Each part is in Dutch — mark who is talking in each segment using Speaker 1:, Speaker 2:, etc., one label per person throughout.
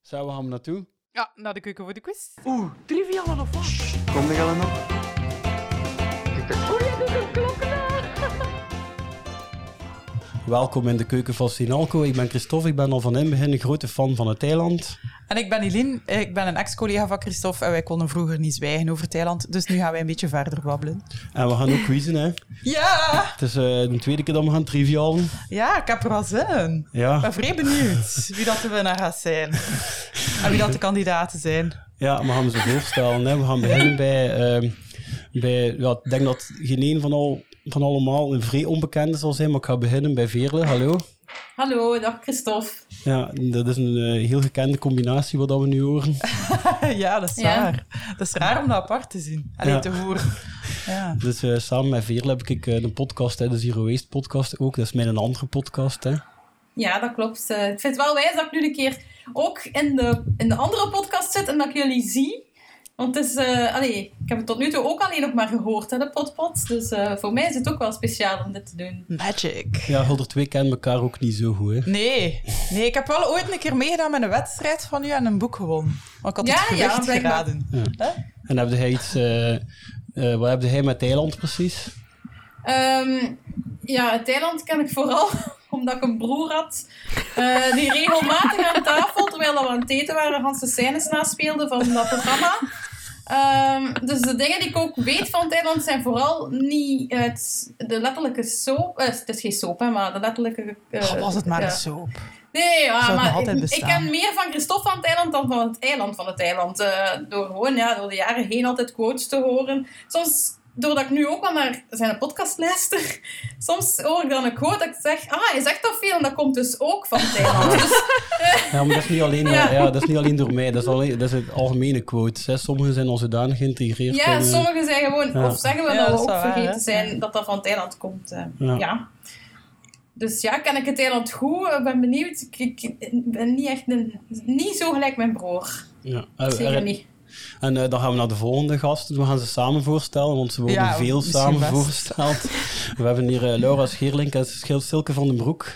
Speaker 1: Zouden we hem naartoe?
Speaker 2: Ja, naar de keuken voor de quiz.
Speaker 3: Oeh, triviale of wat?
Speaker 4: Kom er al nog?
Speaker 1: Welkom in de keuken van Sinalco. Ik ben Christophe, ik ben al van in begin een grote fan van het eiland.
Speaker 2: En ik ben Eline, ik ben een ex-collega van Christophe en wij konden vroeger niet zwijgen over Thailand, dus nu gaan wij een beetje verder babbelen.
Speaker 1: En we gaan ook quizzen, hè.
Speaker 2: Ja!
Speaker 1: Het is eh, de tweede keer dat we gaan trivialen.
Speaker 2: Ja, ik heb er wel zin in. Ik ben
Speaker 1: Ja,
Speaker 2: vrij benieuwd wie dat de winnaar gaat zijn. En wie dat de kandidaten zijn.
Speaker 1: ja we gaan ze voorstellen. Hè. We gaan beginnen bij... ehm, bij ja, ik denk dat geen een van, al, van allemaal een vrij onbekende zal zijn, maar ik ga beginnen bij Veerle. Hallo.
Speaker 5: Hallo, dag Christophe.
Speaker 1: Ja, dat is een eh, heel gekende combinatie wat dat we nu horen.
Speaker 2: Ja, dat is
Speaker 5: Ja.
Speaker 2: raar. Dat is raar om dat apart te zien. Alleen
Speaker 1: Ja.
Speaker 2: te horen. Ja.
Speaker 1: Dus eh, samen met Veerle heb ik eh, een podcast, hè, de Zero Waste podcast ook. Dat is mijn andere podcast, hè.
Speaker 5: Ja, dat klopt. Eh, ik vind het wel wijs dat ik nu een keer ook in de, in de andere podcast zit en dat ik jullie zie. Want het is, eh, allee, ik heb het tot nu toe ook alleen nog maar gehoord, hè, de potpot. Dus eh, voor mij is het ook wel speciaal om dit te doen.
Speaker 2: Magic.
Speaker 1: Ja, Hulder 2 kennen elkaar ook niet zo goed, hè.
Speaker 2: Nee. nee, ik heb wel ooit een keer meegedaan met een wedstrijd van u en een boek gewonnen. Want ik had
Speaker 5: Ja,
Speaker 2: het
Speaker 5: ja,
Speaker 2: gewicht
Speaker 5: blijkbaar.
Speaker 2: geraden.
Speaker 1: En heb jij iets... eh, eh, wat heb jij met Thailand precies?
Speaker 5: Ehm, ja, Thailand ken ik vooral omdat ik een broer had eh, die regelmatig aan tafel, terwijl we aan het eten waren, Hans de scènes naspeelde van dat programma. Ehm, dus de dingen die ik ook weet van Thailand zijn vooral niet het, de letterlijke soap. eh, het is geen soap, hè, maar de letterlijke. eh,
Speaker 2: Oh, was het maar
Speaker 5: ja.
Speaker 2: een soap.
Speaker 5: Nee, ja,
Speaker 2: Zou het nog
Speaker 5: maar
Speaker 2: altijd
Speaker 5: ik, ik
Speaker 2: bestaan?
Speaker 5: ken meer van Christophe van het eiland dan van het eiland van het eiland. Eh, door gewoon ja, door de jaren heen altijd quotes te horen. Soms, doordat ik nu ook wel naar zijn podcast luister, soms hoor ik dan een quote dat ik zeg, ah, hij zegt dat veel en dat komt dus ook van het eiland. Dus,
Speaker 1: Ja, maar dat is niet alleen, eh, ja.
Speaker 5: Ja.
Speaker 1: dat is niet alleen door mij. Dat is, alleen, dat is het algemene quote. Hè. Sommigen zijn al zodanig geïntegreerd. in,
Speaker 5: ja,
Speaker 1: eh,
Speaker 5: sommigen zijn gewoon,
Speaker 1: Ja.
Speaker 5: of zeggen we
Speaker 2: Ja,
Speaker 5: dat
Speaker 2: dat
Speaker 5: we
Speaker 2: is
Speaker 5: ook
Speaker 2: wel waar,
Speaker 5: vergeten
Speaker 2: hè?
Speaker 5: zijn dat dat van het eiland komt. eh,
Speaker 1: Ja.
Speaker 5: ja. Dus ja, ken ik het eiland goed? Ik ben benieuwd. Ik, ik ben niet echt een, niet zo gelijk mijn broer.
Speaker 1: ja. Eh,
Speaker 5: Zeker
Speaker 1: eh,
Speaker 5: niet.
Speaker 1: En eh, dan gaan we naar de volgende gast. We gaan ze samen voorstellen, want ze worden
Speaker 2: Ja,
Speaker 1: veel
Speaker 2: misschien
Speaker 1: samen
Speaker 2: best.
Speaker 1: voorgesteld. We hebben hier eh, Laura Scheerlink en Schil- Silke van den Broek.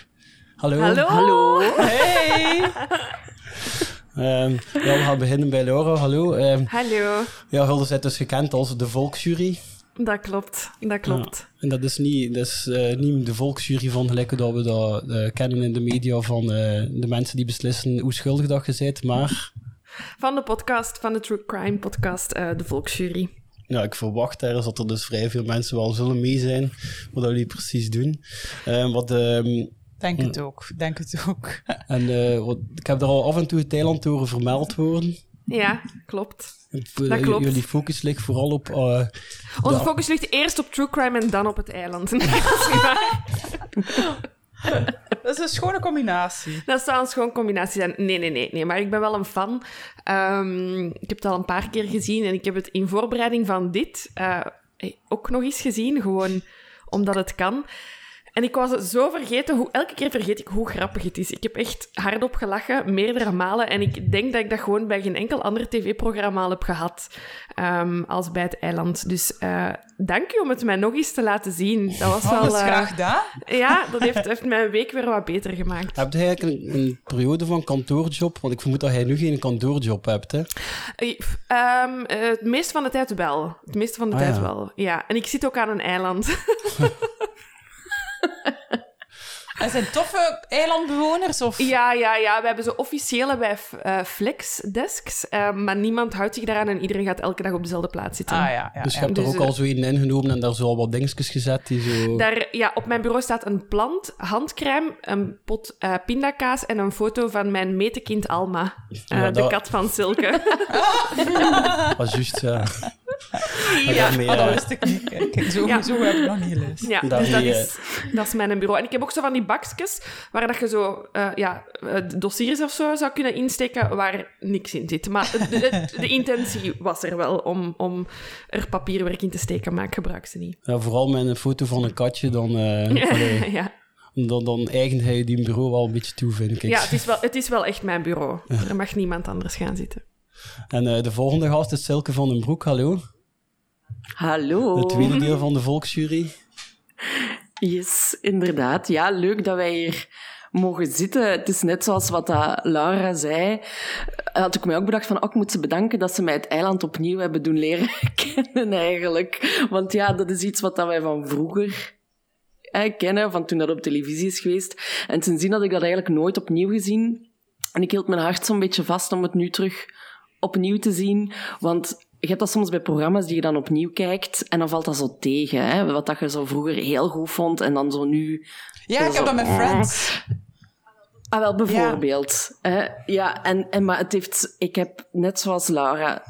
Speaker 1: Hallo.
Speaker 3: Hallo. Hallo.
Speaker 2: Hey!
Speaker 1: Ehm, ja, we gaan beginnen bij Laura. Hallo. Ehm,
Speaker 3: Hallo.
Speaker 1: ja, Hulde is dus gekend als de volksjury.
Speaker 3: Dat klopt. Dat klopt.
Speaker 1: En dat is niet, dat is, eh, niet de volksjury van gelijk dat we dat eh, kennen in de media van eh, de mensen die beslissen hoe schuldig dat je bent. Maar
Speaker 3: Van de podcast, van de True Crime podcast, eh, de Volksjury.
Speaker 1: ja, ik verwacht ergens dat er dus vrij veel mensen wel zullen mee zijn wat dat jullie precies doen. Eh, wat, ehm,
Speaker 2: Denk het ook, denk het ook.
Speaker 1: en, eh, wat, ik heb er al af en toe Thailand horen vermeld worden.
Speaker 3: Ja, klopt.
Speaker 1: Het-
Speaker 3: Dat klopt.
Speaker 1: Jullie focus ligt vooral op... eh,
Speaker 3: Onze
Speaker 1: Ja.
Speaker 3: focus ligt eerst op True Crime en dan op het eiland. Nee, dat is niet waar.
Speaker 2: Dat is een schone combinatie.
Speaker 3: dat zou een schoon combinatie zijn. Nee, nee, nee, nee. Maar ik ben wel een fan. Ehm, ik heb het al een paar keer gezien en ik heb het in voorbereiding van dit eh, ook nog eens gezien. Gewoon omdat het kan. En ik was het zo vergeten, hoe, elke keer vergeet ik hoe grappig het is. Ik heb echt hardop gelachen, meerdere malen. En ik denk dat ik dat gewoon bij geen enkel ander tv-programma al heb gehad ehm, als bij het eiland. Dus eh, dank u om het mij nog eens te laten zien. Dat was
Speaker 2: Oh,
Speaker 3: wel...
Speaker 2: dat is
Speaker 3: eh,
Speaker 2: graag gedaan.
Speaker 3: ja, dat heeft, heeft mijn week weer wat beter gemaakt.
Speaker 1: heb jij eigenlijk een, een periode van kantoorjob? Want ik vermoed dat jij nu geen kantoorjob hebt, hè?
Speaker 3: Eh, pff, ehm, eh, het meeste van de tijd wel. Het meeste van de
Speaker 1: Ah,
Speaker 3: tijd
Speaker 1: ja.
Speaker 3: wel, ja. En ik zit ook aan een eiland.
Speaker 2: En zijn toffe eilandbewoners? Of...
Speaker 3: ja, ja, ja. We hebben zo officieel hebben wij f- eh, flexdesks. eh, maar niemand houdt zich daaraan en iedereen gaat elke dag op dezelfde plaats zitten.
Speaker 2: Ah ja, ja,
Speaker 1: Dus je
Speaker 2: ja.
Speaker 1: hebt er
Speaker 3: Dus,
Speaker 1: ook
Speaker 3: eh,
Speaker 1: al zo een ingenomen en daar zo al wat dingetjes gezet die zo...
Speaker 3: Daar, ja, op mijn bureau staat een plant, handcrème, een pot eh, pindakaas en een foto van mijn metekind Alma. Eh,
Speaker 1: Ja,
Speaker 3: de
Speaker 1: dat-
Speaker 3: kat van Silke.
Speaker 1: was juist, eh, ja. En
Speaker 3: ja.
Speaker 1: daarmee,
Speaker 2: Ah, dat
Speaker 1: eh,
Speaker 2: wist ik niet. Kijk, kijk, zo,
Speaker 3: Ja.
Speaker 2: zo heb ik nog niet gelezen.
Speaker 3: Ja,
Speaker 1: Daar
Speaker 3: dus dat
Speaker 1: die,
Speaker 3: is, dat is mijn bureau. En ik heb ook zo van die bakjes waar dat je zo eh, ja, eh, dossiers of zo zou kunnen insteken waar niks in zit. Maar de, de- de intentie was er wel om, om er papierwerk in te steken, maar ik gebruik ze niet.
Speaker 1: ja, eh, nou, vooral met een foto van een katje, dan, eh allee,
Speaker 3: ja.
Speaker 1: dan, dan eigent hij die bureau wel een beetje toe, vind ik.
Speaker 3: ja het, is wel, het is wel echt mijn bureau. Er mag niemand anders gaan zitten.
Speaker 1: En eh, de volgende gast is Silke van den Broek, hallo.
Speaker 6: Hallo.
Speaker 1: Het tweede deel van de volksjury.
Speaker 6: Yes, inderdaad. Ja, leuk dat wij hier mogen zitten. Het is net zoals wat dat Laura zei. Had ik mij ook bedacht van, oh, ik moet ze bedanken dat ze mij het eiland opnieuw hebben doen leren kennen eigenlijk. Want ja, dat is iets wat dat wij van vroeger eh, kennen, van toen dat op televisie is geweest. En sindsdien had ik dat eigenlijk nooit opnieuw gezien. En ik hield mijn hart zo'n beetje vast om het nu terug opnieuw te zien. Want je hebt dat soms bij programma's die je dan opnieuw kijkt. En dan valt dat zo tegen. Hè? Wat dat je zo vroeger heel goed vond. En dan zo nu.
Speaker 2: Ja, ik heb dat met Friends.
Speaker 6: Ah, wel, bijvoorbeeld. Hè? Ja, en, en maar het heeft. Ik heb net zoals Laura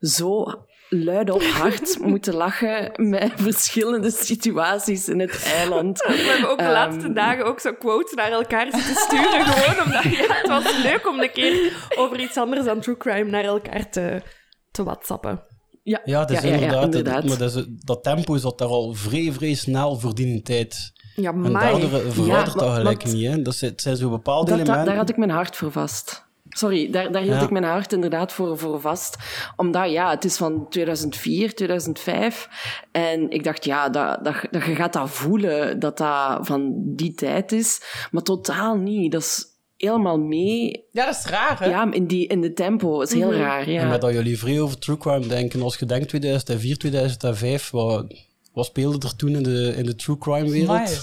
Speaker 6: zo luid op hard moeten lachen met verschillende situaties in het eiland.
Speaker 3: We hebben ook de
Speaker 6: Ehm.
Speaker 3: laatste dagen ook zo quotes naar elkaar zitten sturen. gewoon omdat ja, het was leuk om een keer over iets anders dan true crime naar elkaar te, te whatsappen.
Speaker 1: Ja, het is
Speaker 6: Ja, ja, ja,
Speaker 1: inderdaad, het-
Speaker 6: inderdaad.
Speaker 1: Maar dat, is- dat tempo zat daar al vrij, vrij snel voor die tijd.
Speaker 3: Ja,
Speaker 1: En
Speaker 3: maar
Speaker 1: daardoor verandert
Speaker 6: Ja,
Speaker 1: dat
Speaker 6: maar-
Speaker 1: gelijk
Speaker 6: want-
Speaker 1: niet. Hè. Dat zijn, het zijn zo bepaalde
Speaker 6: Dat- dat-
Speaker 1: elementen.
Speaker 6: daar had ik mijn hart voor vast. Sorry, daar, daar hield
Speaker 1: Ja.
Speaker 6: ik mijn hart inderdaad voor, voor vast. Omdat, ja, het is van 2004, 2005. En ik dacht, ja, dat, dat, dat, je gaat dat voelen, dat dat van die tijd is. Maar totaal niet. Dat is helemaal mee
Speaker 2: Ja, dat is raar, hè?
Speaker 6: ja, in, die, in de tempo. Dat is heel raar, ja.
Speaker 1: Mhm. En met dat jullie vrij over true crime denken, als je denkt 2004, 2005, wat, wat speelde er toen in de, in de true crime wereld?
Speaker 2: Amai.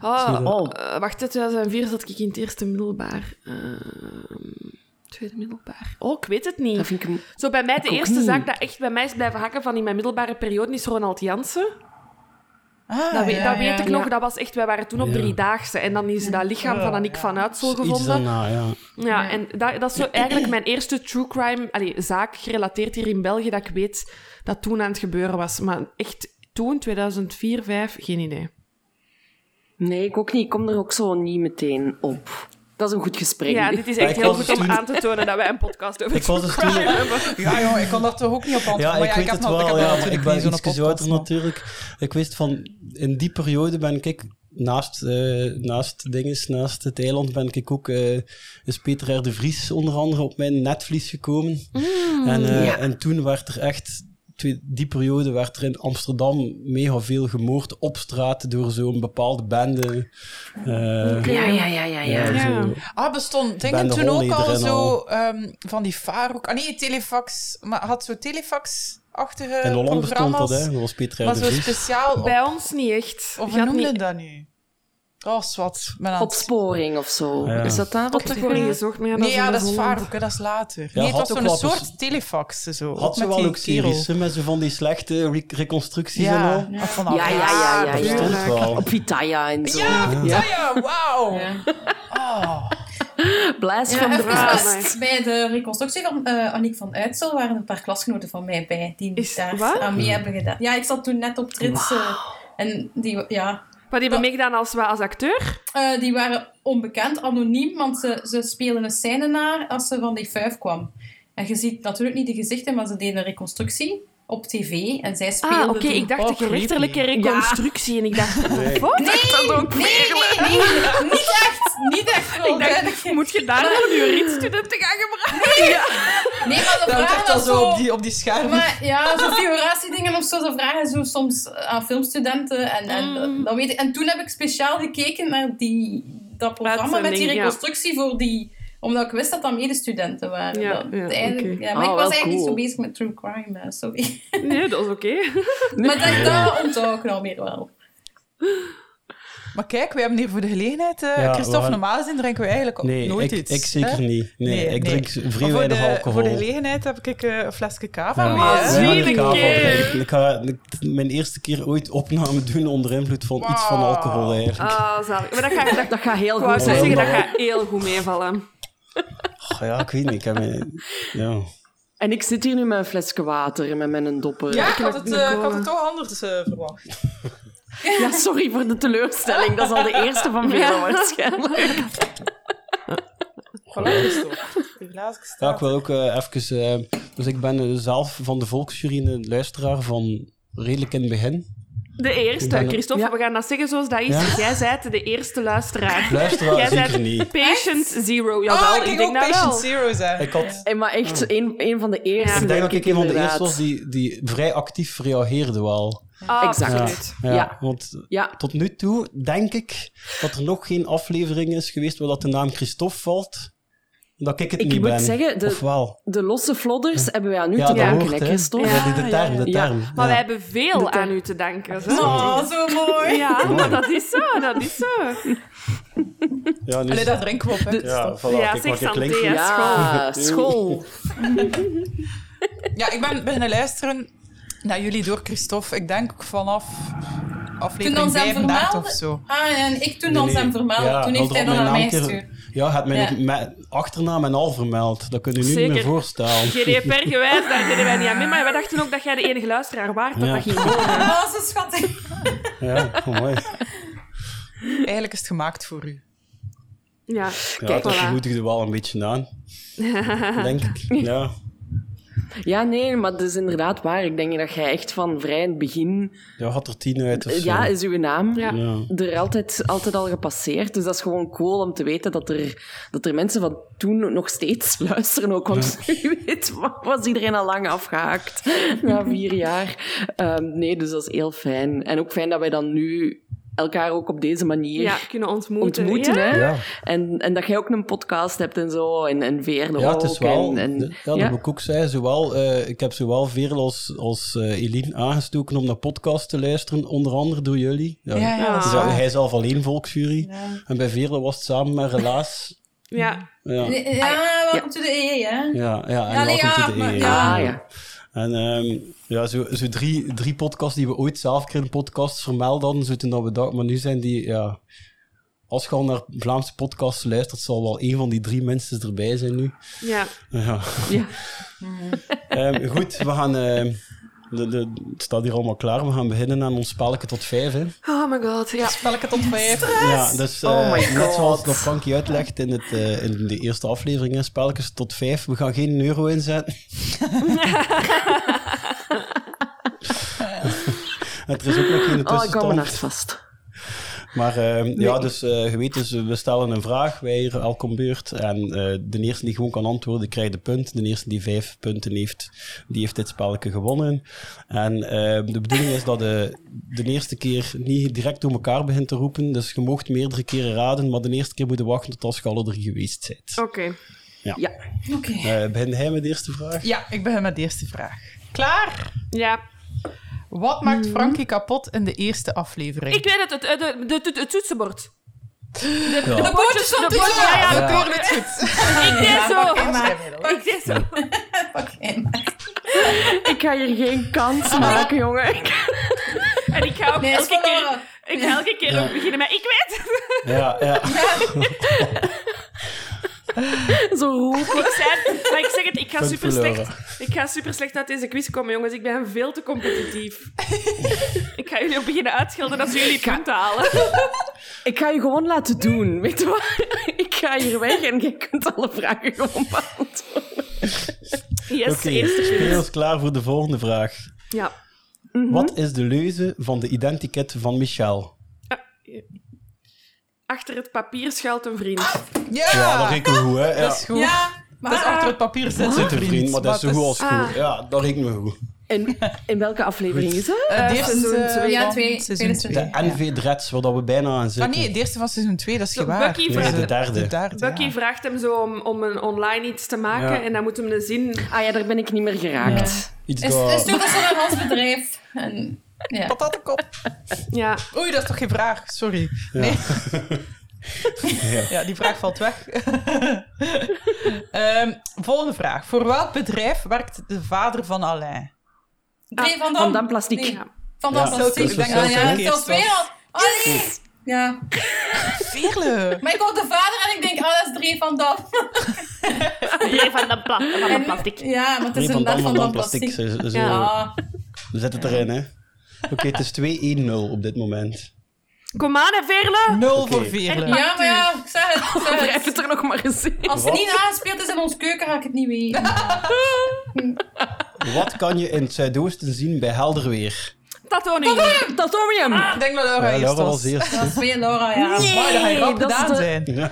Speaker 3: Ah,
Speaker 6: Oh.
Speaker 3: eh, wacht, in 2004 zat ik in het eerste middelbaar. Ehm, tweede middelbaar. Oh, ik weet het niet.
Speaker 6: Dat vind ik... een-
Speaker 3: Zo bij mij, de
Speaker 6: Ik ook
Speaker 3: eerste
Speaker 6: niet.
Speaker 3: zaak dat echt bij mij is blijven hakken van in mijn middelbare periode is Ronald Jansen.
Speaker 2: Ah,
Speaker 3: Dat, we-
Speaker 2: ja, ja.
Speaker 3: dat weet ik nog,
Speaker 6: Ja.
Speaker 3: dat was echt, wij waren toen op
Speaker 1: Ja.
Speaker 3: driedaagse en dan is dat lichaam van Annick van Uitsel
Speaker 1: Iets
Speaker 3: gevonden.
Speaker 1: daarna, ja.
Speaker 3: Ja, en dat, dat is zo eigenlijk mijn eerste true crime allee, zaak gerelateerd hier in België dat ik weet dat toen aan het gebeuren was. Maar echt toen, 2004, 2005, geen idee.
Speaker 6: Nee, ik ook niet. Ik kom er ook zo niet meteen op. Dat is een goed gesprek.
Speaker 3: Ja,
Speaker 6: nu.
Speaker 3: dit is echt
Speaker 1: Ik was
Speaker 3: heel goed om
Speaker 1: toen-
Speaker 3: aan te tonen dat wij een podcast over
Speaker 1: Ik was dus
Speaker 3: true
Speaker 1: toen...
Speaker 3: crime hebben.
Speaker 2: Ja, joh, ik kon daar toch ook niet op antwoorden.
Speaker 1: Ja,
Speaker 2: maar
Speaker 1: ik
Speaker 2: ja,
Speaker 1: weet
Speaker 2: ik heb
Speaker 1: het
Speaker 2: nog- ik
Speaker 1: wel.
Speaker 2: heb nog
Speaker 1: Ja, maar
Speaker 2: natuurlijk
Speaker 1: ik ben
Speaker 2: niet zo'n
Speaker 1: iets
Speaker 2: podcast,
Speaker 1: ouder
Speaker 2: maar-
Speaker 1: natuurlijk. Ik wist van, in die periode ben ik, naast, eh, naast dinges, naast het eiland, ben ik ook, eh, is Peter R. de Vries onder andere op mijn netvlies gekomen.
Speaker 2: Mm,
Speaker 1: en, eh,
Speaker 6: Ja.
Speaker 1: en toen werd er echt, twee- die periode werd er in Amsterdam mega veel gemoord op straat door zo'n bepaalde bende. Eh,
Speaker 6: Ja, ja, ja, ja, ja.
Speaker 1: eh,
Speaker 3: Ja.
Speaker 1: zo.
Speaker 2: Ah, bestond
Speaker 1: Ben
Speaker 2: dingen
Speaker 1: de
Speaker 2: toen ook
Speaker 1: Holleder
Speaker 2: al
Speaker 1: en
Speaker 2: zo
Speaker 1: al.
Speaker 2: ehm, van die Farouk... Ah nee, Telefax. Maar had zo Telefax-achtige
Speaker 1: In Holland bestond dat,
Speaker 2: Eh, programma's.
Speaker 1: hè? Dat was Peter R.
Speaker 2: Maar
Speaker 1: de
Speaker 2: zo
Speaker 1: Vries.
Speaker 2: speciaal... Op,
Speaker 3: Bij ons niet echt.
Speaker 2: of
Speaker 3: Je
Speaker 2: hoe
Speaker 3: had
Speaker 2: noemde
Speaker 3: niet
Speaker 2: dat nu? Oh, zwart. Ben aan het-
Speaker 6: Opsporing of zo.
Speaker 1: Ja.
Speaker 6: Is dat daar?
Speaker 3: op de koren gezocht, maar ja,
Speaker 2: Nee, ja,
Speaker 3: in
Speaker 2: dat is
Speaker 3: Holland.
Speaker 2: Farouk, hè, dat is later.
Speaker 1: Ja,
Speaker 2: nee, het
Speaker 1: had
Speaker 2: was
Speaker 1: ook
Speaker 2: zo'n
Speaker 1: wel
Speaker 2: soort
Speaker 1: best-
Speaker 2: telefax. Zo, ook
Speaker 1: Had ze
Speaker 2: met
Speaker 1: wel
Speaker 2: die
Speaker 1: ook
Speaker 2: kerel.
Speaker 1: series hè, met zo van die slechte re- reconstructies
Speaker 2: Ja,
Speaker 1: en al.
Speaker 2: ja. Van
Speaker 6: Ja, ja, ja, ja.
Speaker 1: Dat
Speaker 6: ja.
Speaker 1: bestond
Speaker 3: tuurlijk.
Speaker 1: wel.
Speaker 6: Op Vitaya en zo.
Speaker 2: Ja,
Speaker 6: Ja.
Speaker 2: Vitaya, wauw. Oh.
Speaker 6: Blast
Speaker 5: Ja,
Speaker 6: from the
Speaker 5: even
Speaker 6: past.
Speaker 5: bij- bij de reconstructie van eh Annick van Uitsel waren er een paar klasgenoten van mij bij die
Speaker 3: Is-
Speaker 5: daar
Speaker 3: wat?
Speaker 5: aan mee hebben gedaan. Ja, ik zat toen net op trits eh, en die, ja,
Speaker 3: Wat hebben meegedaan als, wa- als acteur?
Speaker 5: Eh, die waren onbekend, anoniem, want ze, ze spelen een scène naar als ze van die vuif kwam. En je ziet natuurlijk niet de gezichten, maar ze deden een reconstructie op tv en zij speelden...
Speaker 3: Ah, oké,
Speaker 5: toen-
Speaker 3: ik dacht
Speaker 2: Oh,
Speaker 3: de gerechtelijke reconstructie. En ik dacht,
Speaker 1: Nee.
Speaker 3: wat? dat ook
Speaker 5: Nee, nee, nee, niet echt, niet echt, wel duidelijk.
Speaker 3: Moet je daar dan een juriedstudenten gaan gebruiken?
Speaker 5: Nee, maar ze
Speaker 2: Dat
Speaker 5: vragen
Speaker 2: echt al
Speaker 5: dat
Speaker 2: zo
Speaker 5: zo...
Speaker 2: op die, op die schermen.
Speaker 5: Maar ja, zo'n figuratiedingen of zo, ze vragen zo soms aan filmstudenten. En, en,
Speaker 3: Mm.
Speaker 5: dat weet ik. en toen heb ik speciaal gekeken naar die, dat programma met die
Speaker 3: Uitzending, ja.
Speaker 5: reconstructie voor die omdat ik wist dat dat medestudenten waren.
Speaker 3: Ja,
Speaker 5: Dat-
Speaker 3: ja,
Speaker 5: eigenlijk-
Speaker 3: oké.
Speaker 5: ja, maar
Speaker 6: Ah,
Speaker 5: ik was
Speaker 6: wel
Speaker 5: eigenlijk niet
Speaker 6: cool.
Speaker 5: zo bezig met true crime, hè, sorry.
Speaker 3: Nee, dat is oké.
Speaker 5: Maar dat, dat onthoud ik nou meer wel.
Speaker 2: Maar kijk, we hebben hier voor de gelegenheid, eh,
Speaker 1: Ja,
Speaker 2: Christophe,
Speaker 1: maar-
Speaker 2: normaal gezien drinken we eigenlijk
Speaker 1: Nee,
Speaker 2: nooit
Speaker 1: ik,
Speaker 2: iets.
Speaker 1: ik zeker
Speaker 2: hè?
Speaker 1: niet. Nee,
Speaker 2: Nee,
Speaker 1: ik
Speaker 2: nee.
Speaker 1: drink vrij
Speaker 2: Maar voor
Speaker 1: weinig
Speaker 2: de,
Speaker 1: alcohol.
Speaker 2: voor de gelegenheid heb ik eh, een flesje cava
Speaker 1: Ja.
Speaker 2: mee.
Speaker 3: Ah,
Speaker 2: hè.
Speaker 3: zie.
Speaker 1: Ja,
Speaker 3: Zielig,
Speaker 1: ik ga wel-
Speaker 3: hè?
Speaker 1: ik- ik ga ik- mijn eerste keer ooit opname doen onder invloed van iets van alcohol eigenlijk.
Speaker 3: Ah, zalig. Maar dat ga dat, Oh,
Speaker 6: Dat gaat heel
Speaker 3: ik wou
Speaker 6: goed
Speaker 3: zo
Speaker 1: wel,
Speaker 6: zijn.
Speaker 3: zeggen, dat
Speaker 1: maar-
Speaker 3: gaat heel goed meevallen.
Speaker 1: Goh, ja, ik weet niet. Ik heb mijn- ja.
Speaker 6: En ik zit hier nu met een flesje water en met mijn dopper.
Speaker 2: Ja, ik
Speaker 3: Ik
Speaker 2: had
Speaker 3: heb
Speaker 2: het,
Speaker 3: nog
Speaker 2: eh, ik had
Speaker 3: cola.
Speaker 2: het toch anders eh, verwacht.
Speaker 6: Ja, sorry voor de teleurstelling. Dat is al de eerste van velen waarschijnlijk.
Speaker 2: Voilà, Christophe. Die glazen
Speaker 1: ja,
Speaker 2: staan.
Speaker 1: ik wil ook eh, even... eh, dus ik ben eh, zelf van de Volksjury een luisteraar van redelijk in het begin.
Speaker 3: De
Speaker 1: Ik
Speaker 3: eerste,
Speaker 1: ben-
Speaker 3: Christophe, we gaan dat zeggen zoals dat is.
Speaker 1: Ja?
Speaker 3: Jij zijt de eerste luisteraar.
Speaker 1: Luisteraar
Speaker 3: Jij
Speaker 1: zeker
Speaker 3: bent-
Speaker 1: niet.
Speaker 3: Patient Zero, jawel.
Speaker 2: Ah, ik
Speaker 3: Oh, ik
Speaker 2: ging
Speaker 3: denk
Speaker 2: ook
Speaker 3: dat
Speaker 2: Patient
Speaker 3: wel.
Speaker 2: Zero zijn.
Speaker 1: Ik had...
Speaker 6: En maar echt een, een van de eerste.
Speaker 1: Ik denk dat ik een van de
Speaker 6: inderdaad.
Speaker 1: eerste was die, die vrij actief reageerde wel.
Speaker 3: Ah, Absoluut.
Speaker 1: Ja,
Speaker 6: Ja.
Speaker 1: want
Speaker 6: Ja,
Speaker 1: tot nu toe denk ik dat er nog geen aflevering is geweest waar dat de naam Christophe valt. Dat ik het
Speaker 6: Ik
Speaker 1: niet
Speaker 6: moet
Speaker 1: ben.
Speaker 6: zeggen, de-
Speaker 1: Of wel?
Speaker 6: de losse flodders hebben wij aan u
Speaker 1: Ja,
Speaker 6: te
Speaker 1: dat
Speaker 6: danken,
Speaker 1: hoort,
Speaker 6: hè,
Speaker 1: hè.
Speaker 6: Christophe?
Speaker 1: Ja, die- de
Speaker 3: ja,
Speaker 1: term, de
Speaker 6: ja.
Speaker 1: term.
Speaker 3: Maar
Speaker 1: ja.
Speaker 3: wij hebben veel aan u te danken. Zo.
Speaker 5: Oh, zo mooi.
Speaker 3: Ja, maar dat is zo, dat is zo.
Speaker 1: Ja, dus- nu-
Speaker 2: Allee, dat drinken we op, hè.
Speaker 1: ja, voilà,
Speaker 3: Ja,
Speaker 1: kijk,
Speaker 3: zeg
Speaker 1: wat je klinkt.
Speaker 3: Santé, hè.
Speaker 6: Ja, school.
Speaker 2: Ja, ik ben beginnen luisteren naar jullie door Christophe. Ik denk vanaf
Speaker 5: Toen
Speaker 2: aflevering
Speaker 5: ons hem
Speaker 2: 35
Speaker 5: vermeldde-
Speaker 2: of zo.
Speaker 5: Ah, en ik toen
Speaker 1: Nee,
Speaker 5: ons
Speaker 1: nee.
Speaker 5: hem vermeld.
Speaker 1: Ja,
Speaker 5: toen heeft
Speaker 1: wilde
Speaker 5: hij
Speaker 1: op
Speaker 5: dat
Speaker 1: mijn
Speaker 5: aan mij
Speaker 1: naam
Speaker 5: gestuurd.
Speaker 1: keer- Ja, het mijn,
Speaker 5: Ja.
Speaker 1: mijn achternaam en al vermeld. Dat kun je nu niet
Speaker 3: Zeker.
Speaker 1: meer voorstellen.
Speaker 3: GDPR gewijs, daar deden wij niet aan mee. Maar wij dachten ook dat jij de enige luisteraar waard dat
Speaker 1: Ja.
Speaker 3: dat ging horen.
Speaker 5: Oh, zo schattig.
Speaker 1: Ja, oh, mooi.
Speaker 2: Eigenlijk is het gemaakt voor u.
Speaker 3: Ja,
Speaker 1: Ja,
Speaker 3: kijk,
Speaker 1: dat
Speaker 3: voilà.
Speaker 1: moedigde wel een beetje aan. Denk ik. Ja.
Speaker 6: Ja, nee, maar dat is inderdaad waar. Ik denk dat jij echt van vrij in het begin...
Speaker 1: Ja, had er tien uit of zo.
Speaker 6: Ja, is uw naam
Speaker 3: Ja.
Speaker 1: Ja.
Speaker 6: er altijd, altijd al gepasseerd. Dus dat is gewoon cool om te weten dat er, dat er mensen van toen nog steeds luisteren. Ook, want u weet, was iedereen al lang afgehaakt na vier jaar. Ehm, nee, dus dat is heel fijn. En ook fijn dat wij dan nu elkaar ook op deze manier...
Speaker 3: Ja, kunnen ontmoeten.
Speaker 6: Ontmoeten,
Speaker 3: ja.
Speaker 6: hè?
Speaker 1: Ja.
Speaker 6: En, en dat jij ook een podcast hebt en zo, en, en Veerle
Speaker 1: Ja,
Speaker 6: ook.
Speaker 1: het is wel,
Speaker 6: en, Oh, en-
Speaker 1: ja, dat
Speaker 6: ja.
Speaker 1: moet ik ook zeggen, zowel, eh, ik heb zowel Veerle als, als eh, Eline aangestoken om naar podcasts te luisteren, onder andere door jullie. Ja.
Speaker 2: Ja, ja, dat is
Speaker 1: Dus hij-
Speaker 2: waar.
Speaker 1: hij is zelf alleen volksjury.
Speaker 2: Ja.
Speaker 1: En bij Veerle was het samen met Relaas.
Speaker 3: Ja.
Speaker 1: Ja,
Speaker 5: Ja, welkom to the EE, hè.
Speaker 1: ja, ja en
Speaker 5: Ja, nee,
Speaker 1: welkom
Speaker 5: ja,
Speaker 1: to the
Speaker 5: maar-
Speaker 1: AA.
Speaker 5: ja.
Speaker 6: Ah, ja.
Speaker 1: En ehm, ja, zo, zo drie, drie podcasts die we ooit zelf kregen, podcasts vermeld hadden, zo toen dat we dachten, maar nu zijn die, ja... Als je al naar Vlaamse podcasts luistert, zal wel één van die drie mensen erbij zijn nu.
Speaker 3: ja.
Speaker 1: Ja.
Speaker 6: Ja.
Speaker 1: Ehm, goed, we gaan. ehm, de, de, het staat hier allemaal klaar. We gaan beginnen aan ons spelletje tot vijf. Hè.
Speaker 3: Oh my god, ja.
Speaker 2: Spelletje tot vijf.
Speaker 1: Ja, dus eh,
Speaker 6: Oh my
Speaker 1: net
Speaker 6: God.
Speaker 1: zoals dat Frankie uitlegt in, het, eh, in de eerste aflevering, hè, spelletjes tot vijf. We gaan geen euro inzetten. Het is ook nog geen
Speaker 6: Oh, ik hou
Speaker 1: tussenstand.
Speaker 6: mijn hart vast.
Speaker 1: maar ehm, ja, dus eh, je weet, dus, eh, we stellen een vraag, wij hier elk om beurt. En eh, de eerste die gewoon kan antwoorden, krijgt de punt. De eerste die vijf punten heeft, die heeft dit spelletje gewonnen. En ehm, de bedoeling is dat de, de eerste keer niet direct door elkaar begint te roepen. Dus je moogt meerdere keren raden, maar de eerste keer moet je wachten tot als je alle drie geweest bent.
Speaker 3: Oké.
Speaker 6: Ja.
Speaker 5: Oké.
Speaker 1: Eh, begin hij met de eerste vraag?
Speaker 2: Ja, ik begin met de eerste vraag. Klaar?
Speaker 3: Ja.
Speaker 2: Wat maakt Frankie kapot in de eerste aflevering?
Speaker 3: Ik weet het, het, het, het, het- het- het toetsenbord. De,
Speaker 1: Ja.
Speaker 3: de bordjes van de
Speaker 5: toetsenbord.
Speaker 3: Ja, ja,
Speaker 2: We
Speaker 3: de
Speaker 2: horen
Speaker 3: borden.
Speaker 2: het goed.
Speaker 3: Ik deed zo.
Speaker 2: maar.
Speaker 3: Ik deed zo.
Speaker 5: Pak in.
Speaker 6: Ik ga hier geen kans maken, jongen. Ik-
Speaker 3: En ik ga ook
Speaker 5: Nee, dat is
Speaker 3: elke keer...
Speaker 5: verloren.
Speaker 3: Ik ga elke keer
Speaker 1: Ja.
Speaker 3: ook beginnen met... Ik weet het.
Speaker 1: Ja, ja.
Speaker 6: Zo roepen.
Speaker 3: Ik zei het, maar ik zeg het, ik ga
Speaker 1: Punt
Speaker 3: super slecht.
Speaker 1: verloren.
Speaker 3: Ik ga super slecht uit deze quiz komen, jongens. Ik ben veel te competitief. ik ga jullie ook beginnen uitschelden als jullie punten halen.
Speaker 6: Ik ga je gewoon laten doen, weet je wat? Ik ga hier weg en jij kunt alle vragen gewoon beantwoorden.
Speaker 3: Yes,
Speaker 1: Oké,
Speaker 3: eerste punt.
Speaker 1: spelers klaar voor de volgende vraag.
Speaker 3: Ja. Mhm.
Speaker 1: Wat is de leuze van de identiket van Michel?
Speaker 3: Achter het papier schuilt een vriend.
Speaker 2: Ja,
Speaker 3: Ah.
Speaker 1: Ja, dat rekenen we goed, hè? Ja.
Speaker 2: dat is goed.
Speaker 5: Ja, maar...
Speaker 2: Dat is achter het papier zitten,
Speaker 1: Zit er vriend,
Speaker 2: Ah, vriend.
Speaker 1: maar dat is zo goed als
Speaker 3: Ah.
Speaker 1: goed. Ja, dat rekenen we goed.
Speaker 6: In, in welke aflevering is dat?
Speaker 2: Eh, de
Speaker 5: Eh,
Speaker 2: eerste
Speaker 5: seizoen twee. Ja,
Speaker 2: van
Speaker 5: twee.
Speaker 2: Seizoen
Speaker 5: Tweede
Speaker 2: 2.
Speaker 1: De NV Dreads, waar dat we bijna aan
Speaker 2: Ah
Speaker 1: zitten.
Speaker 2: nee, de eerste van seizoen 2, dat is
Speaker 3: Zo,
Speaker 2: gewaar.
Speaker 3: Bucky
Speaker 1: Nee,
Speaker 3: vraagt-
Speaker 1: de derde.
Speaker 2: De derde,
Speaker 3: Bucky
Speaker 2: ja.
Speaker 3: vraagt hem zo om, om een online iets te maken
Speaker 1: Ja.
Speaker 3: en dan moet hem een zin.
Speaker 6: Ah ja, daar ben ik niet meer geraakt.
Speaker 1: Iets
Speaker 5: Is,
Speaker 1: dat-
Speaker 5: is toen dat ze naar ons bedrijf. En, ja.
Speaker 2: Patatenkop.
Speaker 3: Ja,
Speaker 2: Oei, dat is toch geen vraag? Sorry. Nee. ja, die vraag valt weg. Ehm, volgende vraag. Voor welk bedrijf werkt de vader van Alain?
Speaker 3: Ah.
Speaker 5: Drie van
Speaker 6: Van
Speaker 5: dan.
Speaker 6: dan plastiek.
Speaker 5: Nee, van dan
Speaker 1: Ja,
Speaker 5: plastiek.
Speaker 1: dat is
Speaker 5: Ja,
Speaker 1: wel
Speaker 5: ja,
Speaker 2: zo.
Speaker 5: dat is twee al. Allee. Ja.
Speaker 2: Veerle.
Speaker 5: Maar ik hoor de vader en ik denk, oh, dat is drie van dan.
Speaker 3: Drie van de, pla van de plastic.
Speaker 5: Ja, maar het
Speaker 1: Nee,
Speaker 5: is
Speaker 1: van
Speaker 5: inderdaad
Speaker 1: dan van
Speaker 5: van
Speaker 1: dan
Speaker 5: dan
Speaker 1: plastic.
Speaker 5: plastiek.
Speaker 1: Zo, zo-
Speaker 5: Ja.
Speaker 1: We zetten het erin, hè. Oké, het is 2-1-0 op dit moment.
Speaker 3: Kom aan, hè, Veerle.
Speaker 2: Nul
Speaker 1: Oké.
Speaker 2: voor Veerle.
Speaker 5: Ja, maar ja, ik zeg het. ik zeg
Speaker 6: Blijf
Speaker 5: het.
Speaker 6: het er nog maar eens in.
Speaker 5: Als het niet aangespeeld is in ons keuken, ga ik het niet weten.
Speaker 1: Wat kan je in het zuidoosten zien bij helder weer?
Speaker 3: Tatonium.
Speaker 6: Dat hoor je hem.
Speaker 2: Ik denk dat Laura
Speaker 1: Ja,
Speaker 2: eerst
Speaker 1: Laura
Speaker 2: was.
Speaker 1: was eerst.
Speaker 5: Dat is twee, Laura, ja.
Speaker 6: Nee.
Speaker 2: Maar dat ga je rap
Speaker 6: dat is
Speaker 2: gedaan
Speaker 6: de-
Speaker 2: zijn.
Speaker 1: Ja.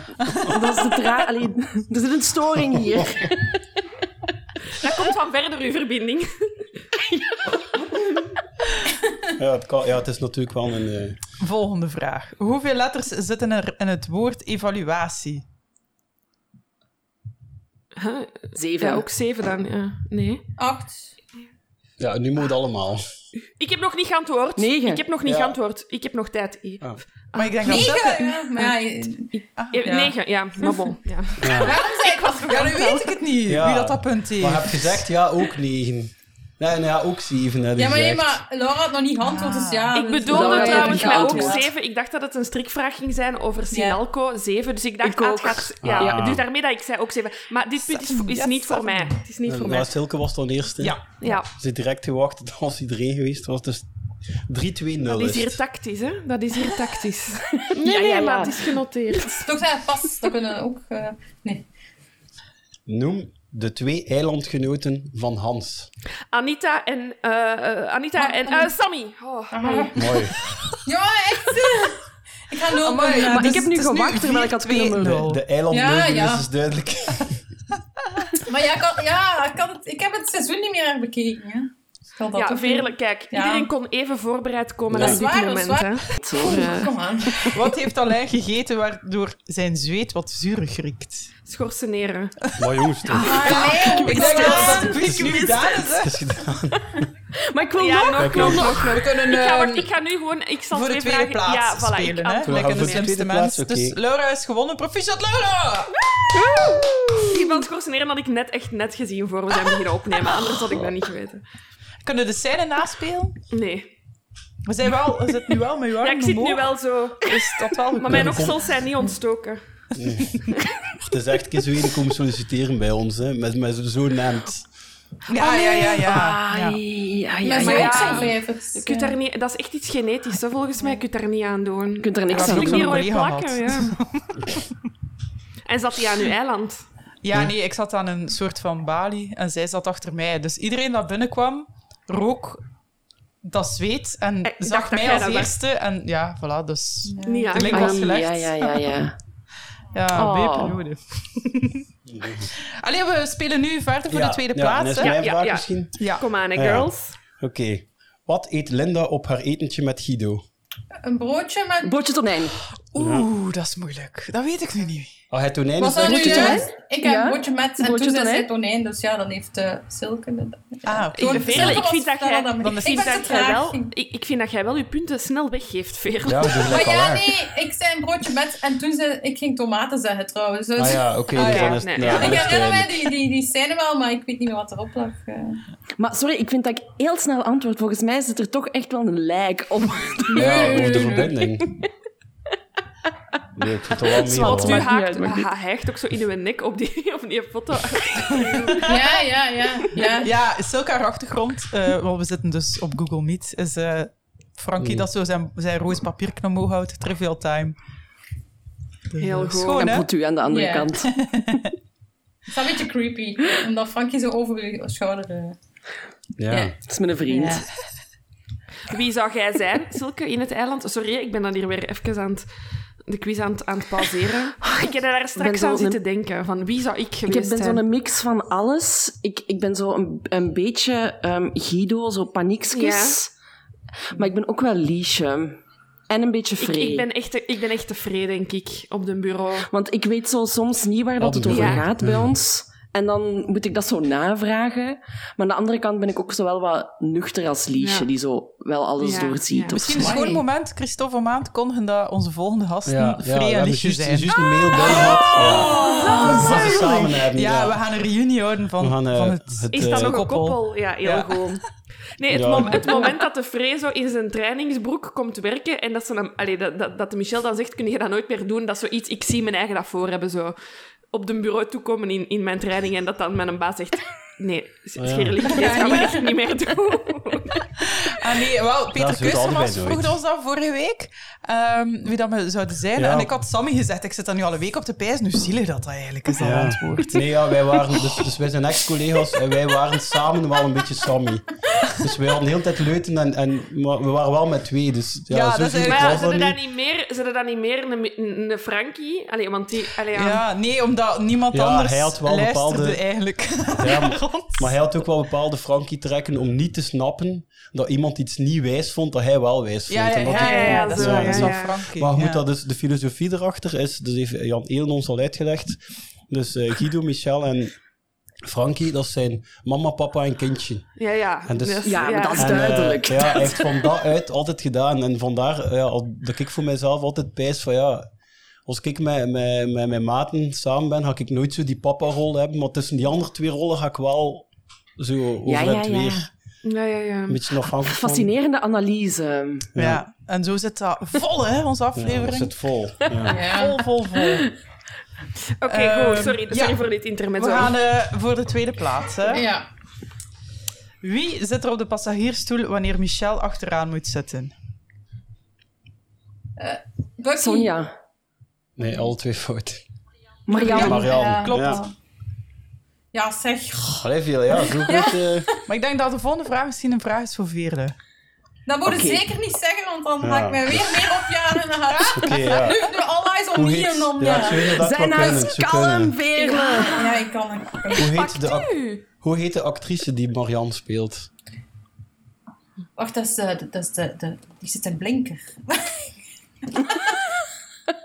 Speaker 6: Dat is de tra- Allee, er zit een storing hier.
Speaker 3: Dat komt van verder uw verbinding.
Speaker 1: Eh, Ja, het, kan, ja, het is natuurlijk wel een... eh,
Speaker 2: Volgende vraag. Hoeveel letters zitten er in het woord evaluatie?
Speaker 3: Huh?
Speaker 6: Zeven.
Speaker 3: Ja, ook zeven dan. Ja. Nee.
Speaker 5: Acht.
Speaker 1: ja, nu moet het allemaal.
Speaker 3: Ik heb nog niet geantwoord.
Speaker 6: Negen.
Speaker 3: Ik heb nog niet
Speaker 1: Ja.
Speaker 3: geantwoord. Ik heb nog tijd. I-
Speaker 1: Ah.
Speaker 2: Maar ik denk dat dat...
Speaker 5: Negen! Ja, maar ja, je-
Speaker 2: Ah,
Speaker 3: Eh,
Speaker 2: ja.
Speaker 3: Negen, ja. Maar bon. Ja.
Speaker 1: Ja.
Speaker 5: waarom zei ik wat
Speaker 2: Ja, nu weet ik het niet,
Speaker 1: Ja.
Speaker 2: wie dat dat punt heeft.
Speaker 1: Maar heb gezegd, ja, ook negen. Nee, nee, ja, ook zeven. hè,
Speaker 5: Ja, maar nee,
Speaker 1: gezegd.
Speaker 5: maar Laura had nog niet geantwoord, dus ja.
Speaker 3: Ik
Speaker 5: dat-
Speaker 3: bedoelde
Speaker 6: Laura
Speaker 3: trouwens
Speaker 6: heeft
Speaker 3: met ook
Speaker 6: geantwoord.
Speaker 3: zeven. Ik dacht dat het een strikvraag ging zijn over Sinalco. Zeven. Dus ik dacht,
Speaker 6: Ik
Speaker 3: ah, het
Speaker 6: ook.
Speaker 3: gaat... Ja.
Speaker 1: Ah.
Speaker 3: Dus daarmee dat ik zei ook zeven. Maar dit punt is, is
Speaker 2: Yes,
Speaker 3: niet voor
Speaker 2: seven.
Speaker 3: mij. Het is niet
Speaker 1: Eh,
Speaker 3: voor
Speaker 1: maar
Speaker 3: mij.
Speaker 1: Silke was dan eerste.
Speaker 2: Ja.
Speaker 3: Ja.
Speaker 1: Ze heeft direct gewacht dat als iedereen geweest was. Dus 3-2-0
Speaker 3: Dat is
Speaker 1: is
Speaker 3: hier
Speaker 1: het.
Speaker 3: tactisch, hè? Dat is hier tactisch. Nee,
Speaker 6: Ah, Ja,
Speaker 3: nee,
Speaker 6: ja,
Speaker 3: maar
Speaker 6: ja.
Speaker 3: het is genoteerd.
Speaker 5: Toch zei pas, dat kunnen we ook... eh, nee.
Speaker 1: Noem de twee eilandgenoten van Hans.
Speaker 3: Anita en... eh eh, Anita
Speaker 5: Maar-
Speaker 3: en... eh, Sammy. Oh, amai.
Speaker 1: Mooi.
Speaker 5: Ja, echt! eh, Ik ga nul
Speaker 2: Amai,
Speaker 5: punten.
Speaker 6: Maar
Speaker 2: dus
Speaker 6: ik heb nu
Speaker 2: het is nu
Speaker 6: gewacht terwijl ik had kunnen
Speaker 2: 4-2-0.
Speaker 6: murren.
Speaker 1: De, de eilandleugenis
Speaker 5: Ja, ja.
Speaker 1: is dus duidelijk.
Speaker 5: Maar ja, ik, had- ja ik, had het, ik heb het seizoen niet meer bekeken. Hè. Ik had dat
Speaker 3: Ja,
Speaker 5: toch
Speaker 3: Veerle, kijk.
Speaker 5: Ja.
Speaker 3: Iedereen kon even voorbereid komen
Speaker 1: Ja.
Speaker 3: als
Speaker 5: Dat
Speaker 3: dit
Speaker 5: is waar,
Speaker 3: moment,
Speaker 5: dat is
Speaker 3: hè?
Speaker 6: Zo.
Speaker 5: niet- Kom aan.
Speaker 2: Wat heeft Alain gegeten waardoor zijn zweet wat zuurig riekt?
Speaker 3: Schorseneren.
Speaker 1: Maar jongens, toch.
Speaker 5: Allee,
Speaker 2: Ik
Speaker 5: kom
Speaker 2: denk dat
Speaker 5: aan.
Speaker 2: het quiz nu gedaan is, hè?
Speaker 1: Het is gedaan.
Speaker 6: Maar ik wil
Speaker 3: Ja,
Speaker 6: nog...
Speaker 3: nog,
Speaker 1: Kijk,
Speaker 3: nog,
Speaker 1: jongens.
Speaker 3: nog, nog.
Speaker 2: We kunnen
Speaker 3: Ik ga,
Speaker 2: eh,
Speaker 3: wacht, ik ga nu gewoon... Ik zal
Speaker 2: voor de
Speaker 3: twee
Speaker 2: tweede
Speaker 3: vragen...
Speaker 2: plaats
Speaker 3: ja, voilà,
Speaker 2: spelen,
Speaker 3: ik
Speaker 2: hè?
Speaker 3: antwoord.
Speaker 2: Lekker
Speaker 1: voor
Speaker 2: de
Speaker 1: de
Speaker 2: slimste
Speaker 1: tweede
Speaker 2: mens.
Speaker 1: plaats, oké.
Speaker 2: Dus Laura is gewonnen. Proficiat, Laura!
Speaker 3: Die van schorseneren had ik net echt net gezien voor we zijn beginnen opnemen. Anders had ik dat niet geweten.
Speaker 2: Kunnen we de scène naspelen?
Speaker 3: Nee.
Speaker 2: We zijn wel, we zitten nu wel met jou.
Speaker 3: Ja, ik zit nu wel zo...
Speaker 2: Is dat wel
Speaker 3: Maar mijn oksels zijn niet ontstoken.
Speaker 1: Het is echt een keer zo hier komen solliciteren bij ons. Hè. Met, met zo'n naam.
Speaker 2: Ja, ja, ja, ja.
Speaker 6: Ai,
Speaker 2: ja.
Speaker 6: ai,
Speaker 5: Maar
Speaker 6: ai,
Speaker 5: zijn
Speaker 6: ai.
Speaker 5: ook
Speaker 3: ja.
Speaker 5: zo'n vijvers.
Speaker 3: Je kunt daar niet, dat is echt iets genetisch, hè, volgens mij. Je kunt daar niet aan doen.
Speaker 6: Je kunt er niks
Speaker 2: Ja,
Speaker 6: aan
Speaker 2: dat
Speaker 3: Natuurlijk
Speaker 2: heb
Speaker 6: doen.
Speaker 2: ik nog
Speaker 3: niet rooi
Speaker 2: een collega
Speaker 3: plakken, ja. En zat hij aan uw eiland?
Speaker 2: Ja, nee, ik zat aan een soort van balie en zij zat achter mij. Dus iedereen dat binnenkwam, rook dat zweet en
Speaker 3: Eh, Ik dacht
Speaker 2: zag
Speaker 3: dat
Speaker 2: mij
Speaker 3: jij
Speaker 2: als
Speaker 3: dat werd.
Speaker 2: eerste. En ja, voilà, dus...
Speaker 3: Niet aan.
Speaker 2: De link
Speaker 6: Ah,
Speaker 2: was gelegd.
Speaker 6: ja, ja, ja, ja.
Speaker 2: Ja,
Speaker 6: Oh.
Speaker 2: B-periode. Allee, we spelen nu verder voor
Speaker 1: Ja,
Speaker 2: de tweede
Speaker 1: ja, en
Speaker 2: plaats,
Speaker 1: is
Speaker 2: hè?
Speaker 1: mijn
Speaker 3: Ja,
Speaker 1: vraag
Speaker 3: ja.
Speaker 1: misschien?
Speaker 2: Ja.
Speaker 3: Kom aan, hè,
Speaker 1: Ah, ja.
Speaker 3: girls.
Speaker 1: Oké. Wat eet Linda op haar etentje met Guido?
Speaker 5: Een broodje met...
Speaker 6: Bordje tonijn.
Speaker 2: Oeh, dat is moeilijk. Dat weet ik nu niet.
Speaker 1: Ah, hij tonijn
Speaker 5: Was
Speaker 1: is
Speaker 5: dat nu
Speaker 1: echt-
Speaker 6: broodje
Speaker 5: juist? Ik heb
Speaker 6: Ja.
Speaker 5: een broodje met en
Speaker 6: Broodje
Speaker 5: toen zei
Speaker 6: tonijn.
Speaker 5: zij tonijn, dus ja, dan heeft eh Silke... de-
Speaker 2: Ah, oké.
Speaker 5: Toen-
Speaker 3: Veerle,
Speaker 5: Silke
Speaker 3: ik
Speaker 5: was-
Speaker 3: vind dat
Speaker 5: daar
Speaker 3: jij-
Speaker 5: had dat mee.
Speaker 2: dan is-
Speaker 5: Ik
Speaker 3: Ik
Speaker 5: ben
Speaker 3: vind, dat
Speaker 5: te
Speaker 3: jij
Speaker 5: traag.
Speaker 3: wel, ik, ik vind dat jij wel je punten snel weggeeft, Veerle.
Speaker 1: Ja, dat is
Speaker 5: Maar
Speaker 1: lekker
Speaker 5: ja,
Speaker 1: waar.
Speaker 5: nee, ik zei een broodje met en toen zei ik ging tomaten zeggen trouwens. Dus
Speaker 1: Ah ja, eh. oké.
Speaker 3: Ah,
Speaker 1: dus
Speaker 3: ja,
Speaker 1: dan is
Speaker 3: nee,
Speaker 1: het-
Speaker 3: ja.
Speaker 1: ja, dan
Speaker 5: Ik
Speaker 1: is het
Speaker 5: herinner mij
Speaker 1: duidelijk.
Speaker 5: die, die, die scène wel, maar ik weet niet meer wat erop lag. eh.
Speaker 6: Maar sorry, ik vind dat ik heel snel antwoord. Volgens mij zit er toch echt wel een lijk op.
Speaker 2: Oh,
Speaker 1: Ja, over de verbinding. Nee, ik vind het wel meer
Speaker 6: Zwalt
Speaker 1: hoor.
Speaker 3: U
Speaker 6: Maakt niet
Speaker 3: haakt,
Speaker 6: uit, maakt niet
Speaker 3: hij hijgt ook zo in uw nek op die, op die foto.
Speaker 5: Ja, ja, ja. ja.
Speaker 2: Ja, Silke, haar achtergrond, eh want we zitten dus op Google Meet, is eh Frankie
Speaker 1: Mm.
Speaker 2: dat zo zijn, zijn roos papierknop omhoog houdt. Trivial time. Dus,
Speaker 3: Heel goed.
Speaker 2: Schoon,
Speaker 6: En
Speaker 2: hè?
Speaker 6: put u aan de andere
Speaker 5: Ja.
Speaker 6: kant.
Speaker 5: Het is wel een beetje creepy, omdat Frankie zo over je schouder... eh,
Speaker 1: Ja.
Speaker 6: Dat is mijn vriend.
Speaker 5: Ja.
Speaker 3: Wie zou jij zijn, Silke, in het eiland? Sorry, ik ben dan hier weer even aan het, de quiz aan het, aan het pauzeren. Oh, Ik heb daar straks
Speaker 6: zo
Speaker 3: aan
Speaker 6: een-
Speaker 3: zitten denken, van wie zou ik
Speaker 6: Ik
Speaker 3: geweest
Speaker 6: heb- ben
Speaker 3: zijn?
Speaker 6: zo'n mix van alles. Ik, ik ben zo een, een beetje ehm, Guido, zo paniekskes. Maar ik ben ook wel Liesje. En een beetje
Speaker 3: Ik,
Speaker 6: Free.
Speaker 3: ik, ben echt, ik ben echt tevreden, denk ik, op de bureau.
Speaker 6: Want ik weet zo soms niet waar dat het
Speaker 1: Ja.
Speaker 6: over
Speaker 3: Ja.
Speaker 6: gaat bij ons. En dan moet ik dat zo navragen. Maar aan de andere kant ben ik ook zo wel wat nuchter als Liesje,
Speaker 3: Ja.
Speaker 6: die zo wel alles
Speaker 3: Ja,
Speaker 6: doorziet.
Speaker 3: ja.
Speaker 6: Of
Speaker 2: Misschien
Speaker 6: zo.
Speaker 2: is het gewoon een moment, Christophe, een maand kondigen dat onze volgende gasten
Speaker 1: Ja, ja,
Speaker 2: vrij
Speaker 1: we
Speaker 2: en
Speaker 1: hebben
Speaker 2: lichtje
Speaker 1: juist
Speaker 2: zijn. Oh,
Speaker 1: juist een mail bij gehad. Ja. Dat we ze samen hebben.
Speaker 2: ja, we gaan een reunie houden van,
Speaker 1: We gaan, eh,
Speaker 2: van het...
Speaker 1: het,
Speaker 3: Is dat
Speaker 1: eh,
Speaker 3: nog een
Speaker 2: koppel.
Speaker 3: koppel? Ja, heel
Speaker 2: Ja.
Speaker 3: goed. Nee, het,
Speaker 1: Ja.
Speaker 3: mom- het moment dat de Frey zo in zijn trainingsbroek komt werken en dat, ze hem, allee, dat, dat, dat de Michel dan zegt, kun je dat nooit meer doen? Dat is zoiets, ik zie mijn eigen dat voor hebben, zo op de bureau toekomen in, in mijn training en dat dan mijn baas zegt, nee,
Speaker 1: Oh Ja.
Speaker 3: Scherling, dat gaan we echt niet meer doen.
Speaker 2: Ah nee, wel, Peter
Speaker 1: is hoe het
Speaker 2: Kustermans
Speaker 1: altijd bij
Speaker 2: vroeg
Speaker 1: nooit.
Speaker 2: ons dat vorige week, ehm, wie dat we zouden zijn.
Speaker 1: Ja.
Speaker 2: En ik had Sammy gezegd, ik zit dat nu al een week op de pijs. Nu zielig dat dat eigenlijk is, dat
Speaker 1: Ja.
Speaker 2: antwoord.
Speaker 1: Nee, ja, wij waren, dus, dus wij zijn ex-collega's en wij waren samen wel een beetje Sammy. Dus wij hadden de hele tijd leuten, en, en, maar we waren wel met twee. Dus ja,
Speaker 2: Ja,
Speaker 1: zo
Speaker 2: dat is
Speaker 1: ziek
Speaker 2: eigenlijk-
Speaker 3: Maar
Speaker 1: was
Speaker 3: ja,
Speaker 1: dat
Speaker 3: zijn
Speaker 1: niet.
Speaker 3: er dan niet meer, zijn er dan niet meer een, een Frankie? Allee, want die... Allee, ja.
Speaker 2: Ja, nee, omdat niemand
Speaker 1: Ja,
Speaker 2: anders
Speaker 1: hij had wel
Speaker 2: luisterde
Speaker 1: bepaalde-
Speaker 2: eigenlijk
Speaker 1: Ja, maar-
Speaker 2: rond.
Speaker 1: Maar hij had ook wel bepaalde Frankie trekken om niet te snappen dat iemand iets niet wijs vond, dat hij wel wijs vond.
Speaker 2: Ja, ja,
Speaker 1: En dat
Speaker 2: ja,
Speaker 1: hij-
Speaker 2: ja, ja, dat is
Speaker 1: ja,
Speaker 2: wel
Speaker 1: ja,
Speaker 2: dat is wel
Speaker 3: ja.
Speaker 2: Frankie.
Speaker 1: Maar goed,
Speaker 2: ja.
Speaker 1: dat is de filosofie erachter is, dus heeft Jan Eelen ons al uitgelegd. Dus eh, Guido, Michel en Frankie, dat zijn mama, papa en kindje.
Speaker 3: Ja, ja.
Speaker 1: En dus-
Speaker 6: Ja, maar dat is
Speaker 1: En, eh,
Speaker 6: duidelijk.
Speaker 1: ja, hij heeft van daaruit altijd gedaan. En vandaar eh, ja, al- dat ik voor mijzelf altijd pijs van ja. Als ik met, met, met mijn maten samen ben, ga ik nooit zo die papa-rol hebben. Maar tussen die andere twee rollen ga ik wel zo over
Speaker 6: Ja, ja,
Speaker 1: het
Speaker 6: ja.
Speaker 1: weer.
Speaker 3: Ja, ja, ja.
Speaker 1: Een beetje afhankelijk van-
Speaker 6: Fascinerende analyse.
Speaker 2: Ja. en zo zit dat vol, hè, onze
Speaker 1: Ja, dat
Speaker 2: aflevering.
Speaker 1: zit vol. Ja.
Speaker 2: Vol, vol, vol.
Speaker 3: Oké,
Speaker 2: Ehm,
Speaker 3: goed. Sorry, sorry
Speaker 2: ja.
Speaker 3: voor dit intermezzo.
Speaker 2: We gaan eh, voor de tweede plaats. Hè.
Speaker 5: Ja.
Speaker 2: Wie zit er op de passagiersstoel wanneer Michel achteraan moet zitten?
Speaker 5: Bucky.
Speaker 6: Sonja.
Speaker 1: Nee, alle twee fout.
Speaker 6: Marianne.
Speaker 5: Ja.
Speaker 1: Marianne.
Speaker 5: Ja.
Speaker 2: Klopt.
Speaker 1: Ja.
Speaker 5: Ja, zeg.
Speaker 1: Allee, veel, ja. Zo goed. eh,
Speaker 2: Maar ik denk dat de volgende vraag misschien een vraag is voor Veerle.
Speaker 5: Dat moet je
Speaker 6: Oké.
Speaker 5: zeker niet zeggen, want dan
Speaker 1: Ja.
Speaker 5: ga ik mij weer meer opjagen en dan ga ik
Speaker 1: Oké, ja.
Speaker 5: nu all eyes on
Speaker 1: Hoe
Speaker 5: me
Speaker 1: heet...
Speaker 5: en dan...
Speaker 1: Ja, ik
Speaker 5: Ja,
Speaker 1: weet niet dat ik
Speaker 6: Zijn
Speaker 1: wel
Speaker 6: naam
Speaker 1: kunnen.
Speaker 6: is
Speaker 1: Ze kunnen.
Speaker 6: Veerle.
Speaker 5: ja ik kan het.
Speaker 1: Hoe heet, de, ac- hoe heet de actrice die Marianne speelt?
Speaker 5: Wacht, dat is, eh, dat is de, de... Die zit een blinker.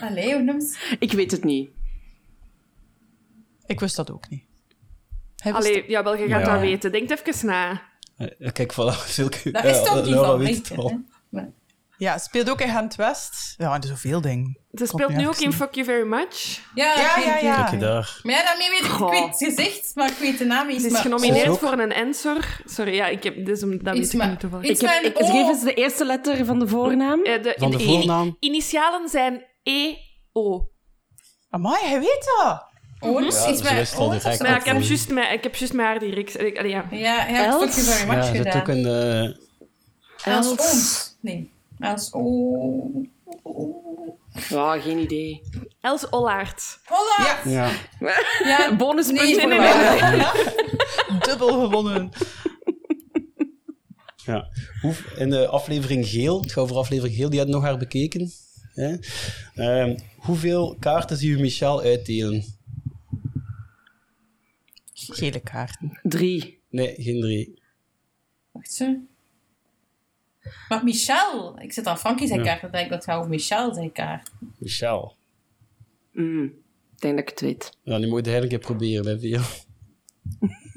Speaker 5: Allee, hoe noem ze?
Speaker 6: Ik weet het niet.
Speaker 2: Ik wist dat ook niet. Hij wist
Speaker 3: Allee, ja, wel, je gaat
Speaker 1: Ja.
Speaker 3: dat weten. Denk even na.
Speaker 1: Eh, Kijk, voilà. Zulke,
Speaker 5: Dat is
Speaker 1: ja,
Speaker 5: toch niet
Speaker 1: Laura
Speaker 5: van
Speaker 1: weet het
Speaker 5: blinker,
Speaker 1: al.
Speaker 5: hè?
Speaker 2: Ja, speelt ook in Gent West. Ja, en zoveel dingen.
Speaker 3: Ze
Speaker 2: Klopt
Speaker 3: speelt
Speaker 2: niet,
Speaker 3: nu
Speaker 2: ja,
Speaker 3: ook
Speaker 2: ik
Speaker 3: in
Speaker 2: zie.
Speaker 3: Fuck You Very Much.
Speaker 5: Ja,
Speaker 2: Ja,
Speaker 5: ik
Speaker 2: ja,
Speaker 5: weet-
Speaker 2: ja.
Speaker 1: Kijk je daar.
Speaker 5: Maar ja, daarmee weet ik...
Speaker 6: Goh.
Speaker 5: Ik weet het gezicht, maar ik weet de naam niet.
Speaker 3: Ze is
Speaker 5: maar-
Speaker 1: Ze
Speaker 3: genomineerd
Speaker 1: is ook-
Speaker 3: voor een Ensor. Sorry, ja, ik heb, dus, dat
Speaker 5: Iets
Speaker 3: weet ik
Speaker 5: maar-
Speaker 3: niet toevallig.
Speaker 5: iets
Speaker 6: Ik heb,
Speaker 5: met een
Speaker 6: ik, geef
Speaker 5: O.
Speaker 6: eens de eerste letter van de voornaam.
Speaker 3: Eh, de,
Speaker 1: Van de
Speaker 3: in-
Speaker 1: voornaam?
Speaker 3: Initialen zijn E E-O.
Speaker 2: Amai, hij weet dat.
Speaker 5: Oort,
Speaker 1: Ja,
Speaker 5: iets
Speaker 1: ze
Speaker 5: met
Speaker 1: wist al
Speaker 5: oort
Speaker 1: direct.
Speaker 5: of zo.
Speaker 3: Maar ja, ik heb
Speaker 1: Oké.
Speaker 3: juist mijn- ik heb juist mijn haar direct. eh, allee, ja.
Speaker 5: Ja, hij heeft
Speaker 6: Els?
Speaker 5: ook very
Speaker 1: Ja,
Speaker 5: much
Speaker 1: ze zit
Speaker 5: gedaan.
Speaker 1: ook in eh, de...
Speaker 5: Als
Speaker 6: Els.
Speaker 5: ooms. Nee, als ooms.
Speaker 6: Ja, geen idee.
Speaker 3: Els Ollaert.
Speaker 5: Hola!
Speaker 2: Ja.
Speaker 1: Ja.
Speaker 5: Ja,
Speaker 6: Bonuspunt
Speaker 5: Nee,
Speaker 6: voor
Speaker 5: nee,
Speaker 6: mij.
Speaker 5: nee.
Speaker 2: Dubbel gewonnen.
Speaker 1: Ja. Hoe, in de aflevering Geel, het gaat over aflevering Geel, die had nog haar bekeken. Hè? Ehm, hoeveel kaarten zie je Michel uitdelen?
Speaker 2: Gele kaarten.
Speaker 6: Drie.
Speaker 1: Nee, geen drie.
Speaker 5: Wacht zo. Maar Michel, ik zit aan Frankie zijn
Speaker 1: Ja.
Speaker 5: kaart, dan denk ik dat het gaat over Michel zijn kaart.
Speaker 1: Michel.
Speaker 6: Mm, Ik denk dat ik het weet.
Speaker 1: Nou, die moet je eigenlijk een keer proberen, hè, Veer.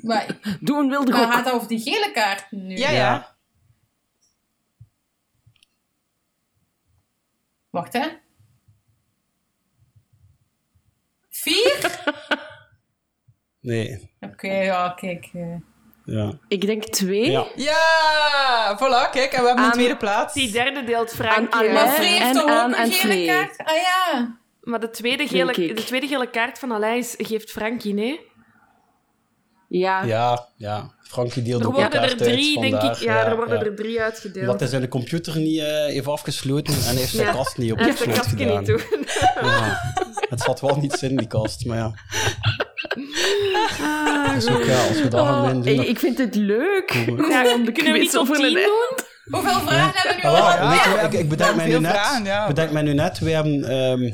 Speaker 5: Maar,
Speaker 6: Doe een wilde
Speaker 5: maar gaat
Speaker 6: gok.
Speaker 5: het over die gele kaart nu?
Speaker 2: Ja, ja.
Speaker 1: Ja.
Speaker 5: Wacht, hè. Vier?
Speaker 1: Nee.
Speaker 5: Oké, ja, kijk. eh.
Speaker 1: Ja.
Speaker 6: Ik denk twee.
Speaker 1: Ja.
Speaker 2: Ja, voilà, kijk, en we hebben een
Speaker 6: Aan
Speaker 2: tweede plaats.
Speaker 3: Die derde deelt Frankie.
Speaker 6: Aan- aan-
Speaker 3: hè.
Speaker 5: Maar
Speaker 6: Eh,
Speaker 5: Free heeft
Speaker 6: en
Speaker 5: toch
Speaker 6: aan
Speaker 5: ook
Speaker 6: en
Speaker 5: een gele
Speaker 6: Free.
Speaker 5: kaart? Ah ja.
Speaker 3: Maar de tweede, gele,
Speaker 6: Denk ik.
Speaker 3: de tweede gele kaart van Aleis geeft Frankie, nee?
Speaker 6: Ja.
Speaker 1: Ja, ja. Frankie deelde
Speaker 3: Er
Speaker 1: ook een
Speaker 3: worden er
Speaker 1: kaart uit
Speaker 3: drie, denk ik.
Speaker 1: vandaag.
Speaker 3: Ja, er worden er drie uitgedeeld.
Speaker 1: Omdat hij zijn computer niet eh, heeft afgesloten en hij heeft zijn
Speaker 3: Ja.
Speaker 1: kast niet op
Speaker 3: Hij heeft de
Speaker 1: gesloten
Speaker 3: kastje
Speaker 1: gedaan.
Speaker 3: niet toe.
Speaker 1: Ja. Het zat wel niet in die kast, maar ja.
Speaker 3: Ah,
Speaker 1: Dat is ook ja, als we dat gaan
Speaker 6: Oh,
Speaker 1: doen,
Speaker 6: hey,
Speaker 1: dan
Speaker 6: ik vind het leuk.
Speaker 1: komen we-
Speaker 3: Ja,
Speaker 6: Gewoon de
Speaker 3: kunnen we
Speaker 6: quiz
Speaker 3: niet op
Speaker 6: over een-
Speaker 3: tien doen?
Speaker 5: Hoeveel vragen hebben we nu
Speaker 1: Ah, wel,
Speaker 5: al?
Speaker 2: Ja,
Speaker 1: weet je
Speaker 2: we
Speaker 1: wat,
Speaker 2: hebben-
Speaker 1: ik, ik
Speaker 2: we
Speaker 1: bedenk
Speaker 2: hebben
Speaker 1: mij nu
Speaker 2: veel
Speaker 1: net.
Speaker 2: vragen, ja.
Speaker 1: bedenk mij nu net. We hebben, ehm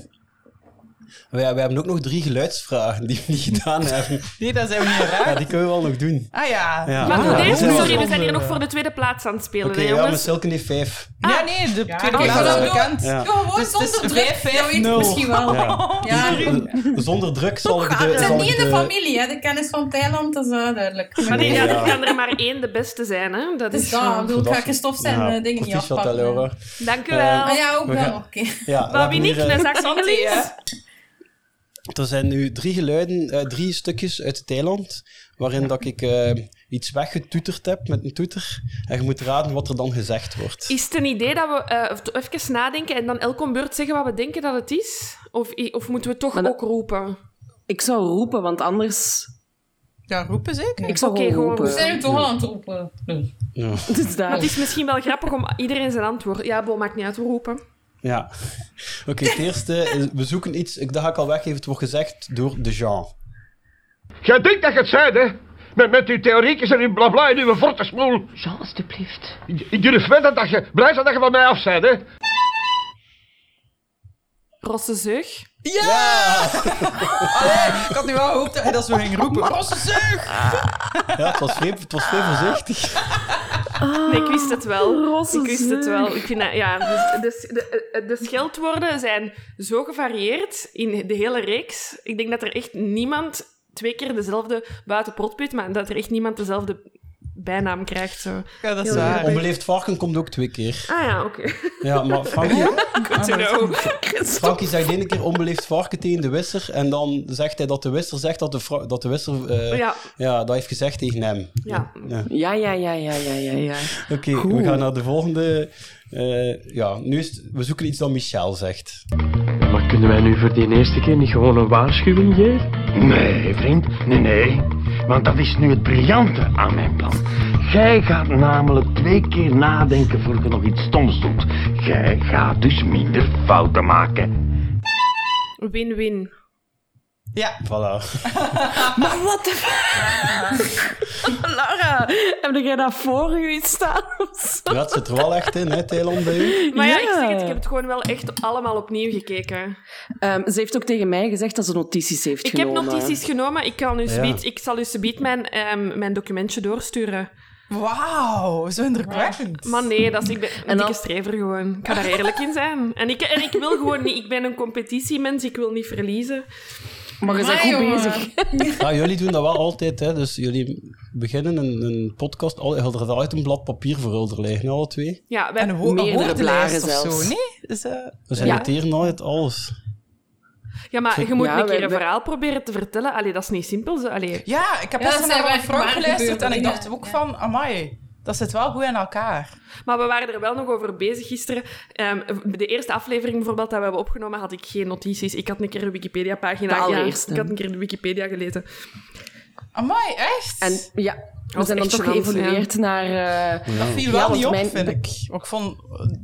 Speaker 1: we, hebben ook nog drie geluidsvragen die we niet gedaan hebben.
Speaker 2: Nee, dat zijn we niet raar.
Speaker 1: Ja, die kunnen we wel nog doen.
Speaker 2: Ah ja.
Speaker 1: Ja.
Speaker 3: Maar
Speaker 1: Ah,
Speaker 3: doe
Speaker 1: dat
Speaker 3: deze,
Speaker 1: is wel
Speaker 3: sorry, we
Speaker 1: zonde.
Speaker 3: zijn hier nog voor de tweede plaats aan het spelen,
Speaker 1: Oké,
Speaker 3: hè,
Speaker 1: ja, maar
Speaker 3: jongens.
Speaker 1: Silken heeft vijf.
Speaker 2: Ja, nee, de
Speaker 5: Ja,
Speaker 2: tweede
Speaker 5: kijk,
Speaker 2: plaats
Speaker 5: dat
Speaker 2: is
Speaker 5: is
Speaker 2: bekend.
Speaker 1: Ja.
Speaker 5: Gewoon
Speaker 2: Dus het is
Speaker 5: zonder druk.
Speaker 2: vijf, vijf,
Speaker 5: Dat weet ik
Speaker 2: nul.
Speaker 5: misschien wel.
Speaker 2: Oh.
Speaker 1: Ja.
Speaker 5: Ja.
Speaker 1: Eh, Zonder druk zal ik de...
Speaker 5: Het
Speaker 1: zal
Speaker 5: zit
Speaker 1: ik
Speaker 5: niet in de familie, hè. De kennis van Thailand is eh, duidelijk.
Speaker 3: Maar nee,
Speaker 1: Ja.
Speaker 3: ja, er kan er maar één de beste zijn, hè. Dat
Speaker 5: Dus
Speaker 3: is
Speaker 5: ja, ik
Speaker 3: zo.
Speaker 5: bedoel, ik ga
Speaker 1: Dat-
Speaker 5: gestopt zijn
Speaker 1: Ja,
Speaker 5: eh, dingen niet
Speaker 1: proficiat,
Speaker 5: afpakken.
Speaker 1: hè, Laura.
Speaker 3: Dank u
Speaker 5: Ah
Speaker 3: wel.
Speaker 5: ja, ook
Speaker 1: We
Speaker 5: wel.
Speaker 1: gaan-
Speaker 5: Oké.
Speaker 1: Ja, Eh, we
Speaker 3: Babi
Speaker 1: hebben
Speaker 3: Nick,
Speaker 1: hier, eh,
Speaker 3: een zak
Speaker 2: Santé, hè.
Speaker 3: Angelis.
Speaker 1: Er zijn nu drie geluiden, eh, drie stukjes uit Thailand, waarin dat ik eh, iets weggetoeterd heb met een toeter. En je moet raden wat er dan gezegd wordt.
Speaker 3: Is het een idee dat we eh, even nadenken en dan elk om beurt zeggen wat we denken dat het is? Of, i- of moeten we toch
Speaker 6: Maar dat-
Speaker 3: ook roepen?
Speaker 6: Ik zou roepen, want anders...
Speaker 2: Ja, roepen zeker.
Speaker 6: Ik zou
Speaker 3: Oké, gewoon
Speaker 6: gewoon
Speaker 5: We
Speaker 6: roepen.
Speaker 5: zijn nu toch al aan het roepen. Nee.
Speaker 1: Ja.
Speaker 6: Het is
Speaker 3: Maar
Speaker 6: daar.
Speaker 3: het is misschien wel grappig om iedereen zijn antwoord... Ja, Bo, maakt niet uit, we roepen.
Speaker 1: Ja. Oké, het eerste, is- we zoeken iets, ik, dat ga ik al weggeven, het wordt gezegd door de Jean.
Speaker 4: Jij denkt dat je het zei, hè? Met, met uw theoriekjes en uw blabla en uw vortensmoel.
Speaker 6: Jean, alstublieft.
Speaker 4: Ik, ik durf verder dat je... Blij zijn dat je van mij af bent, hè.
Speaker 3: Rosse zeug.
Speaker 2: Ja! Allee, ik had nu wel gehoopt dat hij dat zo ging roepen. Rosse zeug!
Speaker 1: Ja, het was vreemd, het was vreemd voorzichtig.
Speaker 3: Nee, ik wist het wel.
Speaker 6: rosse
Speaker 3: ik wist het
Speaker 6: zeug.
Speaker 3: wel. Ik vind dat, ja, dus, dus de, de scheldwoorden zijn zo gevarieerd in de hele reeks. Ik denk dat er echt niemand twee keer dezelfde buiten protput, maar dat er echt niemand dezelfde bijnaam krijgt. Zo.
Speaker 2: Ja, dat is
Speaker 3: Heel
Speaker 2: waar.
Speaker 3: goed.
Speaker 1: Onbeleefd varken komt ook twee keer.
Speaker 3: Ah ja, oké.
Speaker 1: Ja, maar Frankie,
Speaker 2: Ah, maar dat is goed.
Speaker 1: Frankie zegt de ene keer onbeleefd varken tegen de wisser. En dan zegt hij dat de wisser zegt dat de, fra- dat de wisser eh,
Speaker 3: Ja,
Speaker 1: ja, dat heeft gezegd tegen hem.
Speaker 3: ja.
Speaker 6: Ja, ja, ja, ja, ja, ja, ja.
Speaker 1: Oké, we gaan naar de volgende. Eh, ja, nu is het- we zoeken iets dat Michel zegt.
Speaker 7: Maar kunnen wij nu voor die eerste keer niet gewoon een waarschuwing geven?
Speaker 4: Nee, vriend. Nee, nee. Want dat is nu het briljante aan mijn plan. Jij gaat namelijk twee keer nadenken voordat je nog iets stoms doet. Jij gaat dus minder fouten maken.
Speaker 3: Win-win.
Speaker 2: Ja,
Speaker 1: Voilà.
Speaker 6: Maar wat de... Laura, heb jij dat voor u staan? of zo?
Speaker 1: Ja, het zit er wel echt in, hè, Thailand bij u.
Speaker 3: Maar ja, ik zeg het,
Speaker 6: Ja.
Speaker 3: ik heb het gewoon wel echt allemaal opnieuw gekeken.
Speaker 6: Ehm, ze heeft ook tegen mij gezegd dat ze notities heeft
Speaker 3: Ik heb
Speaker 6: genomen.
Speaker 3: notities genomen. Ik, kan u
Speaker 1: Ja.
Speaker 3: subiet, ik zal u subiet mijn, ehm, mijn documentje doorsturen.
Speaker 2: wauw, zo indrukwekkend.
Speaker 3: Maar nee, dat is, ik ben een
Speaker 6: dan-
Speaker 3: dikke strever gewoon. Ik ga daar eerlijk in zijn. En ik, en ik wil gewoon niet... Ik ben een competitiemens, ik wil niet verliezen.
Speaker 6: Maar je bent
Speaker 5: Maar,
Speaker 6: goed
Speaker 5: jongen.
Speaker 6: bezig.
Speaker 1: Ja, jullie doen dat wel altijd, hè. Dus jullie beginnen een, een podcast, al, je had er altijd een blad papier voor hulder liggen, alle twee.
Speaker 3: Ja, wij,
Speaker 2: En een ho- een
Speaker 6: Meerdere
Speaker 2: woordenlijst
Speaker 6: blaren
Speaker 2: of
Speaker 6: zelfs.
Speaker 2: zo, nee? Is, eh,
Speaker 1: Dus ze
Speaker 6: Ja.
Speaker 1: noteren altijd alles.
Speaker 3: ja maar je moet
Speaker 6: Ja,
Speaker 3: een
Speaker 6: wij-
Speaker 3: keer een
Speaker 6: wij-
Speaker 3: verhaal proberen te vertellen. Allee, dat is niet simpel. zo. Allee.
Speaker 2: Ja, ik heb
Speaker 5: Ja,
Speaker 2: pas
Speaker 5: dat
Speaker 2: naar
Speaker 5: zijn
Speaker 2: mijn
Speaker 5: waar-
Speaker 2: vrouw
Speaker 5: waar
Speaker 2: geluisterd en
Speaker 5: gebeurde
Speaker 2: ik
Speaker 5: dingen.
Speaker 2: dacht ook
Speaker 5: Ja.
Speaker 2: van, amai, dat zit wel goed in elkaar.
Speaker 3: Maar we waren er wel nog over bezig gisteren. Ehm, de eerste aflevering bijvoorbeeld dat we hebben opgenomen, had ik geen notities. Ik had een keer een
Speaker 6: De
Speaker 3: Wikipedia-pagina.
Speaker 6: allereerste.
Speaker 3: ik had een keer de Wikipedia gelezen.
Speaker 2: Amai, echt?
Speaker 6: En ja, we
Speaker 3: was
Speaker 6: zijn dan
Speaker 3: echt
Speaker 6: toch
Speaker 3: gênant,
Speaker 6: geëvolueerd naar... eh,
Speaker 2: dat viel
Speaker 6: Ja,
Speaker 2: wel
Speaker 6: want
Speaker 2: niet op,
Speaker 6: mijn-
Speaker 2: vind ik. Maar ik vond, eh,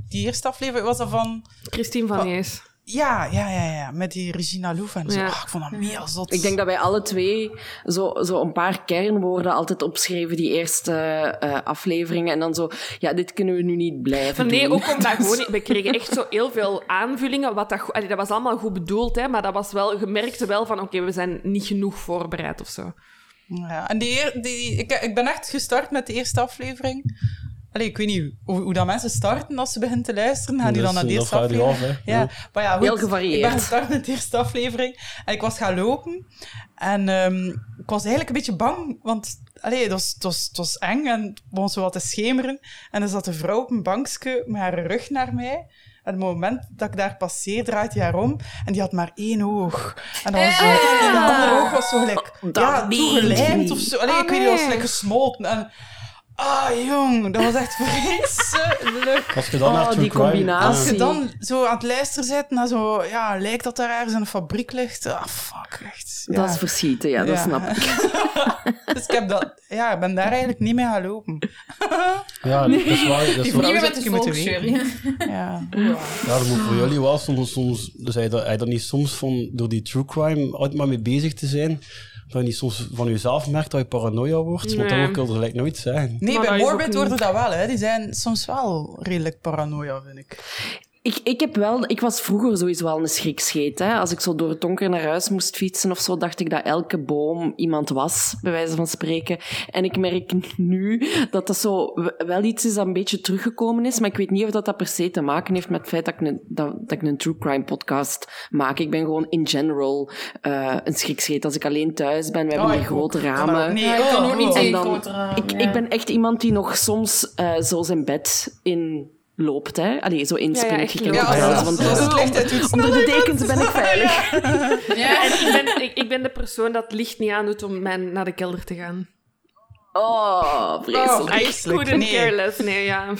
Speaker 2: die eerste aflevering was dat van...
Speaker 3: Christine van
Speaker 2: Oh.
Speaker 3: Hees.
Speaker 2: Ja, ja, ja, ja, met die Regina Louf en zo.
Speaker 3: Ja.
Speaker 2: Ah, ik vond dat meer zot.
Speaker 6: ik denk dat wij alle twee zo, zo een paar kernwoorden altijd opschreven, die eerste eh, afleveringen. En dan zo, ja, dit kunnen we nu niet blijven
Speaker 3: Van nee,
Speaker 6: doen.
Speaker 3: ook omdat gewoon... niet- We kregen echt zo heel veel aanvullingen. Wat dat, go- allee, dat was allemaal goed bedoeld, hè, maar dat was wel, je merkte wel van... Oké, we zijn niet genoeg voorbereid of zo.
Speaker 2: Ja, en die, eer- die, ik, ik ben echt gestart met de eerste aflevering. Allee, ik weet niet hoe, hoe dat mensen starten als ze beginnen te luisteren. Gaan die
Speaker 1: Dus,
Speaker 2: dan naar de
Speaker 1: eh,
Speaker 2: eerste
Speaker 1: dat vraag je
Speaker 2: aflevering?
Speaker 1: af, hè.
Speaker 2: Ja, maar ja, goed,
Speaker 6: Heel gevarieerd.
Speaker 2: Ik ben gestart met de eerste aflevering en ik was gaan lopen. En ehm, ik was eigenlijk een beetje bang, want allee, het, was, het, was, het was eng en het begon zo wat te schemeren. En er zat een vrouw op een bankje met haar rug naar mij. En op het moment dat ik daar passeer, draait hij haar om. En die had maar één oog. En dan was zo, dat andere oog was zo gelijk... ja, toegelijmd of zo. Allee, ik weet niet, dat was gelijk gesmolten. En, ah, jong, dat was echt vreselijk.
Speaker 1: Als je dan
Speaker 6: Oh,
Speaker 1: naar True
Speaker 6: die
Speaker 1: Crime-
Speaker 6: combinatie.
Speaker 2: Als je
Speaker 6: Zie.
Speaker 2: dan zo aan het luisteren zit naar zo, ja, lijkt dat daar ergens in een fabriek ligt. Ah, fuck, echt. Ja.
Speaker 6: Dat is verschieten, ja, dat
Speaker 2: Ja.
Speaker 6: snap ik.
Speaker 2: Dus ik heb dat, ja, ik ben daar eigenlijk niet mee gaan lopen.
Speaker 1: Ah, ja, dat is waar. Dat is waar.
Speaker 2: vrouw
Speaker 5: Niet
Speaker 2: zou het
Speaker 5: meer met de
Speaker 2: je moeten
Speaker 5: volksjury.
Speaker 2: Ja.
Speaker 1: Ja, dat moet voor jullie wel soms, soms dus hij dat, hij dat niet soms van, door die true crime altijd maar mee bezig te zijn, dat je niet soms van jezelf merkt dat je paranoia wordt, want
Speaker 3: Nee.
Speaker 1: dat wil ik gelijk nooit zeggen.
Speaker 2: Nee,
Speaker 3: Maar dat
Speaker 2: bij
Speaker 3: is ook
Speaker 2: Morbid
Speaker 3: niet-
Speaker 2: worden dat wel, hè. Die zijn soms wel redelijk paranoia, vind ik.
Speaker 6: Ik, ik, heb wel, ik was vroeger sowieso wel een schrikscheet. Hè. Als ik zo door het donker naar huis moest fietsen of zo, dacht ik dat elke boom iemand was, bij wijze van spreken. En ik merk nu dat dat zo w- wel iets is dat een beetje teruggekomen is. Maar ik weet niet of dat, dat per se te maken heeft met het feit dat ik, een, dat, dat ik een true crime podcast maak. Ik ben gewoon in general eh, een schrikscheet. Als ik alleen thuis ben, we hebben
Speaker 2: Oh,
Speaker 6: hier
Speaker 2: ik ook.
Speaker 6: grote
Speaker 2: Ik kan dat ook
Speaker 6: ramen.
Speaker 2: niet.
Speaker 5: Ja, ik kan ook niet
Speaker 2: Oh.
Speaker 6: En
Speaker 5: tegen
Speaker 6: dan-
Speaker 5: grotere...
Speaker 6: Ik, ik ben echt iemand die nog soms eh, zo zijn bed in loopt. Hè? Allee, zo
Speaker 3: ja,
Speaker 6: inspringt.
Speaker 3: echt
Speaker 6: Je kent
Speaker 3: leuk.
Speaker 2: Ja,
Speaker 6: het
Speaker 2: als,
Speaker 6: wel,
Speaker 2: als,
Speaker 6: want-
Speaker 2: als het licht uit Oh, doet,
Speaker 6: Onder de dekens ben ik veilig.
Speaker 5: Ja.
Speaker 3: En ik ben, ik, ik ben de persoon dat het licht niet aandoet om mijn, naar de kelder te gaan.
Speaker 6: Oh,
Speaker 2: Oh,
Speaker 6: vreselijk.
Speaker 3: I
Speaker 2: vreselijk.
Speaker 3: couldn't care
Speaker 2: Nee.
Speaker 3: less. Nee, ja.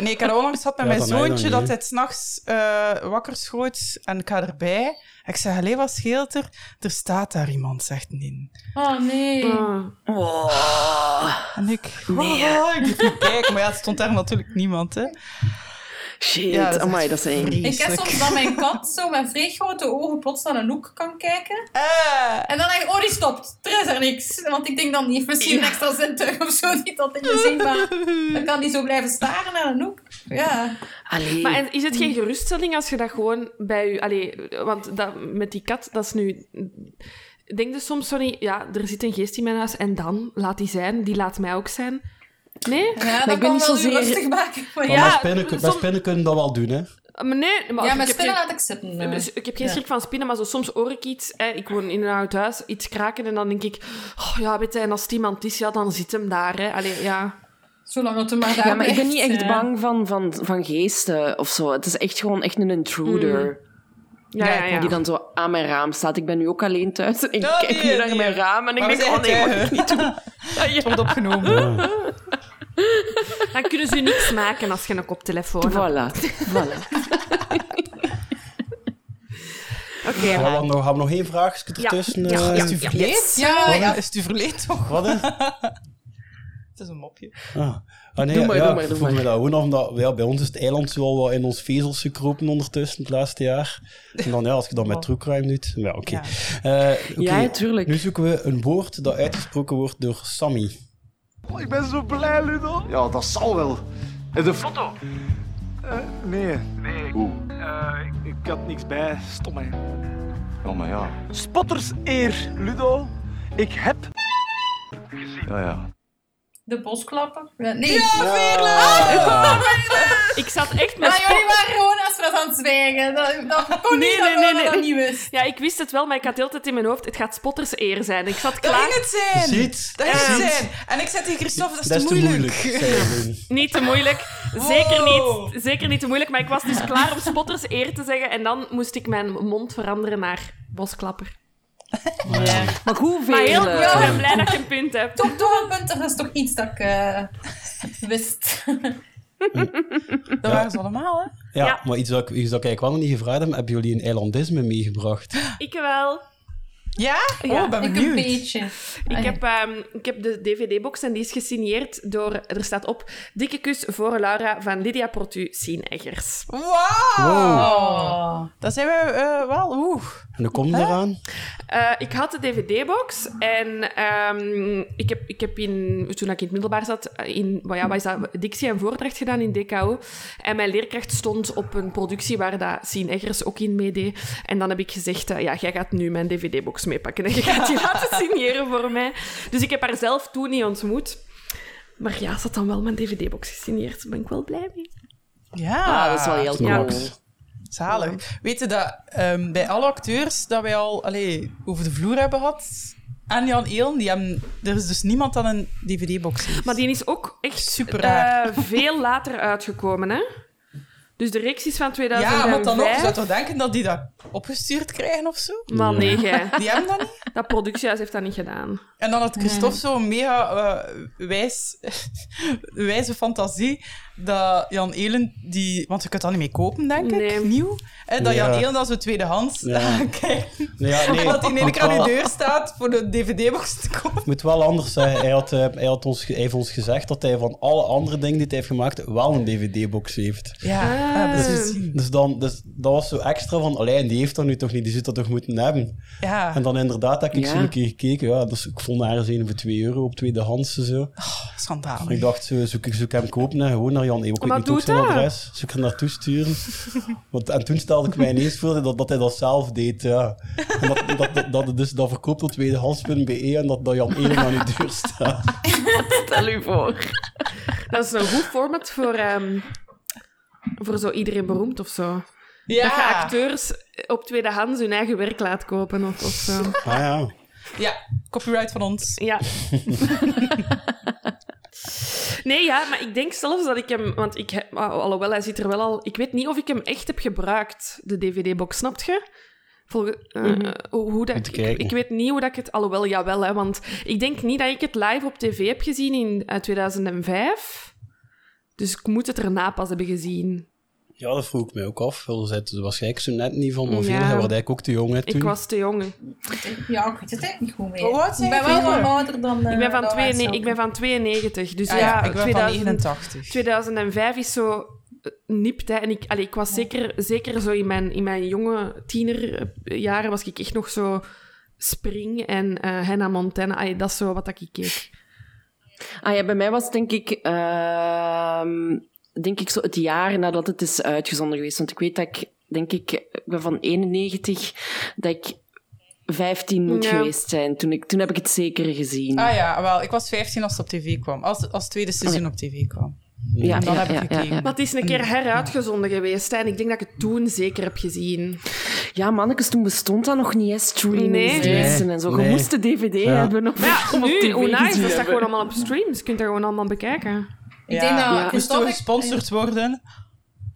Speaker 2: nee, ik had onlangs gehad met
Speaker 1: Ja, van
Speaker 2: mijn
Speaker 1: mij dan
Speaker 2: zoontje
Speaker 1: niet,
Speaker 2: dat
Speaker 1: hè.
Speaker 2: hij s'nachts nachts wakker schoot en ik ga erbij. Ik zeg, allee, wat scheelt er? Er staat daar iemand, zegt Nien.
Speaker 5: Oh, nee.
Speaker 3: Ah.
Speaker 6: Oh.
Speaker 2: En ik, nee, ik liep kijken, maar ja, er stond daar natuurlijk niemand, hè.
Speaker 6: Shit,
Speaker 2: Ja, dat is
Speaker 6: amai,
Speaker 2: echt
Speaker 6: dat is eng.
Speaker 2: vreselijk.
Speaker 5: Ik heb soms dat mijn kat zo met vrij grote ogen plots naar een hoek kan kijken.
Speaker 2: Eh,
Speaker 5: En dan denk ik, oh, die stopt. Er is er niks. Want ik denk dan, die heeft misschien een extra zintuig of zo, niet dat ik gezien. Maar dan kan die zo blijven staren naar een hoek. Ja.
Speaker 6: Allee.
Speaker 3: Maar en is het geen geruststelling als je dat gewoon bij je... Allee, want dat, met die kat, dat is nu... Ik Denk dus soms, sorry, ja, er zit een geest in mijn huis en dan laat die zijn, die laat mij ook zijn. Nee?
Speaker 5: Ja, dat
Speaker 6: ik ben
Speaker 5: kan
Speaker 6: niet
Speaker 5: wel
Speaker 6: zozeer-
Speaker 5: u rustig maken. Maar
Speaker 3: Ja,
Speaker 5: ja,
Speaker 1: maar spinnen, kun- bij
Speaker 3: som-
Speaker 1: spinnen kunnen dat wel doen, hè?
Speaker 3: Maar nee, maar
Speaker 5: ja
Speaker 3: ik
Speaker 5: maar
Speaker 3: heb
Speaker 5: spinnen
Speaker 3: geen-
Speaker 5: laat ik zitten.
Speaker 3: Eh,
Speaker 5: eh.
Speaker 3: Dus ik heb geen
Speaker 5: Ja.
Speaker 3: schrik van spinnen, maar zo soms hoor ik iets. Hè, ik woon in een oud huis, iets kraken en dan denk ik... Oh, ja, weet je, en als het iemand is, ja, dan zit hem daar. Hè. Allee, ja.
Speaker 5: Zolang dat er maar daar
Speaker 6: ja, maar ik ben
Speaker 5: blijft,
Speaker 6: niet echt
Speaker 5: eh.
Speaker 6: bang van, van, van geesten of zo. Het is echt gewoon echt een intruder.
Speaker 3: Ja, ja, Mm. Ah, ja.
Speaker 6: Die dan zo aan mijn raam staat. Ik ben nu ook alleen thuis en ik
Speaker 2: Oh,
Speaker 6: kijk nu
Speaker 2: nee,
Speaker 6: naar
Speaker 2: nee.
Speaker 6: mijn raam en ik
Speaker 2: Maar we
Speaker 6: denk,
Speaker 2: zijn
Speaker 6: oh nee, mag ik
Speaker 2: getuigen.
Speaker 6: niet doen.
Speaker 2: het wordt opgenomen.
Speaker 3: Dan kunnen ze niks maken als je een koptelefoon hebt.
Speaker 6: Voilà, voilà.
Speaker 3: Oké,
Speaker 1: Gaan we
Speaker 3: maar-
Speaker 1: dan nog- Gaan we nog één vraagje ertussen?
Speaker 3: Ja, ja,
Speaker 1: eh,
Speaker 3: ja,
Speaker 1: is die
Speaker 3: ja.
Speaker 1: verkeerd?
Speaker 5: Ja, ja.
Speaker 2: Is het u verleed toch?
Speaker 1: Wat, hè?
Speaker 2: Het is een mopje.
Speaker 1: Ah. Ah, nee,
Speaker 6: Doe maar,
Speaker 1: ja,
Speaker 6: doe maar,
Speaker 1: ik
Speaker 6: doe
Speaker 1: vroeg
Speaker 6: maar.
Speaker 1: me dat gewoon af, omdat ja, bij ons is het eiland wel wat in ons vezels gekropen ondertussen het laatste jaar. En dan ja, als je dat met true crime doet, ja, oké.
Speaker 2: Ja.
Speaker 1: Eh, oké,
Speaker 6: Oh. Ja, tuurlijk.
Speaker 1: Nu zoeken we een woord dat uitgesproken wordt door Sammy.
Speaker 8: Ik ben zo blij, Ludo. Ja, dat zal wel. En de foto? nee. Nee. Ik, ik, had niks bij. Stom, hè.
Speaker 9: Ja, maar ja.
Speaker 8: Spotters eer, Ludo. Ik heb...
Speaker 9: Ja, ja.
Speaker 5: De bosklappen. Ja, nee.
Speaker 3: ik zat echt met...
Speaker 5: Maar
Speaker 3: spo-
Speaker 5: jullie waren gewoon als we dat aan het zwijgen. Dat, dat kon
Speaker 3: Nee,
Speaker 5: niet
Speaker 3: nee,
Speaker 5: dat
Speaker 3: nee,
Speaker 5: Lola dat
Speaker 3: nee.
Speaker 5: niet wist.
Speaker 3: Ja, ik wist het wel, maar ik had de hele tijd in mijn hoofd, het gaat spotters eer zijn. Ik zat
Speaker 2: Dat ging
Speaker 3: klaar.
Speaker 2: het zijn!
Speaker 1: Ziet?
Speaker 2: Dat ging het
Speaker 1: Ziet?
Speaker 2: zijn! En ik zei tegen Christophe, dat is,
Speaker 1: Dat is te moeilijk. zei hij.
Speaker 3: Niet te moeilijk. Zeker
Speaker 2: Wow.
Speaker 3: niet. Zeker niet te moeilijk, maar ik was dus klaar om spotters eer te zeggen en dan moest ik mijn mond veranderen naar bosklapper.
Speaker 6: Maar hoeveel?
Speaker 3: Maar heel
Speaker 6: eh,
Speaker 3: goed, ik ben blij dat je een punt hebt.
Speaker 5: Toch, toch een punt, dat is toch iets dat ik eh, wist.
Speaker 2: Dat waren ze allemaal, hè?
Speaker 1: Ja,
Speaker 3: Ja.
Speaker 1: maar iets dat, ik, iets dat ik eigenlijk wel nog niet gevraagd heb, hebben jullie een eilandisme meegebracht?
Speaker 3: Ik wel.
Speaker 2: Ja?
Speaker 3: Ja,
Speaker 2: oh, ben
Speaker 5: ik
Speaker 2: benieuwd.
Speaker 5: een beetje.
Speaker 3: Ik
Speaker 5: Ah,
Speaker 3: heb, ehm, ik heb de DVD-box en die is gesigneerd door, er staat op, dikke kus voor Laura van Lydia Portu Sien Eggers.
Speaker 2: Wauw!
Speaker 5: Oh.
Speaker 2: Dat zijn we eh, wel, oeh.
Speaker 1: En hoe komt het eraan?
Speaker 3: Eh, ik had de DVD-box en ehm, ik, heb, ik heb in, toen ik in het middelbaar zat, eh, in wat, ja, wat is dat, dictie en voordracht gedaan in DKO. En mijn leerkracht stond op een productie waar dat Sien Eggers ook in meedeed. En dan heb ik gezegd, eh, ja, jij gaat nu mijn DVD-box meepakken en je gaat die laten signeren voor mij. Dus ik heb haar zelf toen niet ontmoet. Maar ja, ze had dan wel mijn DVD-box gesigneerd. Daar ben ik wel blij mee.
Speaker 2: Ja.
Speaker 6: ah, dat is wel heel cool.
Speaker 3: Ja.
Speaker 2: Zalig. Weet je dat ehm, bij alle acteurs dat wij al allee, over de vloer hebben gehad, en Jan Eelen, die hebben, er is dus niemand aan een dvd-box heeft.
Speaker 3: Maar die is ook echt
Speaker 2: Super
Speaker 3: super
Speaker 2: raar.
Speaker 3: veel later uitgekomen, hè? Dus de reeks is van
Speaker 2: ja,
Speaker 3: 2005.
Speaker 2: maar dan nog, je zou toch denken dat die dat opgestuurd krijgen of zo?
Speaker 3: Maar nee, jij.
Speaker 2: Die hebben dat niet.
Speaker 3: Dat productiehuis heeft dat niet gedaan.
Speaker 2: En dan had Christophe zo'n mega eh, wijs, wijze fantasie dat Jan Eelen die... Want je kunt dat niet mee kopen, denk ik,
Speaker 3: Nee.
Speaker 2: nieuw. Hè, dat
Speaker 1: Ja.
Speaker 2: Jan Eelen dat zo tweedehands
Speaker 1: Ja.
Speaker 2: gaat kijken.
Speaker 1: Nee, Nou ja, nee,
Speaker 2: Omdat hij in één
Speaker 1: want
Speaker 2: keer aan
Speaker 1: wel-
Speaker 2: uw deur staat voor de dvd-box te kopen.
Speaker 1: Ik moet wel anders zeggen. Hij, had, eh, hij, had ons, ge- hij heeft ons gezegd dat hij van alle andere dingen die hij heeft gemaakt wel een DVD-box heeft.
Speaker 2: Ja,
Speaker 3: Ah.
Speaker 2: ja,
Speaker 3: Dus-
Speaker 2: precies.
Speaker 1: Dus, dan, dus dat was zo extra van, allee, en die heeft dat nu toch niet, die zit dat toch moeten hebben.
Speaker 2: Ja.
Speaker 1: En dan inderdaad heb ik
Speaker 6: Ja.
Speaker 1: zo een keer gekeken, ja, dus ik vond ergens een voor 2 euro op tweedehands en zo.
Speaker 2: Schandalig.
Speaker 1: En ik dacht, zo, zoek, ik zoek hem kopen en gewoon naar Jan Eeuw. Ik weet
Speaker 3: Maar
Speaker 1: niet
Speaker 3: doe
Speaker 1: ook zijn
Speaker 3: dat.
Speaker 1: adres, zoek er naartoe sturen. Want, en toen stelde ik mij ineens voor dat, dat hij dat zelf deed, ja. En dat, dat, dat, dat het dus dat verkoopt op tweedehands.be en dat, dat Jan Eeuw aan uw deur staat.
Speaker 6: Stel u voor.
Speaker 3: Dat is een goed format voor, ehm, voor zo iedereen beroemd of zo. Dat je acteurs op tweedehands hun eigen werk laat kopen of, of zo.
Speaker 1: Ah ja.
Speaker 2: Ja, copyright van ons.
Speaker 3: Ja. nee, ja, maar ik denk zelfs dat ik hem... Want ik heb... ah, Alhoewel, hij zit er wel al... Ik weet niet of ik hem echt heb gebruikt, de DVD-box. Snap je? Volge, eh, hoe, hoe dat,
Speaker 1: Om te
Speaker 3: ik,
Speaker 1: kijken.
Speaker 3: ik weet niet hoe dat ik het... Alhoewel, jawel, hè, want ik denk niet dat ik het live op tv heb gezien in eh, 2005. Dus ik moet het erna pas hebben gezien.
Speaker 1: Ja, dat vroeg ik mij ook af. Ze zitten er waarschijnlijk zo net niet van, maar
Speaker 3: Ja.
Speaker 1: veel zijn waarschijnlijk ook te jong hè, toen.
Speaker 3: Ik was te jong.
Speaker 5: Ja, ik weet het eigenlijk niet goed meer.
Speaker 2: Hoe oud zijn
Speaker 5: ik ben
Speaker 2: jullie?
Speaker 5: wel wat ouder dan... eh,
Speaker 3: Ik ben, van
Speaker 5: dan
Speaker 3: twee,
Speaker 5: wij
Speaker 3: ik ben van 92, dus
Speaker 2: Ah
Speaker 3: ja,
Speaker 2: ik ben
Speaker 3: 2000
Speaker 2: van 89.
Speaker 3: 2005 is zo eh, nipt. Hè. En ik, allee, ik was zeker, zeker zo in mijn, in mijn jonge tienerjaren was ik echt nog zo Spring en eh Hannah Montana. Allee, dat is zo wat dat ik keek.
Speaker 6: Ah ja, bij mij was het denk ik, ehm, denk ik zo het jaar nadat het is uitgezonden geweest. Want ik weet dat ik, denk ik, ik ben van 91, dat ik 15 moet
Speaker 3: Ja.
Speaker 6: geweest zijn. Toen, ik, toen heb ik het zeker gezien.
Speaker 2: Ah ja, wel, ik was 15 als het op tv kwam. Als, als het tweede seizoen op tv kwam.
Speaker 6: ja,
Speaker 2: dan heb ik gekeken.
Speaker 3: Maar het is een keer heruitgezonden geweest. hè. En ik denk dat ik het toen zeker heb gezien.
Speaker 6: Ja, mannetjes, toen bestond dat nog niet, hè, streaming
Speaker 3: Nee.
Speaker 6: services en zo. Je
Speaker 1: Nee.
Speaker 6: moest de DVD
Speaker 1: Ja.
Speaker 6: hebben om,
Speaker 3: Maar ja,
Speaker 6: om op
Speaker 3: nu,
Speaker 6: tv
Speaker 3: hoe nice,
Speaker 6: gezien
Speaker 3: dat staat
Speaker 6: hebben.
Speaker 3: gewoon allemaal op streams. Je kunt dat gewoon allemaal bekijken.
Speaker 5: Ik
Speaker 2: Ja.
Speaker 5: denk dat
Speaker 2: Ja. Moest
Speaker 5: Christophe-
Speaker 2: toen gesponsord worden.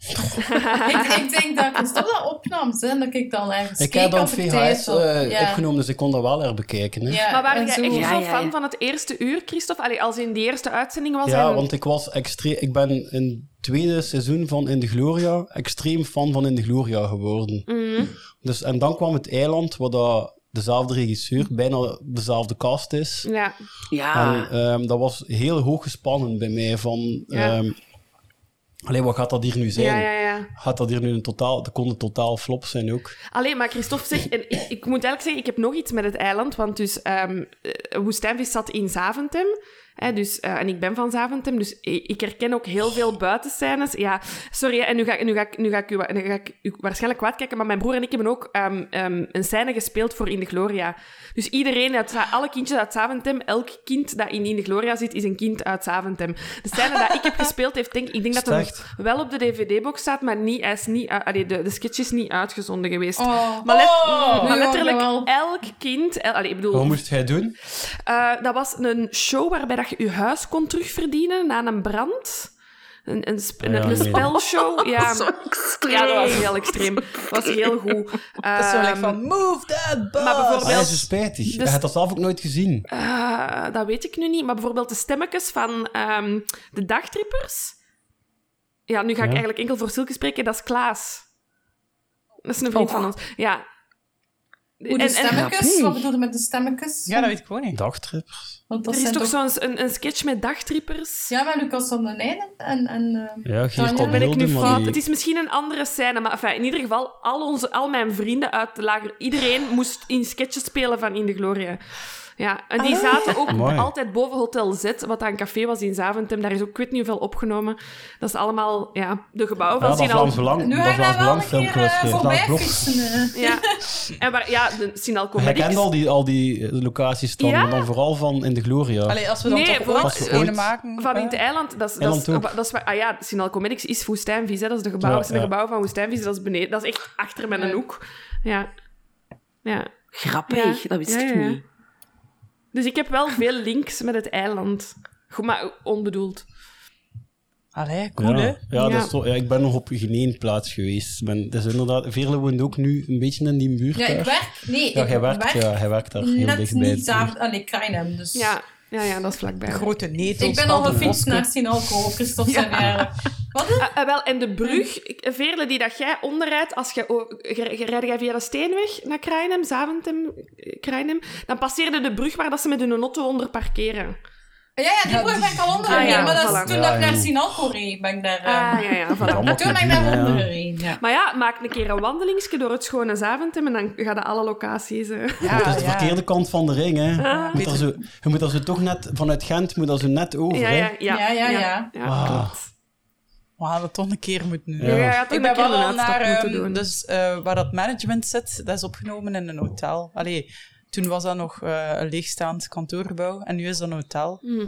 Speaker 5: ik, ik denk dat Christophe dat opnam, hè, en dat ik dan ergens
Speaker 1: Ik
Speaker 5: keek
Speaker 1: heb dan
Speaker 5: op de
Speaker 1: VHS
Speaker 5: tafel.
Speaker 1: eh,
Speaker 5: Ja.
Speaker 1: opgenomen, dus ik kon dat wel er bekijken. Hè.
Speaker 5: Ja,
Speaker 3: Maar waren
Speaker 5: en
Speaker 3: jij
Speaker 5: zo.
Speaker 3: echt
Speaker 6: Ja,
Speaker 3: zo
Speaker 6: ja,
Speaker 3: fan
Speaker 6: ja.
Speaker 3: van het eerste uur, Christophe? Allee, als in die eerste uitzending was
Speaker 1: Ja,
Speaker 3: en-
Speaker 1: want ik was extreem. Ik ben in het tweede seizoen van In de Gloria extreem fan van In de Gloria geworden.
Speaker 3: Mhm.
Speaker 1: Dus, en dan kwam het eiland, waar dat dezelfde regisseur, bijna dezelfde cast is.
Speaker 3: Ja.
Speaker 6: Ja.
Speaker 1: En ehm, dat was heel hoog gespannen bij mij. Van,
Speaker 3: Ja.
Speaker 1: ehm, allee, wat gaat dat hier nu zijn?
Speaker 3: ja, ja, ja.
Speaker 1: Gaat dat hier nu een totaal... Dat kon een totaal flop zijn ook.
Speaker 3: Alleen, maar Christophe zegt... En ik, ik moet eigenlijk zeggen, ik heb nog iets met het eiland. Want dus, ehm, eh, Woestijnvis zat in Zaventem. Hè, dus, eh, en ik ben van Zaventem, dus ik, ik herken ook heel veel buitenscènes. Ja, sorry, hè, en nu ga, ik- nu, ga, ik- nu, ga ik u, wa- nu ga ik u waarschijnlijk kwaad kijken, maar mijn broer en ik hebben ook ehm, ehm, een scène gespeeld voor In de Gloria. Dus iedereen, uit, Za- alle kindjes uit Zaventem, elk kind dat in In de Gloria zit, is een kind uit Zaventem. De scène dat ik heb gespeeld heeft, denk ik, ik denk dat hem
Speaker 1: Slecht.
Speaker 3: wel op de DVD-box staat, maar niet, hij is niet, uit- allee, de, de sketch is niet uitgezonden geweest.
Speaker 5: Oh.
Speaker 3: Maar, let-
Speaker 5: Oh,
Speaker 3: maar
Speaker 5: nu
Speaker 3: letterlijk
Speaker 5: ook nog wel.
Speaker 3: elk kind... el- allee, ik bedoel,
Speaker 1: Wat moest jij doen?
Speaker 3: eh, dat was een show waarbij dat je je huis kon terugverdienen na een brand. Een, een, sp-
Speaker 1: Ah ja,
Speaker 3: een, een
Speaker 1: nee.
Speaker 3: spelshow. Ja.
Speaker 6: Zo extreem.
Speaker 3: ja, dat was heel extreem. Dat was heel goed.
Speaker 2: Dat is zo gelijk
Speaker 3: Ehm,
Speaker 2: van, move that bus!
Speaker 3: maar bijvoorbeeld-
Speaker 1: Ah, dat is zo spijtig. Je
Speaker 3: dus
Speaker 1: hebt dat zelf ook nooit gezien.
Speaker 3: eh, dat weet ik nu niet. Maar bijvoorbeeld de stemmetjes van ehm, de dagtrippers. Ja, nu ga ik
Speaker 1: Ja.
Speaker 3: eigenlijk enkel voor Silke spreken. Dat is Klaas. Dat is een vriend
Speaker 6: Oh.
Speaker 3: van ons. Ja.
Speaker 5: Hoe de
Speaker 3: En- en-
Speaker 5: stemmetjes, wat bedoel je met de stemmetjes?
Speaker 2: Ja, dat weet ik gewoon niet.
Speaker 1: Dagtrippers.
Speaker 5: Want dat
Speaker 3: er is
Speaker 5: zijn
Speaker 3: toch
Speaker 5: toch-
Speaker 3: zo'n een, een sketch met dagtrippers?
Speaker 5: Ja, maar Lucas van den Eyden en... en ehm,
Speaker 1: Ja, Geert
Speaker 5: Dan
Speaker 1: dat
Speaker 5: ben
Speaker 3: ben ik nu
Speaker 1: Mulder, maar
Speaker 3: fout?
Speaker 1: die-
Speaker 3: Het is misschien een andere scène, maar enfin, in ieder geval, al, onze, al mijn vrienden uit de lager... Iedereen moest in sketches spelen van In de Gloria. Ja, en die zaten ook
Speaker 1: Mooi.
Speaker 3: altijd boven Hotel Z, wat dan een café was in Zaventem. Daar is ook, ik weet niet hoeveel opgenomen. Dat is allemaal, ja, de gebouwen
Speaker 1: Ja,
Speaker 3: van
Speaker 1: dat
Speaker 3: zien
Speaker 1: Vlaams
Speaker 3: al...
Speaker 1: Belang.
Speaker 5: nu
Speaker 1: Dat
Speaker 5: ga ik
Speaker 1: Vlaams
Speaker 5: daar wel
Speaker 1: Belang
Speaker 5: een keer
Speaker 1: filmpje
Speaker 5: eh,
Speaker 1: was geweest.
Speaker 5: voorbij
Speaker 1: Vlaams Blok.
Speaker 5: fietsen. eh.
Speaker 3: Ja. En waar, ja, de Sinal
Speaker 1: Jij
Speaker 3: Comedics.
Speaker 1: kent al die, al die eh, locaties dan,
Speaker 3: Ja.
Speaker 1: maar dan vooral van In de Gloria.
Speaker 2: Allee, als we dan
Speaker 3: Nee,
Speaker 2: toch
Speaker 3: vooral-
Speaker 2: ooit
Speaker 1: Als we
Speaker 2: een
Speaker 1: ooit-
Speaker 2: maken...
Speaker 3: Van in
Speaker 2: eh,
Speaker 3: het eiland, dat is, dat is,
Speaker 1: Eiland ook.
Speaker 3: dat is waar- ah ja, Sinal Comedics is Woestijnvis, hè. dat is de gebouwen,
Speaker 1: Ja,
Speaker 3: zijn de
Speaker 1: ja.
Speaker 3: gebouwen van Woestijnvis, dat is beneden, dat is echt achter mijn
Speaker 5: Ja.
Speaker 3: hoek. Ja. Ja.
Speaker 6: Grappig, dat wist
Speaker 3: Ja,
Speaker 6: ik
Speaker 3: ja, ja.
Speaker 6: niet.
Speaker 3: Dus ik heb wel veel links met het eiland. Goed, maar onbedoeld.
Speaker 2: Allee, cool, hè?
Speaker 1: ja. Ja, dat
Speaker 3: Ja.
Speaker 1: is zo, ja, ik ben nog op Geneenplaats geweest. Ik Ben, dus inderdaad, Veerle woont ook nu een beetje in die buurt
Speaker 5: Ja, ik
Speaker 1: daar.
Speaker 5: werk... Nee,
Speaker 1: ja,
Speaker 5: ik
Speaker 1: jij werkt,
Speaker 5: werk
Speaker 1: ja, hij werkt daar heel
Speaker 5: net
Speaker 1: dichtbij.
Speaker 5: niet samen... Allee, Krijnem, dus...
Speaker 3: Ja, ja, ja dat is vlakbij.
Speaker 2: De grote neet
Speaker 5: Ik ben al
Speaker 2: ontstaat een
Speaker 5: gefietst
Speaker 2: bosje.
Speaker 5: naar Sinalco, Christophe zijn jaren. Wat is
Speaker 3: Ah, ah, wel, en de brug, ik- Veerle, die dat jij onderrijdt, als je, o- ge- ge- rijd jij via de Steenweg naar Krijnem, Zaventem, eh, Krijnem, dan passeerde de brug waar dat ze met hun auto onder parkeren.
Speaker 5: Ja, ja, die brug ben ik al ondergereden,
Speaker 3: Ah, ja,
Speaker 5: maar dat is
Speaker 3: voilà.
Speaker 5: toen
Speaker 1: Ja,
Speaker 5: dat ik naar
Speaker 1: joh.
Speaker 5: Sinalco reed, ben ik daar... eh,
Speaker 3: Ah, ja, ja, voilà.
Speaker 1: Allemaal
Speaker 5: toen ben ik
Speaker 1: te doen,
Speaker 5: daar
Speaker 1: ja.
Speaker 5: ondergereden, ja.
Speaker 3: Maar ja, maak een keer een wandelingsje door het schone Zaventem en dan gaan alle locaties... eh.
Speaker 2: Ja,
Speaker 1: Want het is dus de
Speaker 2: ja.
Speaker 1: verkeerde kant van de ring, hè.
Speaker 3: Ah.
Speaker 1: Je moet daar zo, je moet daar zo toch net, vanuit Gent moet daar zo net over,
Speaker 3: Ja,
Speaker 1: hè.
Speaker 3: ja, ja.
Speaker 5: Ja, ja, ja.
Speaker 1: Ah.
Speaker 3: klopt.
Speaker 2: We gaan dat toch een keer moeten doen.
Speaker 3: Ja, ja, toch
Speaker 2: Ik
Speaker 3: een
Speaker 2: ben
Speaker 3: keer
Speaker 2: wel
Speaker 3: een
Speaker 2: al
Speaker 3: uitstap
Speaker 2: naar...
Speaker 3: moeten
Speaker 2: ehm,
Speaker 3: doen.
Speaker 2: dus eh, waar dat management zit, dat is opgenomen in een hotel. Allee, toen was dat nog eh, een leegstaand kantoorgebouw en nu is dat een hotel.
Speaker 3: Hm.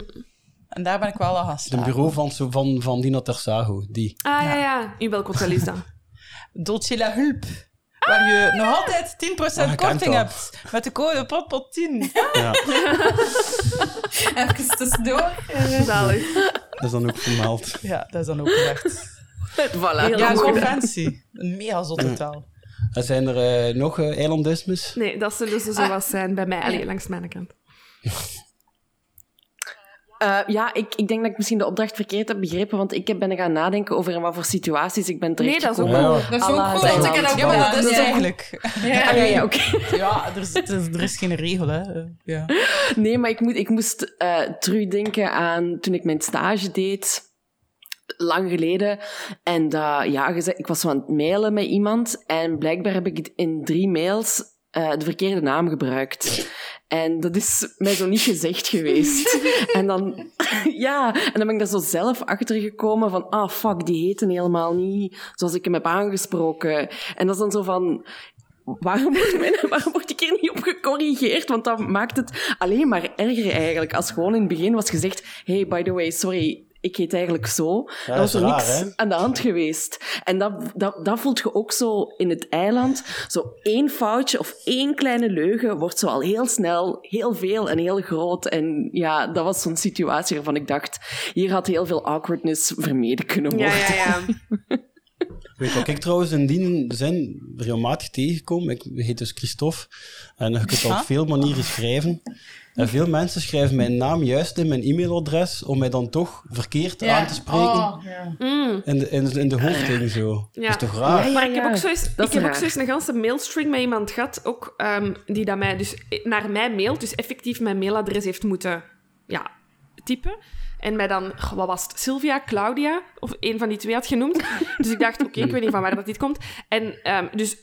Speaker 2: En daar ben ik wel aan gaan
Speaker 1: Het is een
Speaker 2: slapen.
Speaker 1: bureau van, zo- van, van Dina Tersago, die.
Speaker 3: Ah, ja, ja. In welk hotel is dat?
Speaker 2: Dolce La Hulp. Waar je nog altijd 10%
Speaker 1: Ah, ik
Speaker 2: korting
Speaker 1: ken
Speaker 2: hebt. Met de code POTPOT10.
Speaker 1: Ja,
Speaker 5: Even tussendoor. eh.
Speaker 3: Zalig.
Speaker 1: dat is dan ook vermeld.
Speaker 2: Ja, dat is dan ook echt.
Speaker 6: Voilà.
Speaker 3: Heel
Speaker 2: Ja, een
Speaker 3: goed.
Speaker 2: conventie. Een mega zot hotel.
Speaker 1: En zijn er eh, nog eh, eilandismes?
Speaker 3: Nee, dat zullen ze
Speaker 6: Ah.
Speaker 3: zo wat zijn bij mij. Allee, langs mijn kant.
Speaker 6: Eh, ja, ik, ik denk dat ik misschien de opdracht verkeerd heb begrepen, want ik heb- ben gaan nadenken over in wat voor situaties ik ben
Speaker 3: Nee, dat is ook
Speaker 6: terechtgekomen.
Speaker 3: wel...
Speaker 1: Ja.
Speaker 5: Dat is ook
Speaker 6: Allah,
Speaker 5: goed
Speaker 6: dat
Speaker 5: dat
Speaker 6: is
Speaker 5: ik
Speaker 6: wel-
Speaker 5: dat ook
Speaker 2: Ja, maar dat is
Speaker 5: gedaan heb.
Speaker 2: eigenlijk...
Speaker 5: Ja,
Speaker 6: Ah, ja, ja, oké.
Speaker 2: Ja, er is, het is- er is geen regel, hè. Eh, Ja.
Speaker 6: Nee, maar ik, moet, ik moest eh terugdenken aan toen ik mijn stage deed. lang geleden. En dat, ja, je zei- ik was zo aan het mailen met iemand. En blijkbaar heb ik het in drie mails eh, de verkeerde naam gebruikt. En dat is mij zo niet gezegd geweest. en dan, ja, en dan ben ik daar zo zelf achter gekomen van, ah fuck, die heten helemaal niet zoals ik hem heb aangesproken. En dat is dan zo van, waarom wordt, men, waarom word ik hier niet op gecorrigeerd? Want dat maakt het alleen maar erger eigenlijk. Als gewoon in het begin was gezegd, hey, by the way, sorry, ik heet eigenlijk zo.
Speaker 1: dat
Speaker 6: dan was
Speaker 1: is
Speaker 6: er
Speaker 1: raar,
Speaker 6: niks
Speaker 1: hè?
Speaker 6: aan de hand geweest. En dat, dat, dat voelt je ook zo in het eiland. Zo één foutje of één kleine leugen wordt zo al heel snel heel veel en heel groot. En ja, dat was zo'n situatie waarvan ik dacht, hier had heel veel awkwardness vermeden kunnen worden.
Speaker 3: Ja, ja, ja.
Speaker 1: Weet je wat ik trouwens in die zin regelmatig tegenkom? Ik heet dus Christophe en je kunt
Speaker 5: Ah.
Speaker 1: op veel manieren schrijven. En veel mensen schrijven mijn naam juist in mijn e-mailadres om mij dan toch verkeerd
Speaker 5: Ja.
Speaker 1: aan te spreken
Speaker 5: Oh, ja.
Speaker 3: Mm.
Speaker 1: in, de, in, in de hoofding zo.
Speaker 3: Ja.
Speaker 1: Dat is toch raar?
Speaker 6: Ja, ja.
Speaker 3: Maar ik heb ook zoiets,
Speaker 6: Dat
Speaker 3: ik
Speaker 6: is
Speaker 3: heb ook
Speaker 6: raar.
Speaker 3: zoiets een ganse mailstring met iemand gehad, ook ehm, die dat mij dus naar mijn mail, dus effectief mijn mailadres heeft moeten ja, typen. En mij dan, goh, wat was het, Sylvia, Claudia, of een van die twee had genoemd. Dus ik dacht, oké, ik weet niet van waar dat dit komt. En ehm, dus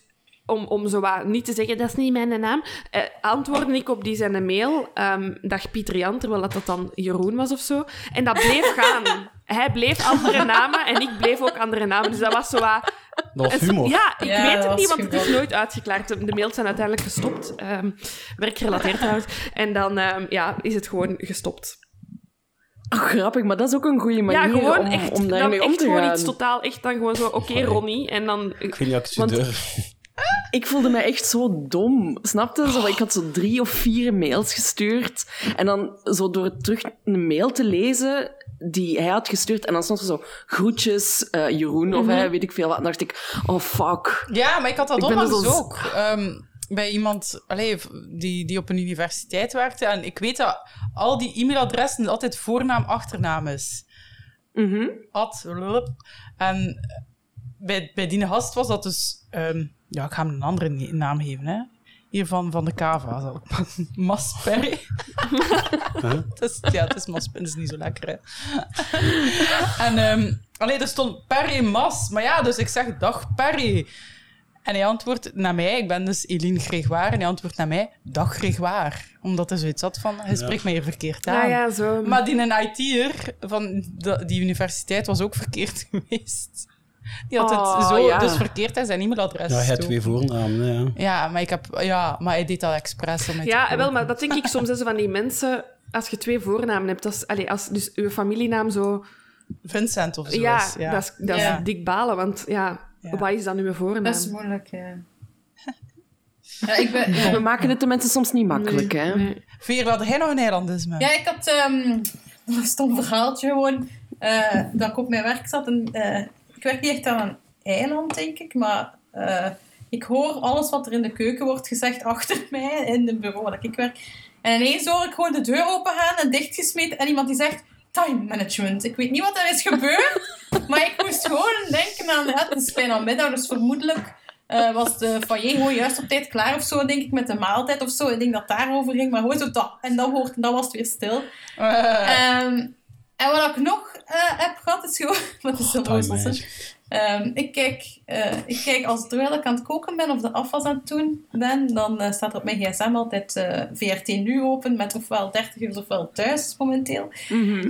Speaker 3: om, om zo wat niet te zeggen, dat is niet mijn naam, eh, antwoordde ik op die zijn mail, ehm, dag Pieter Jan, terwijl dat, dat dan Jeroen was of zo. En dat bleef gaan. Hij bleef andere namen en ik bleef ook andere namen. Dus dat was zo wat...
Speaker 1: Dat was
Speaker 3: En zo-
Speaker 1: humor.
Speaker 3: Ja, ik
Speaker 5: Ja,
Speaker 3: weet het
Speaker 5: dat
Speaker 3: niet,
Speaker 5: was
Speaker 3: want het is
Speaker 5: geweldig.
Speaker 3: nooit uitgeklaard. De mails zijn uiteindelijk gestopt. ehm, werkgerelateerd trouwens. En dan ehm, ja, is het gewoon gestopt.
Speaker 6: Oh, grappig, maar dat is ook een goede manier
Speaker 3: ja, gewoon
Speaker 6: om,
Speaker 3: echt,
Speaker 6: om
Speaker 3: dan
Speaker 6: daarmee om
Speaker 3: echt
Speaker 6: te
Speaker 3: gewoon
Speaker 6: gaan.
Speaker 3: iets totaal... Echt dan gewoon zo, oké, Ronnie. En dan...
Speaker 1: Ik weet niet of ik ze
Speaker 6: Want-
Speaker 1: durf.
Speaker 6: Ik voelde mij echt zo dom. Snap je? Zo, ik had zo drie of vier mails gestuurd. En dan zo door terug een mail te lezen die hij had gestuurd. En dan stond er zo groetjes, eh, Jeroen of
Speaker 3: Mhm.
Speaker 6: hij, weet ik veel wat. En dacht ik, oh fuck.
Speaker 2: Ja, maar ik had dat
Speaker 6: Ik ben
Speaker 2: onlangs
Speaker 6: dus als-
Speaker 2: ook. ehm, bij iemand allee, v- die, die op een universiteit werkte. En ik weet dat al die e-mailadressen altijd voornaam, achternaam is.
Speaker 6: Mhm.
Speaker 2: Ad, lulp. En bij, bij die gast was dat dus... ehm, ja, ik ga hem een andere ni- naam geven, hè. Hiervan van de cava. zal ik pakken. Masperry. Het is- Dus, ja, het is maspen, het is niet zo lekker, hè. en ehm allee, er stond Perry Mas. Maar ja, dus ik zeg, dag Perry. En hij antwoordt naar mij, ik ben dus Eline Gregoire, en hij antwoordt naar mij, dag Gregoire. Omdat er zoiets zat van, hij spreekt mij hier verkeerd aan.
Speaker 3: Ja, Nou ja, zo.
Speaker 2: Maar die een IT'er van de- die universiteit was ook verkeerd geweest. Die had het
Speaker 3: Oh,
Speaker 2: zo
Speaker 3: ja.
Speaker 2: dus verkeerd en zijn e-mailadres.
Speaker 1: Ja, hij had
Speaker 2: toe.
Speaker 1: twee voornamen, ja.
Speaker 2: Ja, maar ik heb, ja, maar hij deed dat expres. Om mij te
Speaker 3: Ja, eh,
Speaker 2: komen.
Speaker 3: wel, maar dat denk ik soms is van die mensen... Als je twee voornamen hebt, dat is, allee, als dus uw familienaam zo...
Speaker 2: Vincent of zo.
Speaker 3: ja,
Speaker 2: is, ja.
Speaker 3: dat is, dat is
Speaker 5: Ja.
Speaker 3: dik balen, want ja,
Speaker 2: Ja.
Speaker 3: wat is dan uw voornaam?
Speaker 5: Dat is moeilijk, ja. Ja, ik ben... ja.
Speaker 6: We maken het de mensen soms niet makkelijk, hè?
Speaker 3: Nee.
Speaker 2: Veer, had jij nog een eilandisme?
Speaker 5: Ja, ik had ehm, een stom verhaaltje gewoon. eh, dat ik op mijn werk zat. En, eh, ik werk niet echt aan een eiland, denk ik. Maar eh, ik hoor alles wat er in de keuken wordt gezegd achter mij in het bureau dat ik werk. En ineens hoor ik gewoon de deur opengaan en dichtgesmeten. En iemand die zegt, time management. Ik weet niet wat er is gebeurd. maar ik moest gewoon denken aan, ja, het is bijna middag, dus vermoedelijk... eh, was de foyer gewoon juist op tijd klaar of zo, denk ik, met de maaltijd of zo. Ik denk dat het daarover ging, maar gewoon zo dat. En dat, hoort, en dat was het weer stil.
Speaker 2: Eh,
Speaker 5: Ehm, en wat ik nog eh, heb gehad, is gewoon... Wat is dat
Speaker 1: Time
Speaker 5: roze?
Speaker 1: management.
Speaker 5: Ehm, ik, kijk, eh, ik kijk, als terwijl ik aan het koken ben of de afwas aan het doen ben, dan eh, staat er op mijn gsm altijd eh, VRT Nu open met ofwel 30 uur ofwel thuis momenteel.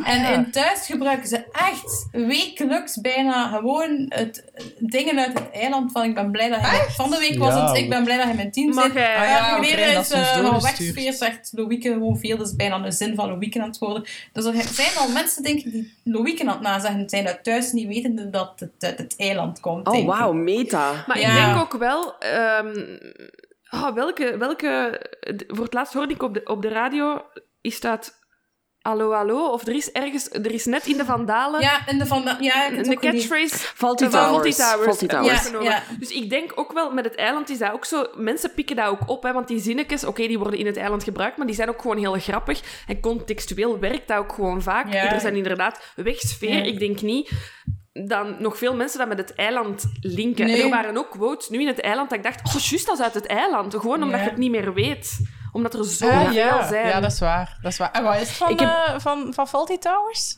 Speaker 5: En in thuis gebruiken ze echt wekelijks bijna gewoon het, dingen uit het eiland van ik ben blij dat hij... Van de week was
Speaker 1: Ja.
Speaker 5: het ik ben blij dat hij mijn team
Speaker 3: Mag
Speaker 5: zit.
Speaker 3: hij-
Speaker 5: Maar
Speaker 2: Ah ja,
Speaker 5: ja,
Speaker 2: want Rijn
Speaker 5: geleden
Speaker 2: dat
Speaker 5: Eh, is
Speaker 2: soms
Speaker 5: eh
Speaker 2: doorgestuurd.
Speaker 5: Wegsfeer zegt Loïke gewoon veel, dat is bijna een zin van Loïke aan het worden. Dus er zijn al mensen, denk ik, die Loïke aan het nazeggen zijn dat thuis niet wetende dat het uit het eiland komt.
Speaker 6: Oh,
Speaker 5: denk ik.
Speaker 6: wauw, meta.
Speaker 3: Maar ik
Speaker 5: Ja.
Speaker 3: denk ook wel... ehm, ah, welke, welke... d- Voor het laatst hoorde ik op de, op de radio... Is dat... Allo, allo? Of er is ergens... Er is net in de Vandalen...
Speaker 5: Ja, en de van de, ja, ik heb het
Speaker 3: de
Speaker 5: ook gelezen.
Speaker 3: catchphrase...
Speaker 6: Faulty
Speaker 3: eh, van
Speaker 6: Towers. Faulty
Speaker 3: eh,
Speaker 6: Towers.
Speaker 3: wordt genomen.
Speaker 5: Ja,
Speaker 3: Dus ik denk ook wel, met het eiland is dat ook zo... Mensen pikken dat ook op, hè, want die zinnetjes... Oké, die worden in het eiland gebruikt, maar die zijn ook gewoon heel grappig. En contextueel werkt dat ook gewoon vaak.
Speaker 5: Ja.
Speaker 3: Er zijn inderdaad wegsfeer. Ik denk niet dan nog veel mensen dat met het eiland linken.
Speaker 5: Nee.
Speaker 3: En er waren ook quotes nu in het eiland dat ik dacht, oh, juist als uit het eiland. Gewoon omdat
Speaker 5: Ja. Oh,
Speaker 3: je het niet meer weet. Omdat er zo
Speaker 2: Ah,
Speaker 3: veel
Speaker 2: ja.
Speaker 3: zijn.
Speaker 2: ja, dat is waar. Dat is waar. En wat is het van,
Speaker 6: Ik heb-
Speaker 2: eh, van, van Faulty Towers?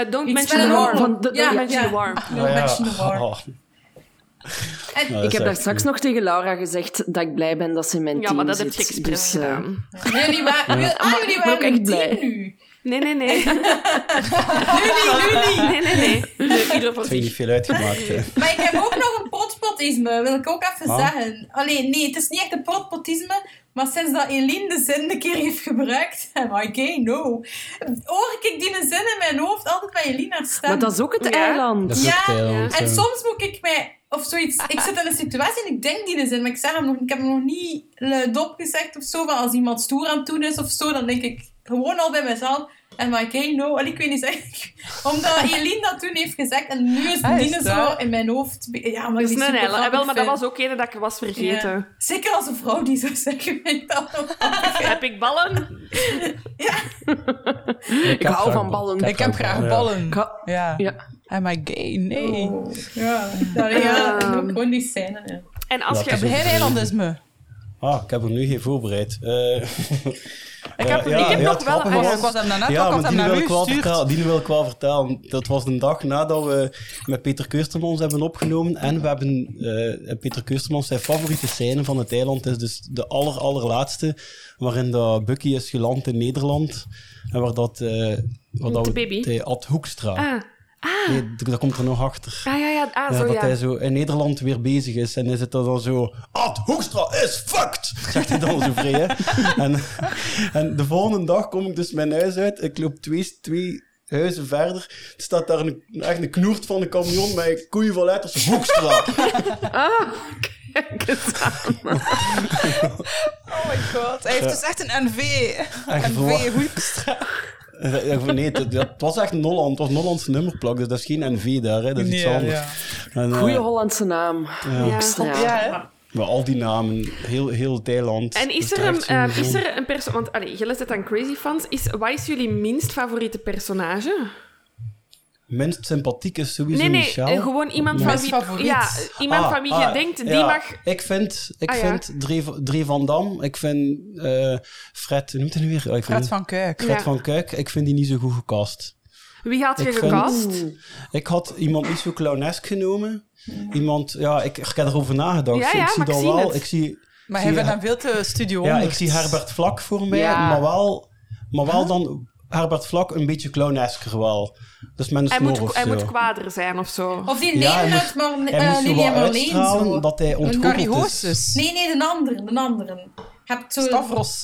Speaker 3: Uh, don't
Speaker 5: Iets
Speaker 3: mention
Speaker 5: met
Speaker 3: the
Speaker 5: een
Speaker 3: warm.
Speaker 5: oorlog.
Speaker 3: Van, don't
Speaker 5: Ja,
Speaker 3: mention
Speaker 5: ja.
Speaker 3: the warm.
Speaker 5: No mention the war.
Speaker 1: Oh,
Speaker 5: En
Speaker 1: nou, dat
Speaker 5: ik-
Speaker 6: Ik heb
Speaker 1: is
Speaker 6: daar
Speaker 1: echt-
Speaker 6: straks nog tegen Laura gezegd dat ik blij ben dat ze in mijn
Speaker 3: Ja,
Speaker 6: team
Speaker 3: maar dat
Speaker 6: zit.
Speaker 3: heb je expres
Speaker 6: Dus, eh,
Speaker 3: gedaan.
Speaker 5: jullie waren, ah, jullie
Speaker 6: ik ben ook
Speaker 5: waren
Speaker 6: echt
Speaker 5: een
Speaker 6: blij.
Speaker 5: team nu.
Speaker 3: Nee, nee, nee. nu niet, nu niet. Nee, nee, nee. nee ieder voor
Speaker 1: Dat heeft
Speaker 3: zich.
Speaker 1: niet veel uitgemaakt. hè.
Speaker 5: Maar ik heb ook nog een protpotisme, wil ik ook even
Speaker 1: Ah.
Speaker 5: zeggen. Allee, nee, het is niet echt een protpotisme, maar sinds dat Eline de zin een keer heeft gebruikt, am I gay? No. Hoor ik die zin in mijn hoofd altijd bij Eline haar stem.
Speaker 6: Maar dat is ook het
Speaker 3: Ja.
Speaker 6: eiland.
Speaker 1: Dat is
Speaker 5: Ja,
Speaker 1: ook Thailand,
Speaker 5: En
Speaker 1: ja.
Speaker 5: soms moet ik mij, of zoiets, ik zit in een situatie en ik denk die zin, maar ik, zeg hem nog, ik heb hem nog niet luidop gezegd of zo, maar als iemand stoer aan het doen is of zo, dan denk ik gewoon al bij mezelf, en maar ik no, en ik weet niet zeggen. Omdat Eline dat toen heeft gezegd en nu is
Speaker 2: Ah, is
Speaker 5: Dine
Speaker 2: dat?
Speaker 5: zo in mijn hoofd. be- Ja, maar
Speaker 3: Dus
Speaker 5: die
Speaker 3: een
Speaker 5: is super
Speaker 3: eiland. Ah, wel, maar dat
Speaker 5: grappig
Speaker 3: was ook een dat ik was
Speaker 5: vind. Ja.
Speaker 3: vergeten.
Speaker 5: Zeker als een vrouw die zou zeggen, vind ik dat nog grappig.
Speaker 3: Heb ik ballen?
Speaker 1: Ik, heb
Speaker 6: hou
Speaker 1: graag
Speaker 6: van ballen.
Speaker 2: Ik heb graag
Speaker 1: ja.
Speaker 2: ballen.
Speaker 6: Ka-
Speaker 2: Ja.
Speaker 6: Ja.
Speaker 2: Am I gay? Nee.
Speaker 5: Oh, Ja, sorry, ja,
Speaker 3: Ehm.
Speaker 5: doe gewoon die scène. ja.
Speaker 3: En als
Speaker 1: Ja,
Speaker 3: je...
Speaker 1: het is ook-
Speaker 2: Heel eilandisme.
Speaker 1: Ah, ik heb er nu geen voorbereid. Eh,
Speaker 2: Ik heb,
Speaker 1: ja,
Speaker 2: ik heb
Speaker 1: ja,
Speaker 2: nog
Speaker 1: het
Speaker 2: wel...
Speaker 1: grappige
Speaker 2: ah, ja,
Speaker 1: was-
Speaker 2: ik was hem daarnet ook, ik
Speaker 1: ja,
Speaker 2: had
Speaker 1: maar
Speaker 2: hem
Speaker 1: die
Speaker 2: naar
Speaker 1: wil,
Speaker 2: u
Speaker 1: ik wel
Speaker 2: gestuurd.
Speaker 1: vertellen, die wil ik wel vertellen. Dat was een dag nadat we met Peter Keustermans hebben opgenomen. En we hebben eh, Peter Keustermans zijn favoriete scène van het eiland. is dus de aller, allerlaatste. Waarin dat Bucky is geland in Nederland. En waar dat... eh waar dat
Speaker 3: De
Speaker 1: we-
Speaker 3: baby?
Speaker 1: Hij Ad Hoekstra.
Speaker 3: Ah,
Speaker 1: Nee, d- daar komt er nog achter.
Speaker 3: ah, ja, ja. Ah,
Speaker 1: Ja,
Speaker 3: zo,
Speaker 1: dat hij
Speaker 3: ja.
Speaker 1: zo in Nederland weer bezig is. En hij zit er dan zo... Ad Hoekstra is fucked! Zegt hij dan zo vrij, hè. En, en de volgende dag kom ik dus mijn huis uit. Ik loop twee, twee huizen verder. Er staat daar een, echt een knoert van een camion met koeien vol letters. Hoekstra!
Speaker 6: Ah, kijk eens aan.
Speaker 2: Oh my god. Hij heeft dus echt een NV.
Speaker 1: Echt
Speaker 2: NV Hoekstra.
Speaker 1: Eh, Nee, het, het was echt Nolland. Het was Nollands nummerplak. Dus dat is geen NV daar, hè. Dat is iets
Speaker 2: Ja,
Speaker 1: anders.
Speaker 2: ja.
Speaker 1: En, eh,
Speaker 6: Goeie Hollandse naam.
Speaker 3: Ja.
Speaker 6: Ja.
Speaker 2: Ja, hè?
Speaker 1: maar al die namen. Heel, heel Thailand. dus
Speaker 3: En is er een,
Speaker 1: Utrecht
Speaker 3: ehm,
Speaker 1: sowieso.
Speaker 3: is er een perso... Want allee, je leest het aan Crazy Fans. Is, wat is jullie minst favoriete personage?
Speaker 1: Minst sympathiek is sowieso
Speaker 3: Nee, nee.
Speaker 1: Michel.
Speaker 3: eh, Gewoon iemand
Speaker 1: Nee.
Speaker 3: van
Speaker 2: Mijn
Speaker 3: wie...
Speaker 2: favoriet.
Speaker 3: Ja, iemand
Speaker 1: Ah,
Speaker 3: van wie
Speaker 1: ah,
Speaker 3: je denkt, die
Speaker 1: ja.
Speaker 3: mag...
Speaker 1: Ik vind, ik
Speaker 3: Ah, ja.
Speaker 1: vind Dre, Dre van Dam, ik vind eh, Fred, hoe noemt hij nu weer? Ah, ik
Speaker 2: Fred
Speaker 1: vind-
Speaker 2: van Kuik.
Speaker 1: Fred
Speaker 3: Ja.
Speaker 1: van Kuik, ik vind die niet zo goed gecast.
Speaker 3: Wie had je
Speaker 1: Ik vind-
Speaker 3: gecast?
Speaker 1: Ik had iemand niet zo clownesk genomen. Iemand, ja, ik, ik heb erover nagedacht.
Speaker 3: Ja, ja,
Speaker 1: ik zie
Speaker 3: maar ik
Speaker 1: dat
Speaker 3: zie
Speaker 1: wel.
Speaker 3: het.
Speaker 1: Ik zie,
Speaker 2: Maar
Speaker 1: zie
Speaker 2: hij vindt
Speaker 1: je-
Speaker 2: hem veel te studio
Speaker 1: ja, ik
Speaker 2: 100.
Speaker 1: zie Herbert Vlak voor mij,
Speaker 3: Ja.
Speaker 1: maar wel, maar wel dan Herbert Vlak een beetje clownesker wel. Dus met een
Speaker 3: Hij
Speaker 1: snor
Speaker 3: moet,
Speaker 1: of
Speaker 3: hij
Speaker 1: zo.
Speaker 3: moet kwader zijn of zo.
Speaker 5: Of die
Speaker 1: Ja, hij
Speaker 5: nemen
Speaker 1: moest-
Speaker 5: uit Mar-
Speaker 1: hij
Speaker 5: eh,
Speaker 1: moest zo
Speaker 5: Lili
Speaker 1: wat
Speaker 5: en Marleen
Speaker 1: uitstralen
Speaker 5: zo.
Speaker 1: dat hij
Speaker 2: Carrie
Speaker 1: ontgoocheld is.
Speaker 2: Hoostes.
Speaker 5: Nee, nee, de andere, de anderen. Je hebt zo,
Speaker 2: Stavros.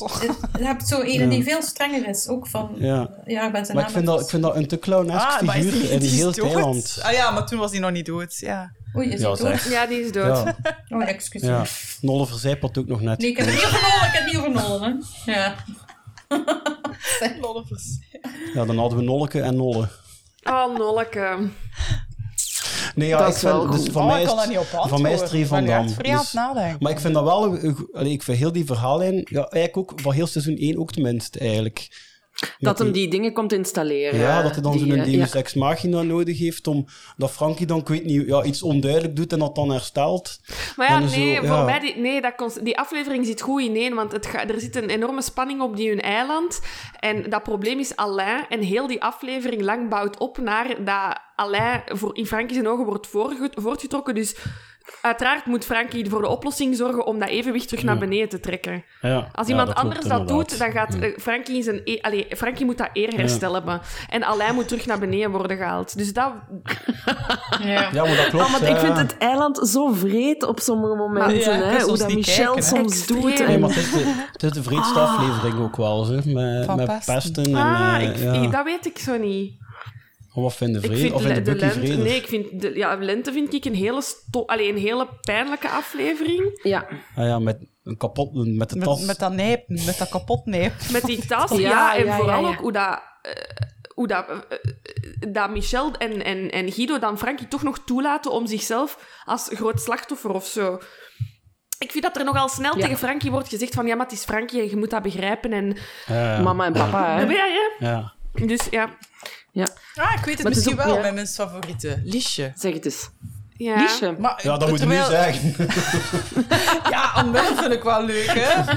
Speaker 5: je hebt zo een die veel strenger is, ook van... Ja,
Speaker 1: Ja.
Speaker 5: ik ben
Speaker 1: Maar
Speaker 5: zijn naam
Speaker 1: ik vind, dat, ik vind dat een te clownesk
Speaker 2: Ah, maar is
Speaker 1: figuur
Speaker 2: die,
Speaker 1: in
Speaker 2: die is
Speaker 1: heel
Speaker 2: dood?
Speaker 1: Thailand.
Speaker 2: Ah ja, maar toen was hij nog niet dood. Ja.
Speaker 5: Oei, is
Speaker 1: Ja,
Speaker 5: hij dood?
Speaker 1: zeg.
Speaker 3: Ja, die is dood.
Speaker 1: Ja,
Speaker 5: Oh, excuus.
Speaker 1: ja. Nolle verzijpelt ook nog net.
Speaker 5: Nee, ik heb het niet overnomen, ik heb het niet overnomen. hè. Ja.
Speaker 1: Ja, dan hadden we Nolke en Nolle.
Speaker 3: Oh, Nolleke.
Speaker 1: Nee, ja,
Speaker 6: Dat
Speaker 1: ik
Speaker 6: is
Speaker 1: vind,
Speaker 6: wel
Speaker 1: dus
Speaker 6: goed.
Speaker 1: voor
Speaker 2: Oh,
Speaker 1: mij
Speaker 2: ik
Speaker 1: is,
Speaker 2: kan daar niet op antwoorden.
Speaker 1: voor mij is Tree van
Speaker 2: Ik ben nu
Speaker 1: Dam.
Speaker 2: echt vrij aan het
Speaker 1: Dus-
Speaker 2: nadenken.
Speaker 1: maar ik vind dat wel... een- een- Allee, ik vind heel die verhaallijn... Ja, eigenlijk ook van heel seizoen 1 ook tenminste, eigenlijk. Met
Speaker 6: Dat hem die dingen komt installeren.
Speaker 1: Ja, dat hij dan
Speaker 6: Die,
Speaker 1: zo'n
Speaker 6: eh,
Speaker 1: Deus
Speaker 6: ja.
Speaker 1: Ex Machina nodig heeft om... Dat Frankie dan, ik weet niet, ja, iets onduidelijk doet en dat dan herstelt.
Speaker 3: Maar ja,
Speaker 1: En zo,
Speaker 3: nee,
Speaker 1: ja.
Speaker 3: voor mij... Die, nee, dat cons- die aflevering zit goed ineen, want het ga- er zit een enorme spanning op die hun eiland. En dat probleem is Alain. En heel die aflevering lang bouwt op naar dat Alain voor, in Frankie zijn ogen wordt voorge- voortgetrokken. Dus uiteraard moet Frankie voor de oplossing zorgen om dat evenwicht terug naar beneden te trekken.
Speaker 1: Ja,
Speaker 3: Als
Speaker 1: ja,
Speaker 3: iemand
Speaker 1: dat
Speaker 3: anders
Speaker 1: klopt
Speaker 3: dat
Speaker 1: inderdaad.
Speaker 3: doet, dan gaat eh, Frankie, in zijn e- Allee, Frankie moet dat eer herstellen hebben. En Alain moet terug naar beneden worden gehaald. Dus dat...
Speaker 5: ja.
Speaker 1: Ja, maar dat klopt.
Speaker 6: Ah, want ik
Speaker 1: ja.
Speaker 6: vind het eiland zo vreed op sommige momenten.
Speaker 2: Ja, ik kan
Speaker 6: hè, hoe
Speaker 2: soms
Speaker 6: dat
Speaker 2: niet
Speaker 6: Michel
Speaker 2: kijken, hè.
Speaker 6: soms
Speaker 3: Extreem.
Speaker 6: doet. en-
Speaker 1: Nee, maar het is de, het is de vreedste aflevering ook wel, zeg. Met,
Speaker 2: Van
Speaker 1: met
Speaker 2: pesten.
Speaker 1: pesten. en...
Speaker 3: ah,
Speaker 1: eh,
Speaker 3: ik,
Speaker 1: ja. Oh,
Speaker 3: ik- dat weet ik zo niet.
Speaker 1: Wat vinden
Speaker 3: Ik
Speaker 1: vrede?
Speaker 3: vind
Speaker 1: of in de,
Speaker 3: le- de
Speaker 1: Bucky
Speaker 3: lente...
Speaker 1: vrede?
Speaker 3: Nee, ik vind... De, ja, lente vind ik een hele, sto- Allee, een hele pijnlijke aflevering.
Speaker 6: Ja,
Speaker 1: Ah ja, met een kapot, met de tas.
Speaker 2: Met, met dat nijpen, met dat kapot nijpen.
Speaker 3: Met die tas, ja.
Speaker 6: Ja,
Speaker 3: en
Speaker 6: ja,
Speaker 3: vooral
Speaker 6: ja, ja.
Speaker 3: ook hoe dat... eh, hoe dat, eh, eh, dat Michel en, en, en Guido dan Frankie toch nog toelaten om zichzelf als groot slachtoffer of zo. Ik vind dat er nogal snel
Speaker 6: Ja.
Speaker 3: tegen Frankie wordt gezegd van ja, maar het is Frankie en je moet dat begrijpen. En
Speaker 1: ja,
Speaker 6: mama en papa. Hè.
Speaker 3: Ja, ja.
Speaker 1: ja.
Speaker 3: Dus ja.
Speaker 2: Ah, ik weet het
Speaker 6: Maar het is
Speaker 2: misschien
Speaker 6: ook-
Speaker 2: wel,
Speaker 6: ja.
Speaker 2: mijn minst favoriete. Liesje.
Speaker 6: Zeg het eens.
Speaker 3: ja.
Speaker 6: Liesje.
Speaker 2: Maar,
Speaker 1: ja, dat moet je nu
Speaker 2: terwijl-
Speaker 1: zeggen.
Speaker 2: Ja, Anwil vind ik wel leuk, hè.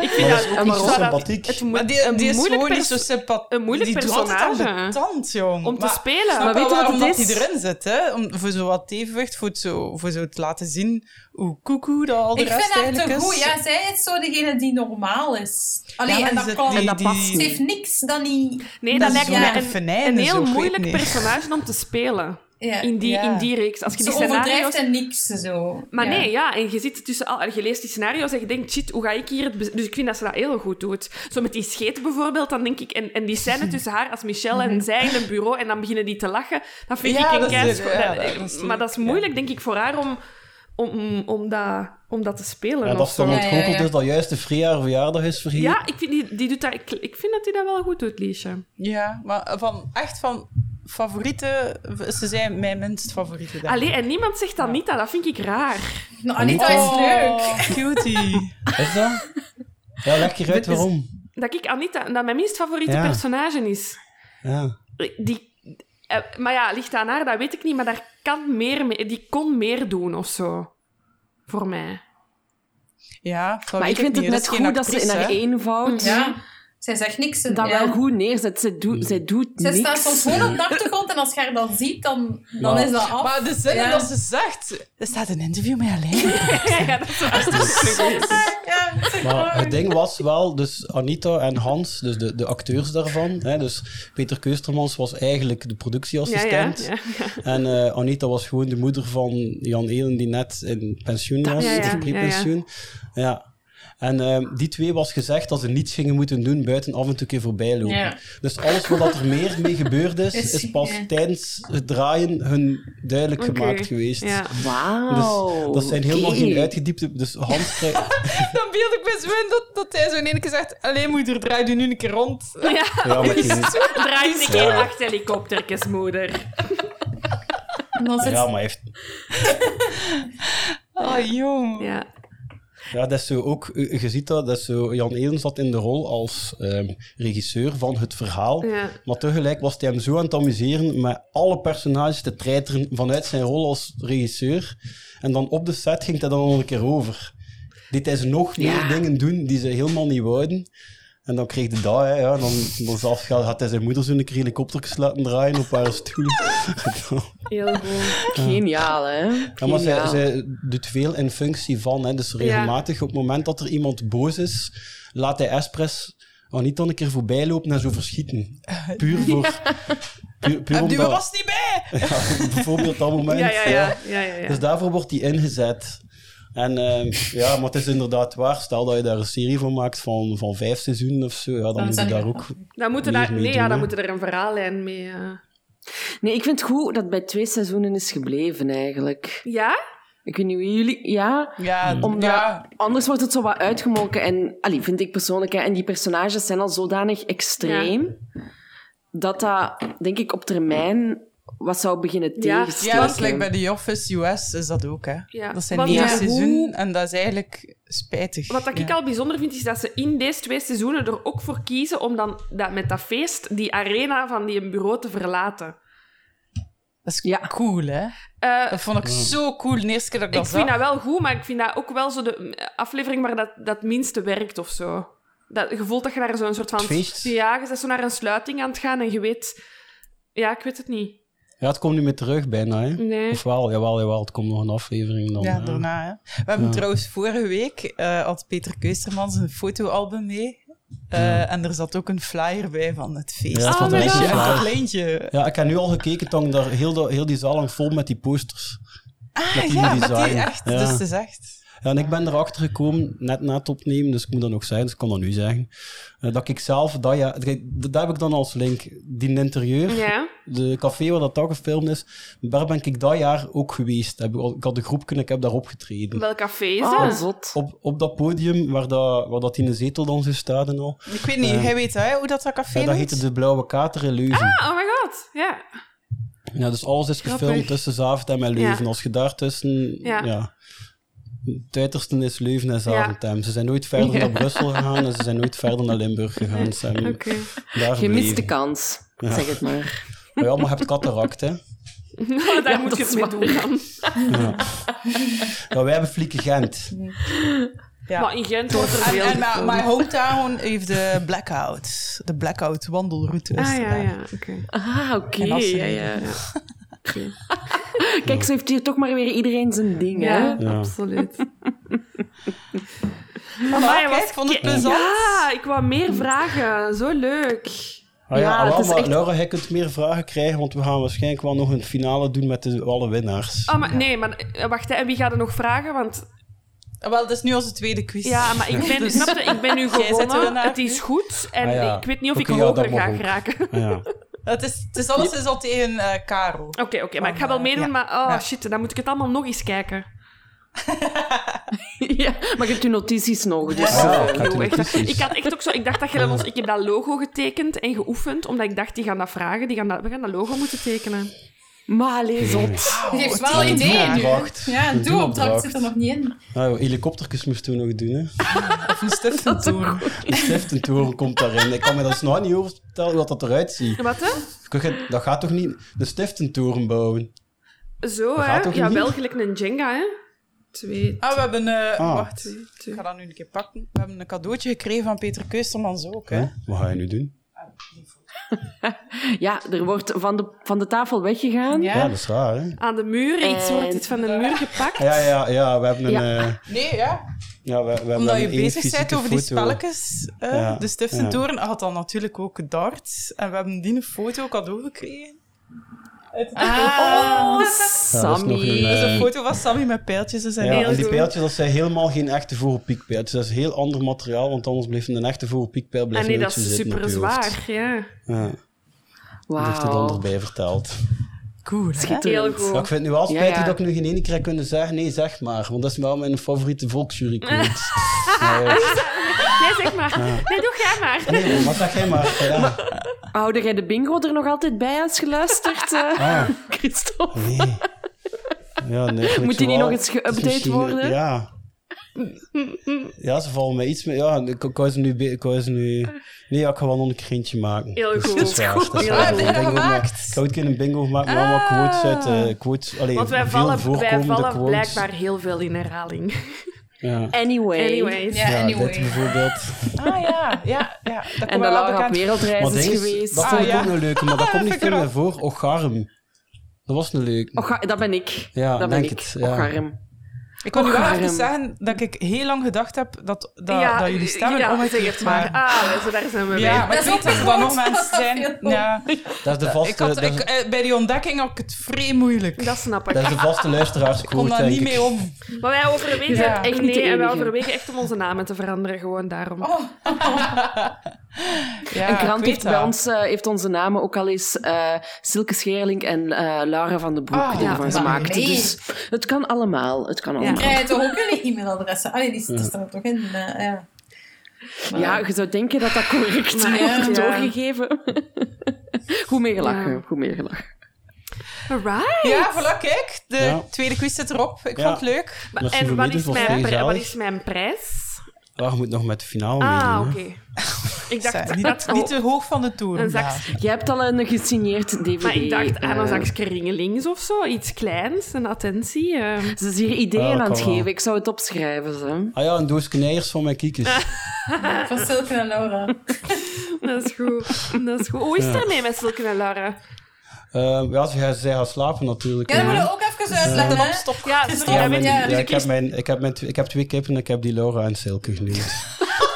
Speaker 3: Ik
Speaker 1: Maar
Speaker 3: vind
Speaker 1: dat is ook
Speaker 3: dat,
Speaker 1: niet
Speaker 3: ik
Speaker 1: zo
Speaker 3: zou dat-
Speaker 1: sympathiek.
Speaker 3: Het moet,
Speaker 2: Maar die,
Speaker 3: een
Speaker 2: die is
Speaker 3: moeilijk
Speaker 2: gewoon niet
Speaker 3: perso-
Speaker 2: zo sympathiek.
Speaker 3: een moeilijk
Speaker 2: die Die
Speaker 3: personage.
Speaker 2: irritant, jong.
Speaker 3: om te
Speaker 2: Maar-
Speaker 3: spelen.
Speaker 2: Maar
Speaker 6: Maar
Speaker 2: weet
Speaker 6: weet je wat
Speaker 2: waarom
Speaker 6: het
Speaker 2: dat
Speaker 6: is?
Speaker 2: die erin zit, hè? Om, voor zo wat evenwicht, voor, het zo, voor zo te laten zien hoe koekoe dat al de
Speaker 5: Ik
Speaker 2: rest
Speaker 5: vind haar
Speaker 2: eigenlijk
Speaker 5: te
Speaker 2: is.
Speaker 5: goed. Ja, zij is zo degene die normaal is. Allee,
Speaker 2: Ja, maar
Speaker 5: en dat
Speaker 2: ze-
Speaker 5: kan.
Speaker 2: die-
Speaker 5: En
Speaker 3: dat
Speaker 2: die-
Speaker 3: past
Speaker 5: Ze heeft niks dan niet...
Speaker 3: Nee,
Speaker 5: Dat
Speaker 3: dat
Speaker 5: is
Speaker 3: lijkt
Speaker 5: zo'n
Speaker 3: me een,
Speaker 2: venijn
Speaker 3: een
Speaker 2: en zo,
Speaker 3: heel
Speaker 2: ik weet
Speaker 3: moeilijk
Speaker 2: niet.
Speaker 3: personage om te spelen.
Speaker 5: Ja.
Speaker 3: In die,
Speaker 2: Ja.
Speaker 3: in die reeks. Als je die
Speaker 5: Ze overdrijft
Speaker 3: scenario's...
Speaker 5: en niks, zo.
Speaker 3: Maar
Speaker 5: Ja.
Speaker 3: nee, ja, en je zit tussen al... Je leest die scenario's en je denkt, shit, hoe ga ik hier... het bez- Dus ik vind dat ze dat heel goed doet. Zo met die scheet bijvoorbeeld, dan denk ik... En, en die scène tussen haar als Michelle
Speaker 5: Mhm.
Speaker 3: en zij in een bureau en dan beginnen die te lachen. Dat vind
Speaker 2: Ja,
Speaker 3: ik een
Speaker 2: dat is-
Speaker 3: keischo-
Speaker 2: ja,
Speaker 3: dat- eh,
Speaker 2: dat- dat is
Speaker 3: Maar dat is
Speaker 2: leuk,
Speaker 3: moeilijk, denk ik, voor haar om, om, om, dat, om dat te spelen.
Speaker 1: Ja,
Speaker 3: of
Speaker 1: dat is
Speaker 3: zo.
Speaker 1: dan
Speaker 5: Ja,
Speaker 1: ontgoocheld
Speaker 5: ja, ja.
Speaker 1: dus dat juist de vrije haar verjaardag is vergeten.
Speaker 3: Ja, ik vind, die, die doet dat, ik, ik vind dat hij dat wel goed doet, Liesje.
Speaker 2: Ja, maar van, echt van favoriete... Ze zijn mijn minst favoriete. denk ik.
Speaker 3: Allee, en niemand zegt dat niet, dat vind ik raar.
Speaker 5: Nou, Anita
Speaker 1: Anita.
Speaker 5: is leuk.
Speaker 2: Oh, Cutie.
Speaker 1: Is dat? Ja, leg je uit
Speaker 3: Dit is-
Speaker 1: waarom.
Speaker 3: Dat ik Anita, dat mijn minst favoriete
Speaker 1: Ja.
Speaker 3: personage is.
Speaker 1: Ja.
Speaker 3: Die, eh, maar ja, ligt aan haar, dat weet ik niet, maar daar kan meer mee, die kon meer doen of zo. Voor mij.
Speaker 2: Ja, dat
Speaker 6: Maar
Speaker 2: weet
Speaker 6: ik vind
Speaker 2: niet.
Speaker 6: het net
Speaker 2: is geen
Speaker 6: goed dat ze in
Speaker 2: actrice,
Speaker 6: haar
Speaker 2: hè.
Speaker 6: eenvoud
Speaker 5: Ja, zij zegt niks. en-
Speaker 6: dat
Speaker 5: ja.
Speaker 6: wel goed neerzet. Zij,
Speaker 1: Mm.
Speaker 6: doet zij doet
Speaker 5: Zij
Speaker 6: niks.
Speaker 5: staat soms gewoon op de achtergrond en als je haar dan ziet, dan, dan
Speaker 1: Ja.
Speaker 5: is dat af.
Speaker 2: Maar de zin
Speaker 5: Ja.
Speaker 2: dat ze zegt... Er staat een interview met alleen.
Speaker 3: ja, dat is
Speaker 5: Ja,
Speaker 1: Maar het ding was wel, dus Anita en Hans, dus de, de acteurs daarvan. Hè, dus Peter Keustermans was eigenlijk de
Speaker 3: ja, ja,
Speaker 1: productieassistent.
Speaker 3: ja.
Speaker 1: En eh, Anita was gewoon de moeder van Jan Elen, die net in pensioen was,
Speaker 3: Ja, ja,
Speaker 1: of pre-pensioen. Ja, En ehm, die twee was gezegd dat ze niets gingen moeten doen buiten af en toe een keer voorbij lopen.
Speaker 5: Ja.
Speaker 1: Dus alles wat er meer mee gebeurd is,
Speaker 5: Is-
Speaker 1: is pas
Speaker 5: ja.
Speaker 1: tijdens het draaien hun duidelijk
Speaker 3: Oké.
Speaker 1: gemaakt geweest.
Speaker 3: Ja.
Speaker 6: Wauw.
Speaker 1: Dus dat zijn helemaal
Speaker 6: Oh, oké.
Speaker 1: geen uitgediepte... Dus Hans krijgt...
Speaker 2: Dan beeld ik me zo in dat, dat hij zo in één keer zegt... Allee, moeder, draai je nu een keer rond.
Speaker 3: ja.
Speaker 1: Ja, maar die-
Speaker 3: Draai eens een keer acht helikoptertjes, moeder.
Speaker 5: En dan zit
Speaker 1: Ja, maar hij heeft...
Speaker 2: Ah, jong.
Speaker 3: Ja.
Speaker 1: Ja, dat is zo ook... eh, Je ziet dat, dat is zo... Jan Elen zat in de rol als ehm, regisseur van het verhaal.
Speaker 3: Ja.
Speaker 1: Maar tegelijk was hij hem zo aan het amuseren met alle personages te treiteren vanuit zijn rol als regisseur. En dan op de set ging hij dan nog een keer over. Deed hij ze nog meer
Speaker 3: Ja.
Speaker 1: dingen doen die ze helemaal niet wouden. En dan kreeg hij dat, hè, ja. Dan, dan zelfs gaat- had hij zijn moeder zo'n keer helikoptertjes laten draaien op haar stoel.
Speaker 3: Heel goed.
Speaker 6: Geniaal, hè?
Speaker 1: Ja, maar zij,
Speaker 6: Geniaal.
Speaker 1: zij doet veel in functie van. Hè. Dus regelmatig, op het moment dat er iemand boos is, laat hij Espress al niet dan een keer voorbij lopen en zo verschieten. Puur voor... Puur, puur
Speaker 2: En die
Speaker 1: omdat-
Speaker 2: was niet bij.
Speaker 1: ja, bijvoorbeeld dat moment.
Speaker 3: Ja, ja, ja.
Speaker 1: ja.
Speaker 3: ja, ja, ja.
Speaker 1: Dus daarvoor wordt die ingezet. En ehm, ja, maar het is inderdaad waar. Stel dat je daar een serie van maakt van, van vijf seizoenen of zo, ja, dan,
Speaker 5: Dan
Speaker 1: moet je
Speaker 5: zijn
Speaker 1: daar
Speaker 5: er-
Speaker 1: ook...
Speaker 3: Dan moeten
Speaker 1: Meer
Speaker 3: daar,
Speaker 1: mee
Speaker 3: nee,
Speaker 1: doen,
Speaker 3: ja, dan
Speaker 1: hè?
Speaker 3: moeten er een verhaallijn mee... eh.
Speaker 6: Nee, ik vind het goed dat het bij twee seizoenen is gebleven, eigenlijk.
Speaker 3: Ja?
Speaker 6: Ik weet niet hoe jullie... Ja,
Speaker 2: Ja,
Speaker 6: omdat...
Speaker 2: ja.
Speaker 6: Anders wordt het zo wat uitgemolken. En, allee, vind ik persoonlijk, hè, en die personages zijn al zodanig extreem... Dat dat, denk ik, op termijn wat zou beginnen tegenslaan.
Speaker 2: Ja, dat is like bij The Office US is dat ook, hè.
Speaker 3: Ja.
Speaker 2: Dat zijn
Speaker 3: Want-
Speaker 2: negen
Speaker 5: Ja.
Speaker 2: seizoenen en dat is eigenlijk spijtig.
Speaker 3: Wat dat ik
Speaker 2: Ja.
Speaker 3: al bijzonder vind, is dat ze in deze twee seizoenen er ook voor kiezen om dan dat, met dat feest die arena van die bureau te verlaten.
Speaker 2: Dat is
Speaker 6: Ja.
Speaker 2: cool, hè.
Speaker 3: Eh,
Speaker 2: Dat vond ik zo cool de eerste keer dat ik
Speaker 3: ik
Speaker 2: dat
Speaker 3: vind
Speaker 2: zag.
Speaker 3: dat wel goed, maar ik vind dat ook wel zo de mm, aflevering waar dat, dat het minste werkt of zo. Dat, je voelt dat je naar zo'n soort van...
Speaker 1: Het feest.
Speaker 3: Ja, je bent zo naar een sluiting aan het gaan en je weet... Ja, ik weet het niet.
Speaker 1: Ja, het komt niet meer terug bijna, hè.
Speaker 3: Nee.
Speaker 1: Of wel, jawel, jawel, het komt nog een aflevering dan.
Speaker 2: Ja,
Speaker 1: hè.
Speaker 2: daarna, hè. We hebben
Speaker 1: Ja.
Speaker 2: trouwens vorige week eh, had Peter Keustermans een fotoalbum mee. Eh, En er zat ook een flyer bij van het feest.
Speaker 1: Ja, dat
Speaker 2: van
Speaker 3: stond er
Speaker 2: het
Speaker 3: echt
Speaker 2: meisje
Speaker 3: een
Speaker 2: en
Speaker 1: flyer.
Speaker 2: het kleintje.
Speaker 1: Ja, ik heb nu al gekeken, Tang, daar, heel, dat- heel die zaal hangt vol met die posters. met die
Speaker 2: Ah, Ja, met
Speaker 1: design.
Speaker 2: die echt.
Speaker 1: Ja.
Speaker 2: Dus het is echt...
Speaker 1: Ja, en ik ben erachter gekomen, net na het opnemen, dus ik moet dat nog zeggen, dus ik kan dat nu zeggen, eh, dat ik zelf, dat, ja, kijk, dat, dat heb ik dan als link, die interieur,
Speaker 3: Ja.
Speaker 1: de café waar dat dan gefilmd is, daar ben ik dat jaar ook geweest. Heb, ik al- ik had een groep kunnen, ik heb daar opgetreden.
Speaker 3: Welk café is
Speaker 6: Oh,
Speaker 3: dat?
Speaker 6: zot.
Speaker 1: Op, op dat podium waar dat, waar dat in de zetel dan zo staat en al,
Speaker 2: Ik weet niet, jij weet hè, hoe dat dat café
Speaker 1: ja, dat
Speaker 2: noemt?
Speaker 1: heette De Blauwe Kater in Leuven.
Speaker 3: Oh my god, ja.
Speaker 1: Ja, dus alles is
Speaker 3: Grappig.
Speaker 1: gefilmd tussen Zaventem en mijn Leuven.
Speaker 3: Ja.
Speaker 1: Als je daartussen...
Speaker 3: Ja.
Speaker 1: Ja. Het uiterste is Leuven en Zaventem. Ze zijn nooit verder
Speaker 3: Ja.
Speaker 1: naar Brussel gegaan en ze zijn nooit verder naar Limburg gegaan. Ze hebben
Speaker 3: Oké.
Speaker 1: daar
Speaker 6: Je mist de
Speaker 1: gebleven.
Speaker 6: kans.
Speaker 1: Ja.
Speaker 6: Zeg het maar.
Speaker 1: Maar ja, maar je hebt cataract, hè.
Speaker 3: Daar
Speaker 6: Ja,
Speaker 3: moet
Speaker 6: dat
Speaker 3: je het
Speaker 6: is
Speaker 3: mee
Speaker 6: waar.
Speaker 3: doen dan.
Speaker 1: Ja, wij hebben Flieke Gent.
Speaker 2: Ja.
Speaker 6: Maar in Gent wordt er
Speaker 2: En, eh,
Speaker 6: veel
Speaker 2: en maar,
Speaker 6: gevonden.
Speaker 2: mijn hometown heeft de blackout. De blackout wandelroute.
Speaker 3: Ah ja, ja, oké.
Speaker 6: Ah, oké.
Speaker 2: En als ze-
Speaker 6: Ja, ja, ja. Oké. Kijk, zo heeft hier toch maar weer iedereen zijn ding, hè?
Speaker 3: Ja,
Speaker 1: Ja.
Speaker 3: absoluut.
Speaker 2: Amai, kijk, ik vond het plezant.
Speaker 3: Ja, ik wou meer vragen. Zo leuk.
Speaker 1: Ah ja,
Speaker 6: Ja,
Speaker 1: Allah,
Speaker 6: het is
Speaker 1: maar
Speaker 6: echt-
Speaker 1: Laura, jij kunt meer vragen krijgen, want we gaan waarschijnlijk wel nog een finale doen met de, alle winnaars.
Speaker 3: Oh, maar nee, maar eh, wacht, hè, en wie gaat er nog vragen? Want
Speaker 2: Wel, dat is nu onze tweede quiz.
Speaker 3: ja, maar ik ben,
Speaker 2: Dus-
Speaker 3: snap je, ik ben nu
Speaker 2: zet de
Speaker 3: gewonnen.
Speaker 2: winnaar
Speaker 3: Het is goed. En
Speaker 1: Ah, ja.
Speaker 3: ik weet niet of
Speaker 1: Oké,
Speaker 3: ik
Speaker 1: ja,
Speaker 3: hoger
Speaker 1: dat mag
Speaker 3: ga
Speaker 1: ook.
Speaker 3: geraken. Oké,
Speaker 1: Ah ja.
Speaker 2: Het is, het is alles is al tegen eh, Caro.
Speaker 3: oké, maar ik ga wel
Speaker 2: eh,
Speaker 3: meedoen,
Speaker 2: ja.
Speaker 3: maar oh
Speaker 2: Ja.
Speaker 3: shit, dan moet ik het allemaal nog eens kijken.
Speaker 6: Ja, maar je hebt je notities nog, dus...
Speaker 1: Ah, ja, ik had
Speaker 3: Yo,
Speaker 1: die
Speaker 3: echt, dat-
Speaker 1: notities.
Speaker 3: ik had echt ook zo, ik dacht dat je ons, ik heb dat logo getekend en geoefend, omdat ik dacht, die gaan dat vragen, die gaan dat, we gaan dat logo moeten tekenen.
Speaker 6: Maar lees op.
Speaker 5: Die heeft
Speaker 1: is
Speaker 5: wel
Speaker 1: een
Speaker 5: ideeën nu.
Speaker 1: doelopdracht.
Speaker 5: Ja,
Speaker 1: Een
Speaker 5: een doelopdracht
Speaker 1: doelopdracht.
Speaker 5: zit er nog niet in.
Speaker 1: Nou, helikoptertjes moesten we nog doen, hè.
Speaker 2: Of een stiftentoer.
Speaker 1: Een stiftentoren komt daarin. Ik kan me dat nog niet overstellen hoe dat, dat eruit ziet.
Speaker 3: Wat hè?
Speaker 1: Ik zeg, Dat gaat toch niet een stiftentoren bouwen?
Speaker 3: Zo
Speaker 1: Dat
Speaker 3: hè?
Speaker 1: gaat toch
Speaker 3: Ja,
Speaker 1: niet?
Speaker 3: wel gelijk een Jenga hè? Twee,
Speaker 2: Ah, we hebben... eh,
Speaker 1: Ah.
Speaker 2: Wacht, ik ga dat nu een keer pakken. We hebben een cadeautje gekregen van Peter Keustermans ook, hè.
Speaker 1: Hè? Wat ga je nu doen?
Speaker 6: Ja, er wordt van de, van de tafel weggegaan.
Speaker 1: Ja, dat is raar, hè?
Speaker 3: aan de muur, iets
Speaker 6: En-
Speaker 3: wordt iets van de muur gepakt.
Speaker 1: Ja, ja, ja, we hebben een...
Speaker 6: Ja.
Speaker 1: eh,
Speaker 2: Nee, ja.
Speaker 1: ja, we, we hebben
Speaker 2: Omdat je
Speaker 1: een één
Speaker 2: bezig
Speaker 1: fysieke
Speaker 2: bent over die
Speaker 1: foto.
Speaker 2: spelletjes. eh,
Speaker 1: Ja,
Speaker 2: De stiftentoren had dan natuurlijk ook darts. En we hebben die een foto cadeau gekregen.
Speaker 5: Ah.
Speaker 6: Oh,
Speaker 1: Ja, dat is nog
Speaker 6: Sammy.
Speaker 1: een,
Speaker 2: Dat is
Speaker 1: eh,
Speaker 2: een foto van Sammy met pijltjes en zijn
Speaker 1: Ja,
Speaker 3: Heel
Speaker 1: en die
Speaker 3: goed.
Speaker 1: pijltjes, dat zijn helemaal geen echte voorpiekpijltjes. Dat is heel ander materiaal, want anders blijft een echte voorpiekpijl
Speaker 3: En
Speaker 1: blijft
Speaker 3: Ah, nee,
Speaker 1: een
Speaker 3: dat is
Speaker 1: beetje zitten op
Speaker 3: super
Speaker 1: je hoofd.
Speaker 3: zwaar. Ja.
Speaker 1: Ja, dat heeft het dan
Speaker 6: Wauw.
Speaker 1: erbij verteld.
Speaker 2: Cool, hè?
Speaker 3: Heel
Speaker 1: Ja, ik
Speaker 3: goed.
Speaker 1: vind het nu wel spijtig
Speaker 6: Ja, ja.
Speaker 1: dat ik nu geen ene keer heb kunnen zeggen, nee, zeg maar. Want dat is wel mijn favoriete volksjury quiz. Maar, eh,
Speaker 3: Nee, zeg maar. Nee, doe jij maar.
Speaker 1: nee, wat zeg jij maar? Ja.
Speaker 6: Houden jij de bingo er nog altijd bij als je luistert, eh,
Speaker 1: Ah,
Speaker 6: Christophe?
Speaker 1: nee. Ja, nee, vind ik
Speaker 6: Moet
Speaker 1: zo
Speaker 6: die niet
Speaker 1: wel-
Speaker 6: nog eens geüpdate
Speaker 1: het is misschien-
Speaker 6: worden?
Speaker 1: Ja. Ja, ze vallen mij iets mee. Ja, ik, ik wou ze nu... be- Ik wou ze nu... Nee, ja, ik ga wel nog een krentje maken.
Speaker 3: Heel
Speaker 1: Dat is-
Speaker 3: goed.
Speaker 1: dat is waar, dat is
Speaker 3: Ja,
Speaker 1: waar.
Speaker 2: heb je
Speaker 1: Ik
Speaker 2: dat
Speaker 1: denk ook maar-
Speaker 2: gemaakt?
Speaker 1: Ik ga ook een keer een bingo maken met allemaal
Speaker 6: Ah.
Speaker 1: quotes uit... eh quotes, allee,
Speaker 3: Want wij
Speaker 1: veel
Speaker 3: vallen, wij
Speaker 1: voorkomende
Speaker 3: vallen
Speaker 1: quotes.
Speaker 3: blijkbaar heel veel in herhaling.
Speaker 1: Ja,
Speaker 6: Anyway.
Speaker 3: Anyways.
Speaker 5: Ja,
Speaker 1: ja dit
Speaker 5: anyway.
Speaker 1: bijvoorbeeld.
Speaker 2: Ah ja, ja, ja. Dat komt
Speaker 6: En de
Speaker 2: wel
Speaker 6: Laura op
Speaker 2: bekend.
Speaker 6: wereldreis
Speaker 1: Maar
Speaker 6: is
Speaker 1: ding is,
Speaker 6: geweest.
Speaker 1: Dat
Speaker 2: Ah,
Speaker 1: vond ik
Speaker 2: ja.
Speaker 1: ook een leuke, maar dat komt niet
Speaker 2: Vind ik
Speaker 1: veel meer
Speaker 2: erop.
Speaker 1: voor. Ocharm. Dat was een leuke.
Speaker 6: Och, dat ben ik.
Speaker 1: Ja,
Speaker 6: dat ben
Speaker 1: denk
Speaker 6: ik.
Speaker 1: het, ja.
Speaker 6: Och, arm.
Speaker 2: Ik wil nu wel
Speaker 6: Och,
Speaker 2: even
Speaker 6: arm.
Speaker 2: zeggen dat ik heel lang gedacht heb dat, dat, dat jullie stemmen
Speaker 3: ja, zeg
Speaker 2: omgekeerd
Speaker 3: het maar.
Speaker 2: waren.
Speaker 3: Ah, zo daar zijn we
Speaker 2: Ja,
Speaker 3: bij.
Speaker 2: maar ik
Speaker 5: Dat is
Speaker 2: weet dat er
Speaker 5: ook
Speaker 2: dan
Speaker 5: goed.
Speaker 2: nog mensen zijn. Ja.
Speaker 1: Dat is de vaste,
Speaker 2: Ik had,
Speaker 1: dat, is-
Speaker 2: ik, eh, bij die ontdekking had ik het vrij moeilijk.
Speaker 3: Dat snap ik.
Speaker 1: dat is de vaste
Speaker 2: Ik kon
Speaker 1: luisteraarsquote,
Speaker 2: daar
Speaker 1: denk
Speaker 2: niet
Speaker 1: ik.
Speaker 2: mee om.
Speaker 3: Maar wij overwegen...
Speaker 2: Ja.
Speaker 3: echt
Speaker 6: Niet de
Speaker 3: nee, en wij
Speaker 6: enige.
Speaker 3: overwegen echt om onze namen te veranderen. Gewoon daarom.
Speaker 2: Oh.
Speaker 3: Eh,
Speaker 2: Ja,
Speaker 6: Een
Speaker 2: ik
Speaker 6: krant
Speaker 2: weet
Speaker 6: heeft, bij
Speaker 2: dat.
Speaker 6: ons, eh, heeft onze namen ook al eens eh, Silke Scheerling en eh, Laura van den Broek
Speaker 2: Ah,
Speaker 6: ervan
Speaker 3: ja,
Speaker 6: gemaakt.
Speaker 5: nee.
Speaker 6: Dus het kan allemaal. Het kan
Speaker 5: Dan
Speaker 6: allemaal.
Speaker 5: krijg je toch ook jullie e-mailadressen? Allee, die zitten er toch in. eh, ja.
Speaker 6: Ja, je zou denken dat dat correct
Speaker 3: Maar echt,
Speaker 6: wordt
Speaker 3: ja.
Speaker 6: doorgegeven. Goed meegelachen,
Speaker 3: Ja.
Speaker 6: goed meegelachen.
Speaker 3: Right.
Speaker 2: Ja, voilà, kijk. De
Speaker 1: Ja.
Speaker 2: tweede quiz zit erop. Ik
Speaker 1: Ja.
Speaker 2: vond het leuk.
Speaker 3: Maar-
Speaker 1: Merci
Speaker 3: En
Speaker 1: voor
Speaker 3: wat
Speaker 1: meedoen,
Speaker 3: is,
Speaker 1: was
Speaker 3: mijn,
Speaker 1: vrij
Speaker 3: pri- wat
Speaker 1: zalig.
Speaker 3: is mijn prijs?
Speaker 1: Ah, je moet nog met de finale
Speaker 3: Ah,
Speaker 1: meedoen,
Speaker 3: oké.
Speaker 1: hè.
Speaker 3: Ik dacht...
Speaker 2: Zeg, niet,
Speaker 3: dat-
Speaker 2: niet te hoog van de toer.
Speaker 3: Een zak-
Speaker 6: Jij hebt al een gesigneerd DVD.
Speaker 3: Maar ik dacht aan een
Speaker 6: eh,
Speaker 3: zakje ringelings of zo. Iets kleins, een attentie. eh.
Speaker 6: Ze is hier ideeën
Speaker 1: Ah, dat
Speaker 6: aan het
Speaker 1: kan wel.
Speaker 6: geven. Ik zou het opschrijven. Zo.
Speaker 1: Ah ja, een doos knijers van mijn kiekers.
Speaker 5: Van Silke en Laura.
Speaker 3: Dat is goed. Dat is goed. Hoe is het ermee met Silke en Laura?
Speaker 1: Eh, ja, ze gaan, zij gaan slapen natuurlijk.
Speaker 5: Ja, dat
Speaker 1: hè.
Speaker 5: moeten we ook even uitleggen. hè.
Speaker 3: Ja,
Speaker 5: is er
Speaker 3: stop.
Speaker 5: al
Speaker 1: Ja,
Speaker 5: Ja,
Speaker 1: mijn-
Speaker 5: ja.
Speaker 1: ja,
Speaker 5: Dus
Speaker 1: ik, heb mijn, ik, heb mijn, tw- ik heb twee kippen en ik heb die Laura en Silke genoemd.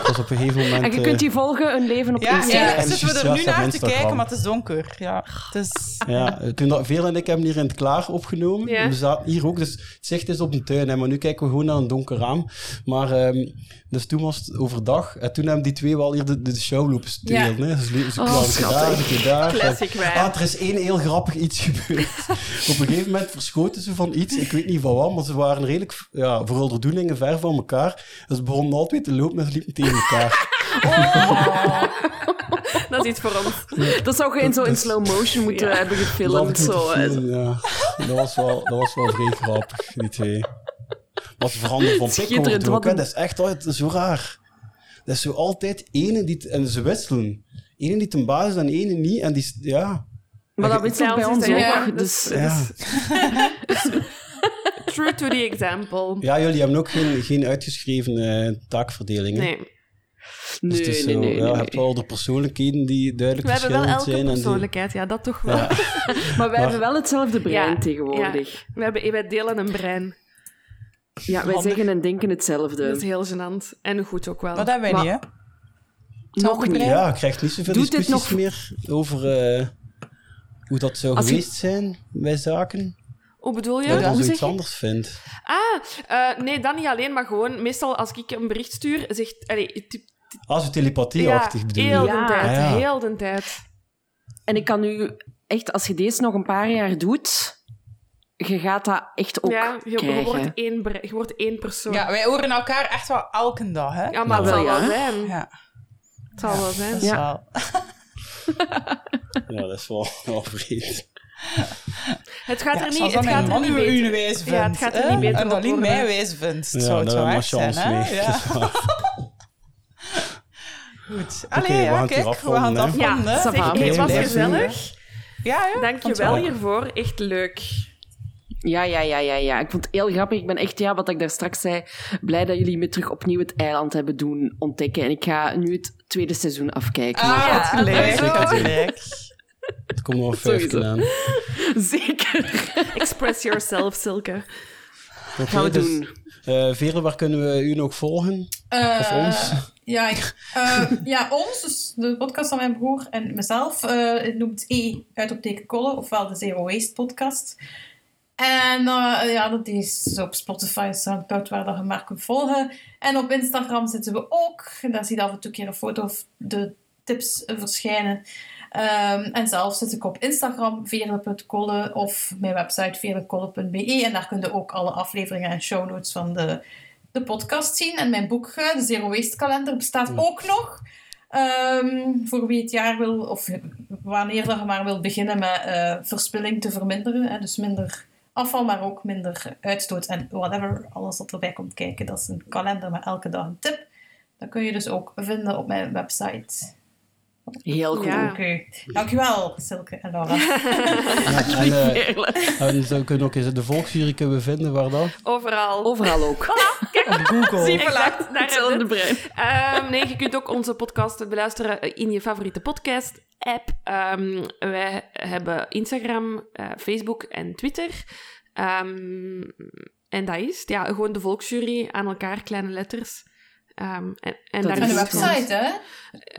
Speaker 1: Dat was op een gegeven moment...
Speaker 6: En je
Speaker 1: eh,
Speaker 6: kunt die volgen, een leven op
Speaker 2: Ja,
Speaker 6: Instagram.
Speaker 2: eigenlijk
Speaker 1: en
Speaker 2: zitten we er
Speaker 1: juist
Speaker 2: nu
Speaker 1: op
Speaker 2: naar te
Speaker 1: Instagram.
Speaker 2: kijken, maar het is donker. Ja, het is...
Speaker 1: Ja, eh, toen dat, Veel en ik hebben hier in het klaar opgenomen.
Speaker 3: Ja.
Speaker 1: We zaten hier ook, dus het zicht is op een tuin. Hè, maar nu kijken we gewoon naar een donker raam. Maar ehm, dus toen was het overdag. En toen hebben die twee wel hier de, de show lopen stelen.
Speaker 5: Ja.
Speaker 1: Hè. Dus ze kwamen ze daar, ze kwamen daar.
Speaker 3: Oh, Classic
Speaker 1: En-
Speaker 3: wij.
Speaker 1: ah, er is één heel grappig iets gebeurd. op een gegeven moment verschoten ze van iets. Ik weet niet van wat, maar ze waren redelijk ja, voor onderdoeningen ver van elkaar. Dus ze begonnen altijd te lopen en ze liepen tegen elkaar.
Speaker 3: Dat is iets voor ons.
Speaker 6: Dat zou je in, zo in
Speaker 1: Dus-
Speaker 6: slow motion moeten hebben
Speaker 1: Dat
Speaker 6: gefilmd.
Speaker 1: moet ik
Speaker 6: Zo. eh,
Speaker 1: filmen, ja. dat, was wel, dat was wel vrij grappig, die twee. Wat ze veranderen van
Speaker 6: Schitterend,
Speaker 1: pikwoord ook,
Speaker 6: wat
Speaker 1: hè.
Speaker 6: een-
Speaker 1: Dat is echt altijd zo raar. Dat is zo altijd ene die... t- En ze wisselen. Ene die ten basis is en ene niet. En die... s- Ja.
Speaker 6: Dus Maar dat wisselt bij ons ook.
Speaker 5: ja.
Speaker 6: Dus
Speaker 1: ja.
Speaker 3: True to the example.
Speaker 1: Ja, jullie hebben ook geen, geen uitgeschreven eh, taakverdeling. hè?
Speaker 3: Nee.
Speaker 1: Dus
Speaker 6: Nee,
Speaker 1: het is
Speaker 6: nee,
Speaker 1: zo,
Speaker 6: nee,
Speaker 1: ja,
Speaker 6: nee,
Speaker 1: Je hebt
Speaker 6: nee.
Speaker 1: wel de persoonlijkheden die duidelijk
Speaker 3: We hebben wel
Speaker 1: verschillend
Speaker 3: elke
Speaker 1: zijn. en die-
Speaker 3: persoonlijkheid, ja, dat toch wel.
Speaker 1: Ja.
Speaker 6: Maar wij
Speaker 1: Maar-
Speaker 6: hebben wel hetzelfde brein
Speaker 3: Ja,
Speaker 6: tegenwoordig.
Speaker 3: We hebben, wij delen een brein.
Speaker 6: Ja, wij zeggen en denken hetzelfde.
Speaker 3: Dat is heel gênant. En goed ook wel.
Speaker 2: Maar dat hebben wij
Speaker 6: Maar-
Speaker 2: niet, hè?
Speaker 6: Nog niet.
Speaker 1: Ja, je krijgt niet zoveel
Speaker 6: Doet dit
Speaker 1: discussies
Speaker 6: nog-
Speaker 1: meer over eh, hoe dat zou
Speaker 6: Als je-
Speaker 1: geweest zijn bij zaken.
Speaker 3: Hoe bedoel je?
Speaker 1: dat je dan
Speaker 3: Hoe zeg
Speaker 1: zoiets
Speaker 3: je?
Speaker 1: anders vindt.
Speaker 3: Ah, eh, nee, dat niet alleen, maar gewoon meestal als ik een bericht stuur, zegt... Allee, typ-
Speaker 1: Als je
Speaker 3: ja,
Speaker 1: telepathieachtig bedoel je. Ah,
Speaker 3: heel
Speaker 6: Ja.
Speaker 3: de tijd,
Speaker 1: Ja.
Speaker 3: heel de tijd.
Speaker 6: En ik kan nu echt, als je deze nog een paar jaar doet, je gaat dat echt ook
Speaker 3: ja, je, je
Speaker 6: krijgen.
Speaker 3: wordt één, bre- je wordt één persoon.
Speaker 2: Ja, wij horen elkaar echt wel elke dag, hè?
Speaker 3: Ja, maar
Speaker 6: Ja,
Speaker 3: het zal
Speaker 6: wel,
Speaker 3: wel
Speaker 6: ja.
Speaker 3: zijn.
Speaker 2: Ja.
Speaker 3: Het zal wel zijn.
Speaker 2: Dat is
Speaker 6: Ja.
Speaker 2: wel...
Speaker 1: Ja, dat is wel, wel vreemd.
Speaker 3: Het gaat
Speaker 2: Ja,
Speaker 3: er
Speaker 2: zoals
Speaker 3: niet,
Speaker 2: dat
Speaker 3: het
Speaker 2: mijn
Speaker 3: gaat er
Speaker 2: man
Speaker 3: niet
Speaker 2: uw- uw
Speaker 3: beter.
Speaker 2: wijs vindt.
Speaker 3: Ja, het gaat er
Speaker 2: hè?
Speaker 3: niet beter
Speaker 2: En
Speaker 3: op
Speaker 2: dat Lien
Speaker 3: worden.
Speaker 2: mij wijs vindt.
Speaker 1: Ja,
Speaker 2: zou het
Speaker 1: daar
Speaker 2: wel
Speaker 1: hebben
Speaker 2: echt
Speaker 1: we
Speaker 2: zijn,
Speaker 1: chance
Speaker 2: hè?
Speaker 1: mee.
Speaker 2: Ja. Goed. Allee,
Speaker 1: we gaan
Speaker 2: ja,
Speaker 1: het
Speaker 2: kijk,
Speaker 1: hier
Speaker 2: we gaan het
Speaker 1: afronden, hè.
Speaker 3: Ja,
Speaker 2: afronden. hè.
Speaker 3: zeg,
Speaker 6: va,
Speaker 3: hey, het was
Speaker 1: blijf
Speaker 3: gezellig.
Speaker 2: Ja, ja.
Speaker 3: Dank je
Speaker 2: vond
Speaker 3: wel
Speaker 2: het
Speaker 3: hiervoor. Echt leuk.
Speaker 6: Ja, ja, ja, ja, ja. Ik vond het heel grappig. Ik ben echt, ja, wat ik daar straks zei, blij dat jullie me terug opnieuw het eiland hebben doen ontdekken. En ik ga nu het tweede seizoen afkijken.
Speaker 2: Ah,
Speaker 6: Maar-
Speaker 2: je had gelijk, je had gelijk.
Speaker 1: Het komt nog een
Speaker 6: Sowieso.
Speaker 1: vijfje aan.
Speaker 6: Zeker.
Speaker 3: Express yourself, Silke.
Speaker 1: Oké,
Speaker 6: Gaan we
Speaker 1: dus,
Speaker 6: doen.
Speaker 1: eh, Veerle, waar kunnen we u nog volgen?
Speaker 5: Eh,
Speaker 1: Of ons?
Speaker 5: Ja, ik- eh, ja, ons, dus de podcast van mijn broer en mezelf, eh, het noemt E uit op teken kollen, ofwel de Zero Waste podcast. En eh, ja, dat is op Spotify, Soundcloud, waar dat je maar kunt volgen. En op Instagram zitten we ook. En Daar zie je af en toe een keer een foto of de tips eh, verschijnen. Ehm, en zelf zit ik op Instagram, veerle.kolle, of mijn website veerlekolle.be. En daar kun je ook alle afleveringen en show notes van de de podcast zien. En mijn boek, eh, de Zero Waste Kalender, bestaat ook nog. Ehm, voor wie het jaar wil, of wanneer dat je maar wil beginnen met eh, verspilling te verminderen. Hè, dus minder afval, maar ook minder uitstoot en whatever. Alles wat erbij komt kijken. Dat is een kalender met elke dag een tip. Dat kun je dus ook vinden op mijn website.
Speaker 6: Heel goed.
Speaker 3: Ja.
Speaker 5: Oké. Dankjewel, Silke en Laura.
Speaker 1: Ja, en, eh, en zo kunnen we ook eens de volksjury kunnen vinden, waar dan?
Speaker 3: Overal.
Speaker 6: Overal ook.
Speaker 1: Op Google.
Speaker 3: Exact, daar hebben
Speaker 6: Hetzelfde
Speaker 3: we
Speaker 6: brein.
Speaker 3: het. Ehm, nee, je kunt ook onze podcast beluisteren in je favoriete podcast-app. Ehm, wij hebben Instagram, eh, Facebook en Twitter. Ehm, en dat is het. Ja, gewoon de volksjury aan elkaar, kleine letters. Ehm, en, en
Speaker 6: Dat
Speaker 3: daar
Speaker 6: is
Speaker 5: En
Speaker 3: is
Speaker 5: de
Speaker 3: het gewoon.
Speaker 5: website, hè?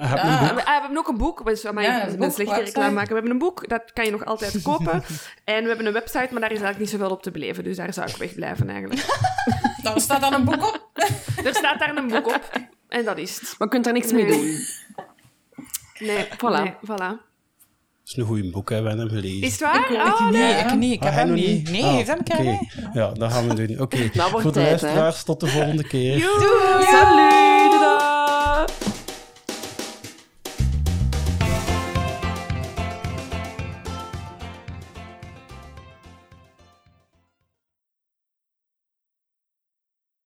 Speaker 1: Heb je
Speaker 5: Ja.
Speaker 1: een
Speaker 3: Ah, we, ah, we hebben ook een boek. Dus, amai,
Speaker 5: Ja,
Speaker 3: ik
Speaker 5: dat is
Speaker 3: ben
Speaker 5: een
Speaker 3: slechte
Speaker 5: boek,
Speaker 3: reclame
Speaker 5: website.
Speaker 3: maken. We hebben een boek, dat kan je nog altijd kopen. en we hebben een website, maar daar is eigenlijk niet zoveel op te beleven. Dus daar zou ik wegblijven eigenlijk.
Speaker 5: Daar staat dan een boek op.
Speaker 3: er staat daar een boek op. En dat is het.
Speaker 6: Maar je kunt daar niks mee
Speaker 3: Nee.
Speaker 6: doen.
Speaker 3: Nee,
Speaker 6: Voilà.
Speaker 3: nee, voilà.
Speaker 1: Dat is een goed boek, hè, we hebben hem gelezen.
Speaker 3: Is het waar?
Speaker 2: Ik
Speaker 3: Oh,
Speaker 2: niet,
Speaker 3: nee.
Speaker 2: ik niet. Ik heb
Speaker 1: Ah,
Speaker 2: hem
Speaker 1: nog
Speaker 2: niet. Nee,
Speaker 1: Ah,
Speaker 2: heeft hem
Speaker 1: oké.
Speaker 2: kennen.
Speaker 1: Ja, dat gaan we doen. Oké,
Speaker 6: wordt
Speaker 1: voor de
Speaker 6: tijd, hè.
Speaker 1: luisteraars, tot de volgende keer.
Speaker 3: Doei. Salut.